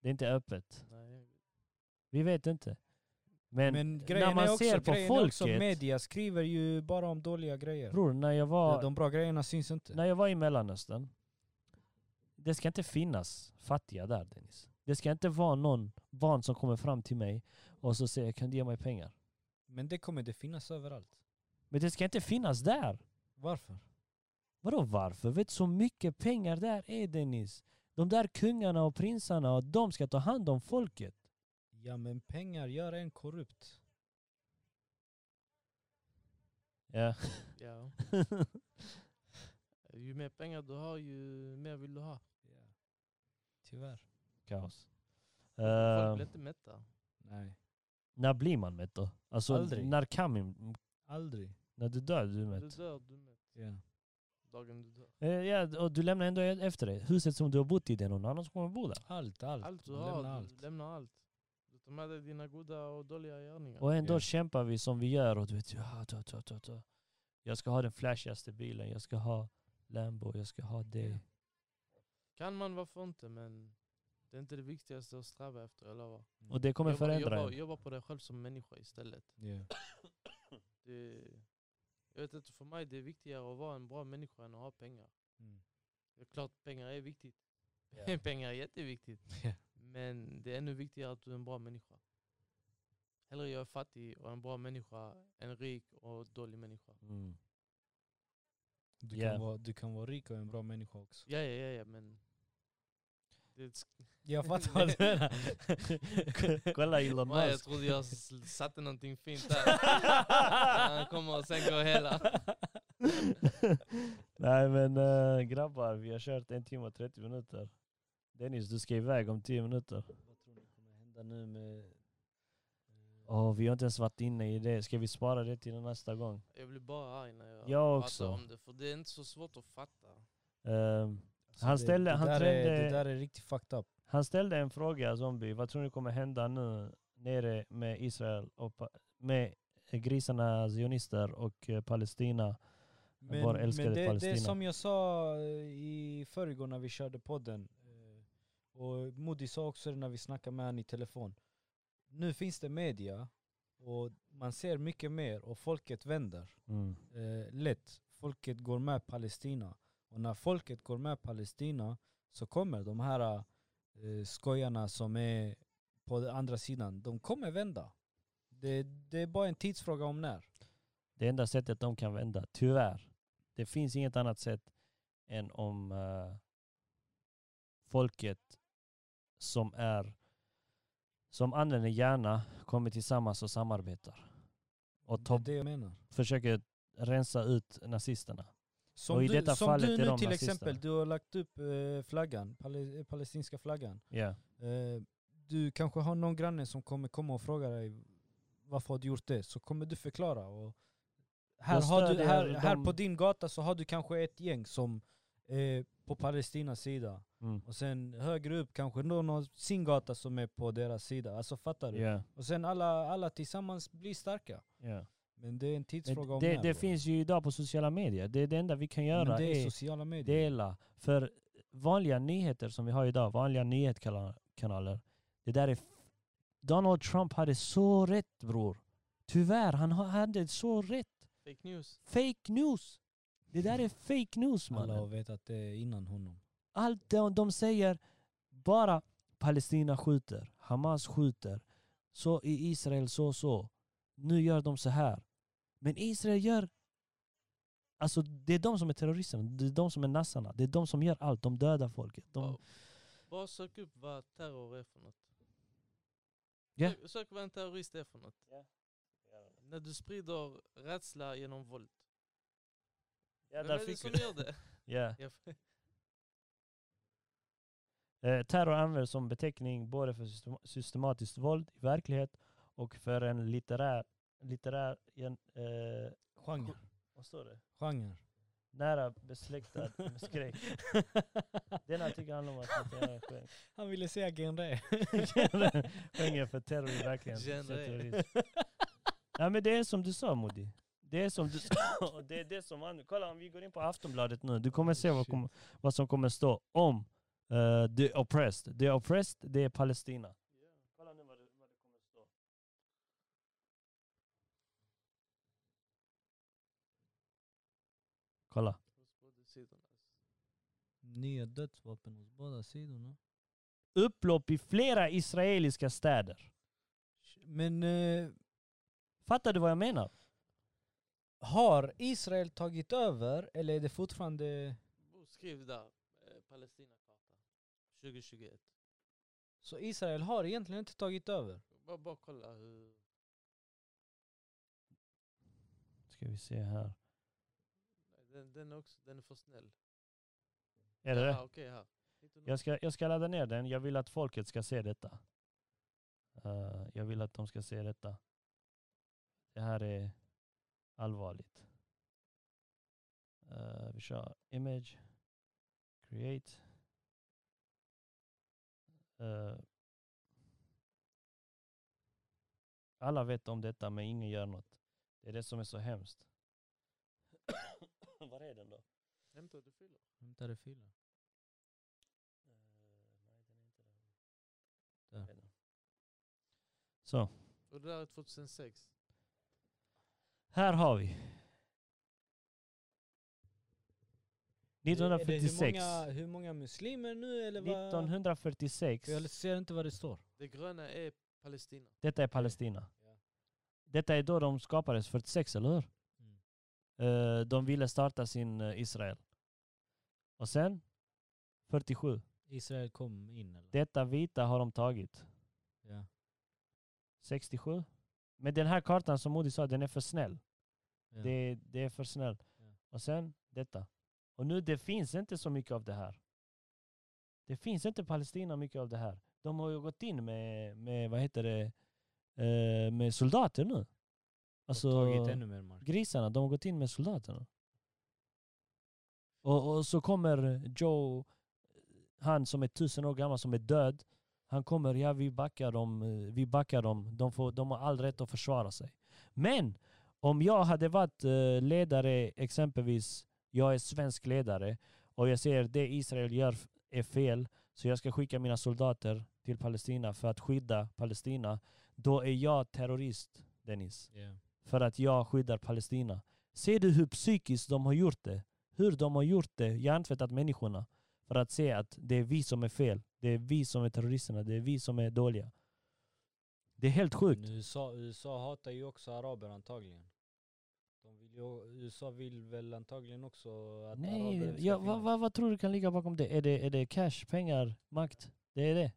B: Det är inte öppet.
A: Nej.
B: Vi vet inte. Men,
C: Men
B: när
C: grejen är
B: man
C: också,
B: ser på
C: grejen är också
B: folket...
C: media skriver ju bara om dåliga grejer.
B: Bror, när jag var...
C: De bra grejerna syns inte.
B: När jag var i Mellanöstern, det ska inte finnas fattiga där Dennis. Det ska inte vara någon barn som kommer fram till mig och så säger kan du ge mig pengar?
C: Men det kommer det finnas överallt.
B: Men det ska inte finnas där.
C: Varför?
B: Vadå varför? Vet du så mycket pengar där är Dennis? De där kungarna och prinsarna, och de ska ta hand om folket.
C: Ja men pengar gör en korrupt.
B: Ja. *laughs*
A: Ja. ju mer pengar du har, ju mer vill du ha.
C: Tyvärr.
B: Kaos.
A: Folk
B: Eh,
A: blir inte mätta.
C: Nej,
B: när blir man mätt då? Alltså,
C: Aldrig.
B: när kan man?
C: aldrig.
B: När du dör, du är
A: Du
B: mätt.
A: dör, du är mätt.
C: Ja.
A: Dagen du dör.
B: Eh, ja, och du lämnar ändå efter dig. Huset som du har bott i, det är någon annan som kommer bo där.
C: Allt, allt.
A: Allt du
C: Man
A: har,
C: lämnar
A: du lämnar allt. Du tar med dig dina goda och dåliga gärningar.
B: Och ändå
C: Ja.
B: kämpar vi som vi gör och du vet, ja, ta, ta, ta, ta. jag ska ha den flashigaste bilen, jag ska ha Lambo, jag ska ha det.
A: Kan man, varför inte? Men det är inte det viktigaste att sträva efter, jag lovar.
B: Och det kommer
A: Jobba,
B: förändra
A: jobba,
B: *laughs* en.
A: jobba på dig själv som människa istället.
C: Ja.
A: Det, jag vet inte, för mig det är viktigare att vara en bra människa än att ha pengar.
C: Mm.
A: Det är klart *laughs* pengar är viktigt.
B: Ja. *laughs*
A: pengar är jätteviktigt.
C: Ja.
A: Men det är ännu viktigare att du är en bra människa. Hellre jag är fattig och en bra människa än rik och dålig människa.
B: Mm.
C: Du,
B: Yeah.
C: kan vara, du kan vara rik och en bra människa också.
A: Ja, ja, ja, ja men... Det *laughs*
C: Jag fattar vad du
B: *laughs*
C: menar.
B: Kolla Elon
A: Nej, jag
B: Musk.
A: trodde jag s-
B: *laughs*
A: satte någonting fint där. Han kommer och sen går hela.
B: *laughs* Nej men eh, grabbar, vi har kört en timme och 30 minuter. Dennis, du ska iväg om 10 minuter.
C: Vad tror ni kommer hända nu med... eh,
B: Åh, vi har inte ens varit inne i det. Ska vi spara det till nästa gång?
A: Jag blir bara arg när jag,
B: Jag
A: pratar
B: också.
A: om det. För det är inte så svårt att fatta.
B: Ehm,
C: Alltså
B: Han
C: det-
B: ställde-
C: det
B: han
C: där
B: trängde-
C: Är, det där är riktigt fucked up.
B: han ställde en fråga, Zombie. Vad tror ni kommer hända nu nere med Israel och pa- med grisarna, zionister och eh, Palestina?
C: Men,
B: Vår
C: men
B: älskade
C: det, det är
B: Palestina.
C: som jag sa eh, i förrgår när vi körde podden. eh, Och Modi sa också det när vi snackade med honom i telefon. Nu finns det media och man ser mycket mer och folket vänder.
B: Mm.
C: eh, lätt. Folket går med Palestina. Och när folket går med Palestina så kommer de här eh, skojarna som är på den andra sidan, de kommer vända. Det, det är bara en tidsfråga om när.
B: Det enda sättet de kan vända, tyvärr. Det finns inget annat sätt än om eh, folket som är som använder hjärna kommer tillsammans och samarbetar. Och
C: Det är
B: tar,
C: det jag menar.
B: försöker rensa ut nazisterna.
C: Som
B: Och i
C: du,
B: detta
C: som
B: fallet
C: du
B: är
C: nu
B: de
C: till
B: nazisterna.
C: exempel, du har lagt upp eh, flaggan, pale, eh, palestinska flaggan.
B: Ja.
C: Eh, du kanske har någon granne som kommer komma och fråga dig varför har du gjort det? Så kommer du förklara. Och här,
B: Jag
C: har du,
B: stödjer
C: här, här
B: dem.
C: på din gata så har du kanske ett gäng som är på Palestinas sida.
B: Mm.
C: Och sen högre upp kanske någon har sin gata som är på deras sida. Alltså fattar du?
B: Ja.
C: Och sen alla, alla tillsammans blir starka.
B: Ja.
C: Men det är en tidsfråga
B: Men
C: om
B: Det,
C: när
B: det
C: bara.
B: finns ju idag på sociala medier. Det är det enda vi kan
C: Men
B: göra.
C: det är
B: är
C: sociala medier.
B: dela. För vanliga nyheter som vi har idag, vanliga nyhetskanaler, det där är... f- Donald Trump hade så rätt bror. Tyvärr, han ha- hade så rätt.
A: Fake news.
B: Fake news! Det där är fake news
C: Alla har
B: mannen.
C: vetat det innan honom.
B: Allt de, de säger, bara Palestina skjuter, Hamas skjuter, så i Israel så så. Nu gör de så här. Men Israel gör... Alltså det är de som är terroristerna, det är de som är nassarna, det är de som gör allt, de dödar folket. De,
A: Bara- Bara sök upp vad terror är för något.
B: Ja.
A: Sök- Sök vad en terrorist är för något. När du sprider rädsla genom våld.
B: Ja,
A: Vem är det som gör *laughs* det? Ja,
B: Eh, terror används som beteckning både för systema- systematiskt våld i verklighet och för en litterär... litterär en, eh,
C: Genre.
B: vad står det?
C: Genre.
B: Nära
A: *laughs*
B: besläktad med skräck. Den artikeln handlar om
C: *laughs*
B: att litterär skäng-
C: Han ville säga
B: *laughs*
C: genre.
B: skänger för terror i verkligheten.
A: Genre.
B: Så terrorism. Ja men det är som du sa Modi. Det är som du *laughs* sa. och Det är det som man, kolla om vi går in på Aftonbladet nu, du kommer se vad,
C: Shit.
B: kommer, vad som kommer stå om eh, the oppressed. The oppressed, det är Palestina. Kolla nu vad det, vad det kommer stå. Kolla.
A: hos båda sidorna.
C: Nya dödsvapen hos båda sidorna.
B: upplopp i flera israeliska städer.
C: Men eh,
B: Fattar du vad jag menar?
C: har Israel tagit över eller är det fortfarande...
A: Och Skriv där, eh, Palestinakarta 2021.
C: Så Israel har egentligen inte tagit över?
A: Bara, bara kolla hur...
B: Ska vi se här.
A: Nej, Den, den, är också, den är för snäll.
B: Är det det?
A: Jaha, okej, här. Inte något.
B: Jag ska, jag ska ladda ner den. Jag vill att folket ska se detta. Eh, jag vill att de ska se detta. Det här är allvarligt. Eh, vi kör image, create. Eh, alla vet om detta men ingen gör något. Det är det som är så hemskt. *coughs* Var är den då?
A: Hämtar du Eh, filer?
C: Hämtade filen. Där.
B: Så,
A: Och det där är 2006.
B: här har vi.
C: Är
B: 1946.
C: det hur, många, hur många muslimer nu eller vad?
B: 1946.
C: Jag ser inte vad det står.
A: Det gröna är Palestina.
B: Detta är Palestina.
C: Ja.
B: Detta är då de skapades, 46 eller hur?
C: Mm.
B: Eh, de ville starta sin eh, Israel. Och sen 47.
C: Israel kom in eller?
B: Detta vita har de tagit.
C: Ja.
B: 67. Men den här kartan som Modi sa, den är för snäll.
C: Ja.
B: Det, det är för snäll.
C: Ja.
B: Och sen detta. Och nu det finns inte så mycket av det här. Det finns inte i Palestina mycket av det här. De har ju gått in med, med vad heter det, eh, med soldater nu. Alltså,
C: Och tagit ännu mer mark.
B: grisarna, de har gått in med soldaterna. Och, och så kommer Joe, han som är tusen år gammal, som är död. Han kommer, ja vi backar dem, eh, vi backar dem. De, får, de har all rätt att försvara sig. Men om jag hade varit eh, ledare, exempelvis, jag är svensk ledare och jag ser det Israel gör f- är fel, så jag ska skicka mina soldater till Palestina för att skydda Palestina. Då är jag terrorist, Dennis
C: Ja.
B: för att jag skyddar Palestina. Ser du hur psykiskt de har gjort det? Hur de har gjort det, hjärntvättat människorna för att se att det är vi som är fel. Det är vi som är terroristerna, det är vi som är dåliga. Det är helt
C: Men
B: sjukt.
C: USA, USA hatar ju också araber antagligen. De vill ju, USA vill väl antagligen också att
B: Nej,
C: araber ska
B: ja,
C: finnas.
B: vad, vad, vad tror du kan ligga bakom det? Är det, är det cash, pengar, makt? Det är det.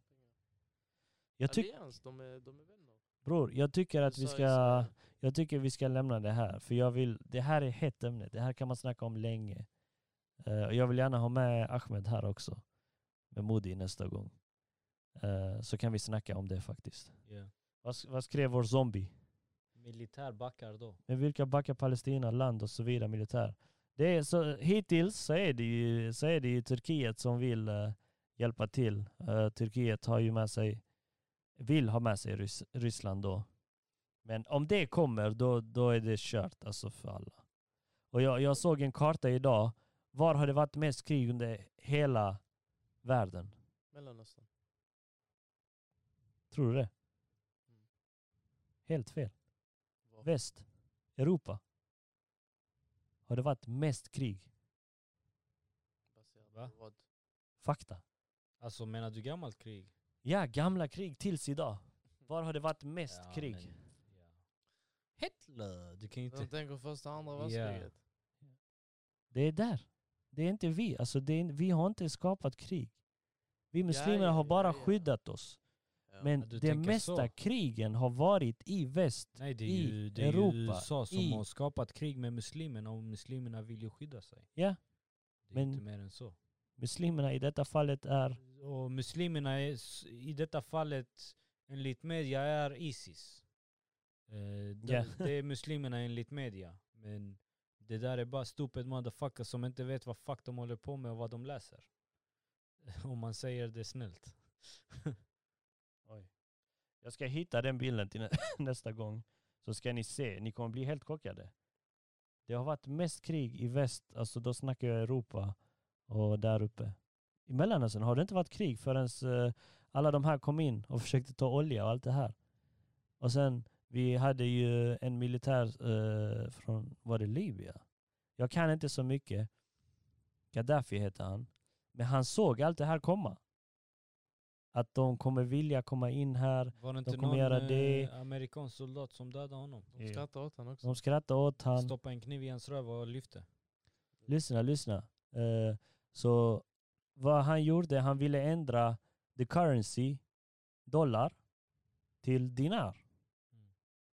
B: Jag tyck,
A: Allians, de är, de är vänner.
B: bror, jag tycker att vi
A: USA,
B: ska...
A: Israel.
B: Jag tycker vi ska lämna det här, för jag vill, det här är ett hett ämne. Det här kan man snacka om länge. Eh, och jag vill gärna ha med Ahmed här också, med Modi nästa gång. Eh, så kan vi snacka om det faktiskt.
C: Ja.
B: Vad, sk- vad skrev vår zombie?
C: Militär backar då.
B: Med vilka backar Palestina, land och så vidare, militär? Det är, så, hittills så är, det ju, så är det ju Turkiet som vill eh, hjälpa till. Eh, Turkiet har ju med sig, vill ha med sig Rys- Ryssland då. Men om det kommer, då, då är det kört alltså för alla. Och jag, jag såg en karta idag. Var har det varit mest krig under hela världen?
A: Mellanöstern.
B: Tror du det? Helt fel.
A: Var-
B: Väst, Europa. Har det varit mest krig?
A: baserat på
C: Va?
A: vad?
B: Fakta.
C: Alltså menar du gammalt krig?
B: Ja, gamla krig tills idag. Var har det varit mest
C: Ja,
B: krig?
C: men- ja. Hitler! Du kan ju
A: De
C: inte...
A: tänker första andra
C: Ja.
A: världskriget.
B: Det är där. Det är inte vi. Alltså, det är, in- vi har inte skapat krig. Vi muslimer
A: ja,
B: har bara
A: ja, ja.
B: skyddat oss.
A: Ja.
B: Men
C: Ja, du
B: de
C: tänker
B: mesta
C: så.
B: krigen har varit i väst.
C: Nej det är
B: i
C: ju, det är
B: Europa,
C: ju USA som
B: i-
C: har skapat krig med muslimerna och muslimerna vill ju skydda sig.
B: Ja.
C: Det är
B: Men-
C: inte mer än så.
B: Muslimerna i detta fallet är...
C: Och muslimerna är, s- i detta fallet enligt media är Isis. Eh, de,
B: Ja.
C: Det är muslimerna enligt media. Men det där är bara stupid motherfuckers som inte vet vad fuck de håller på med och vad de läser. *laughs* Om man säger det snällt.
B: Jag ska hitta den bilden till nä- *laughs* nästa gång. Så ska ni se. Ni kommer bli helt chockade. Det har varit mest krig i väst. Alltså då snackar jag Europa och där uppe. I Mellanöstern har det inte varit krig förrän eh, alla de här kom in och försökte ta olja och allt det här. Och sen, vi hade ju en militär eh, från, var det Libyen? Jag kan inte så mycket. Gaddafi heter han. Men han såg allt det här komma. Att de kommer vilja komma in här.
C: Var det inte
B: kommer
C: någon
B: göra
C: eh,
B: det.
C: amerikansk soldat som dödade honom?
A: De skrattar åt han också.
B: De skrattar åt han.
C: Stoppade en kniv i hans röv och lyfte.
B: Lyssna, lyssna. Eh, så vad han gjorde, han ville ändra the currency, dollar, till dinar.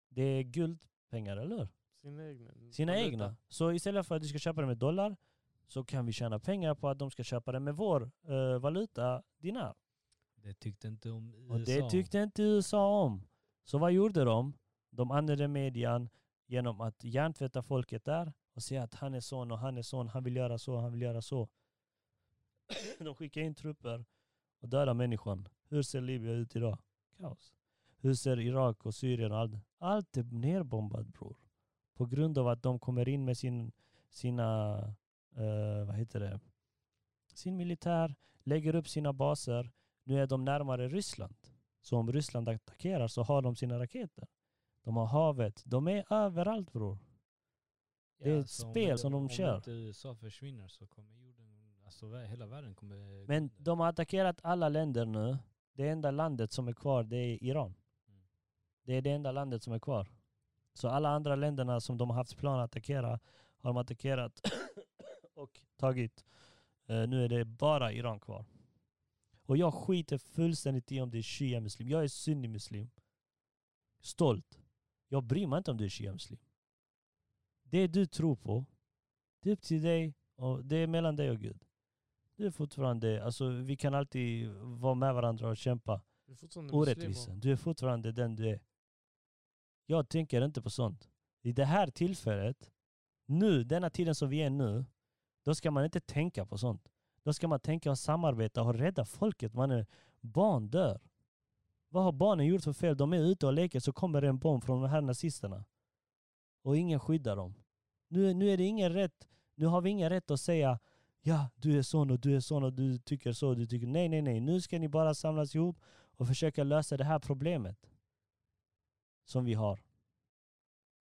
B: Det är guldpengar, eller hur?
A: Sina egna.
B: Sina
A: valuta.
B: egna. Så istället för att du ska köpa det med dollar så kan vi tjäna pengar på att de ska köpa det med vår eh, valuta, dinar.
C: Det tyckte inte om USA.
B: Och det tyckte inte USA om. Så vad gjorde de? De använde median genom att hjärntvätta folket där och säga att han är son och han är son, han vill göra så, han vill göra så. *coughs* De skickar in trupper och dödar människan. Hur ser Libyen ut idag? Kaos. Hur ser Irak och Syrien och allt? Allt är nerbombat bror. På grund av att de kommer in med sin, sina, eh, vad heter det, sin militär, lägger upp sina baser. Nu är de närmare Ryssland. Så om Ryssland attackerar så har de sina raketer. De har havet. De är överallt bror. det är ett
C: så om
B: spel
C: inte-
B: som de
C: om
B: kör.
C: inte USA försvinner så kommer jorden Alltså vä- hela världen kommer... gå
B: Men
C: under.
B: de har attackerat alla länder nu. Det enda landet som är kvar det är Iran.
C: Mm.
B: Det är det enda landet som är kvar. Så alla andra länderna som de har haft plan att attackera har de attackerat *coughs* och tagit. Eh, nu är det bara Iran kvar. Och jag skiter fullständigt i om det är shia-muslim. Jag är sunni-muslim. Stolt. Jag bryr mig inte om du är shia-muslim. Det du tror på, det är upp till dig och det är mellan dig och Gud. Det är fortfarande, alltså vi kan alltid vara med varandra och kämpa.
A: Du är fortfarande
B: Orättvisa.
A: muslim.
B: Du är fortfarande den du är. Jag tänker inte på sånt. I det här tillfället, nu, denna tiden som vi är nu, då ska man inte tänka på sånt. Då ska man tänka och samarbeta och rädda folket. Man är, barn dör. Vad har barnen gjort för fel? De är ute och leker så kommer det en bomb från de här nazisterna. Och ingen skyddar dem. Nu, nu är det ingen rätt. Nu har vi ingen rätt att säga ja, du är sån och du är sån och du tycker så och du tycker nej, nej, nej. Nu ska ni bara samlas ihop och försöka lösa det här problemet som vi har. *laughs*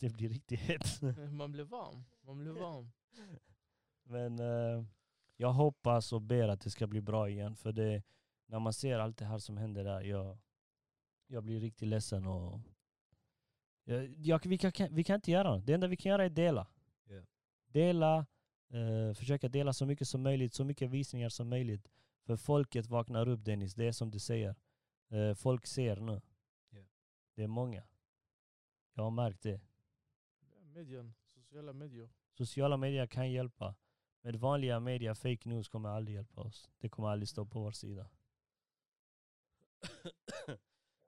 B: Det blir riktigt hett.
A: *laughs* Man blir varm. Man blir varm.
B: Men eh, jag hoppas och ber att det ska bli bra igen. För det, när man ser allt det här som händer där, jag, jag blir riktigt ledsen. Och, jag, jag, vi, kan, vi kan inte göra något. Det enda vi kan göra är dela.
C: Ja.
B: Dela, eh, försöka dela så mycket som möjligt, så mycket visningar som möjligt. För folket vaknar upp Dennis, det är som du säger. Eh, folk ser nu.
C: Ja.
B: Det är många. Jag har märkt det.
A: Medien. Sociala medier.
B: Sociala medier kan hjälpa. Men vanliga media, fake news, kommer aldrig hjälpa oss. Det kommer aldrig stå på vår
C: *coughs*
B: sida.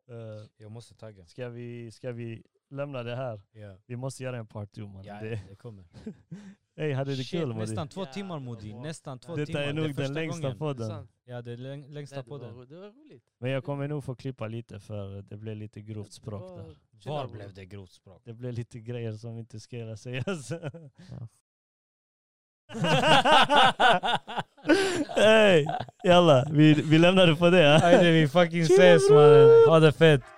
B: Eh,
C: Jag måste tagga.
B: ska, vi, ska vi lämna det här?
C: Ja,
B: Vi måste göra en part two, man.
C: ja
B: Det,
C: det kommer.
B: hey, hade du
C: Shit,
B: kul Modi?
C: Nästan två
A: Ja,
C: timmar
A: det var
C: Modi,
A: bra.
C: nästan två
B: Detta
C: timmar.
B: är
C: Det
B: nog
C: första
B: den längsta
C: gången.
A: Det är
B: podden.
A: sant.
C: Ja, det är läng- längsta
A: Nej, det, var,
C: podden.
A: ro- det var roligt.
B: Men jag kommer nog få klippa lite för det blev lite grovt språk där.
C: Var blev det grovt språk?
A: *laughs*
B: Det blev lite grejer som inte skulle sägas. *laughs* *laughs* hey, jalla, vi, vi lämnar det på det.
C: *laughs* Ajde, vi fucking ses mannen. Ha det fett.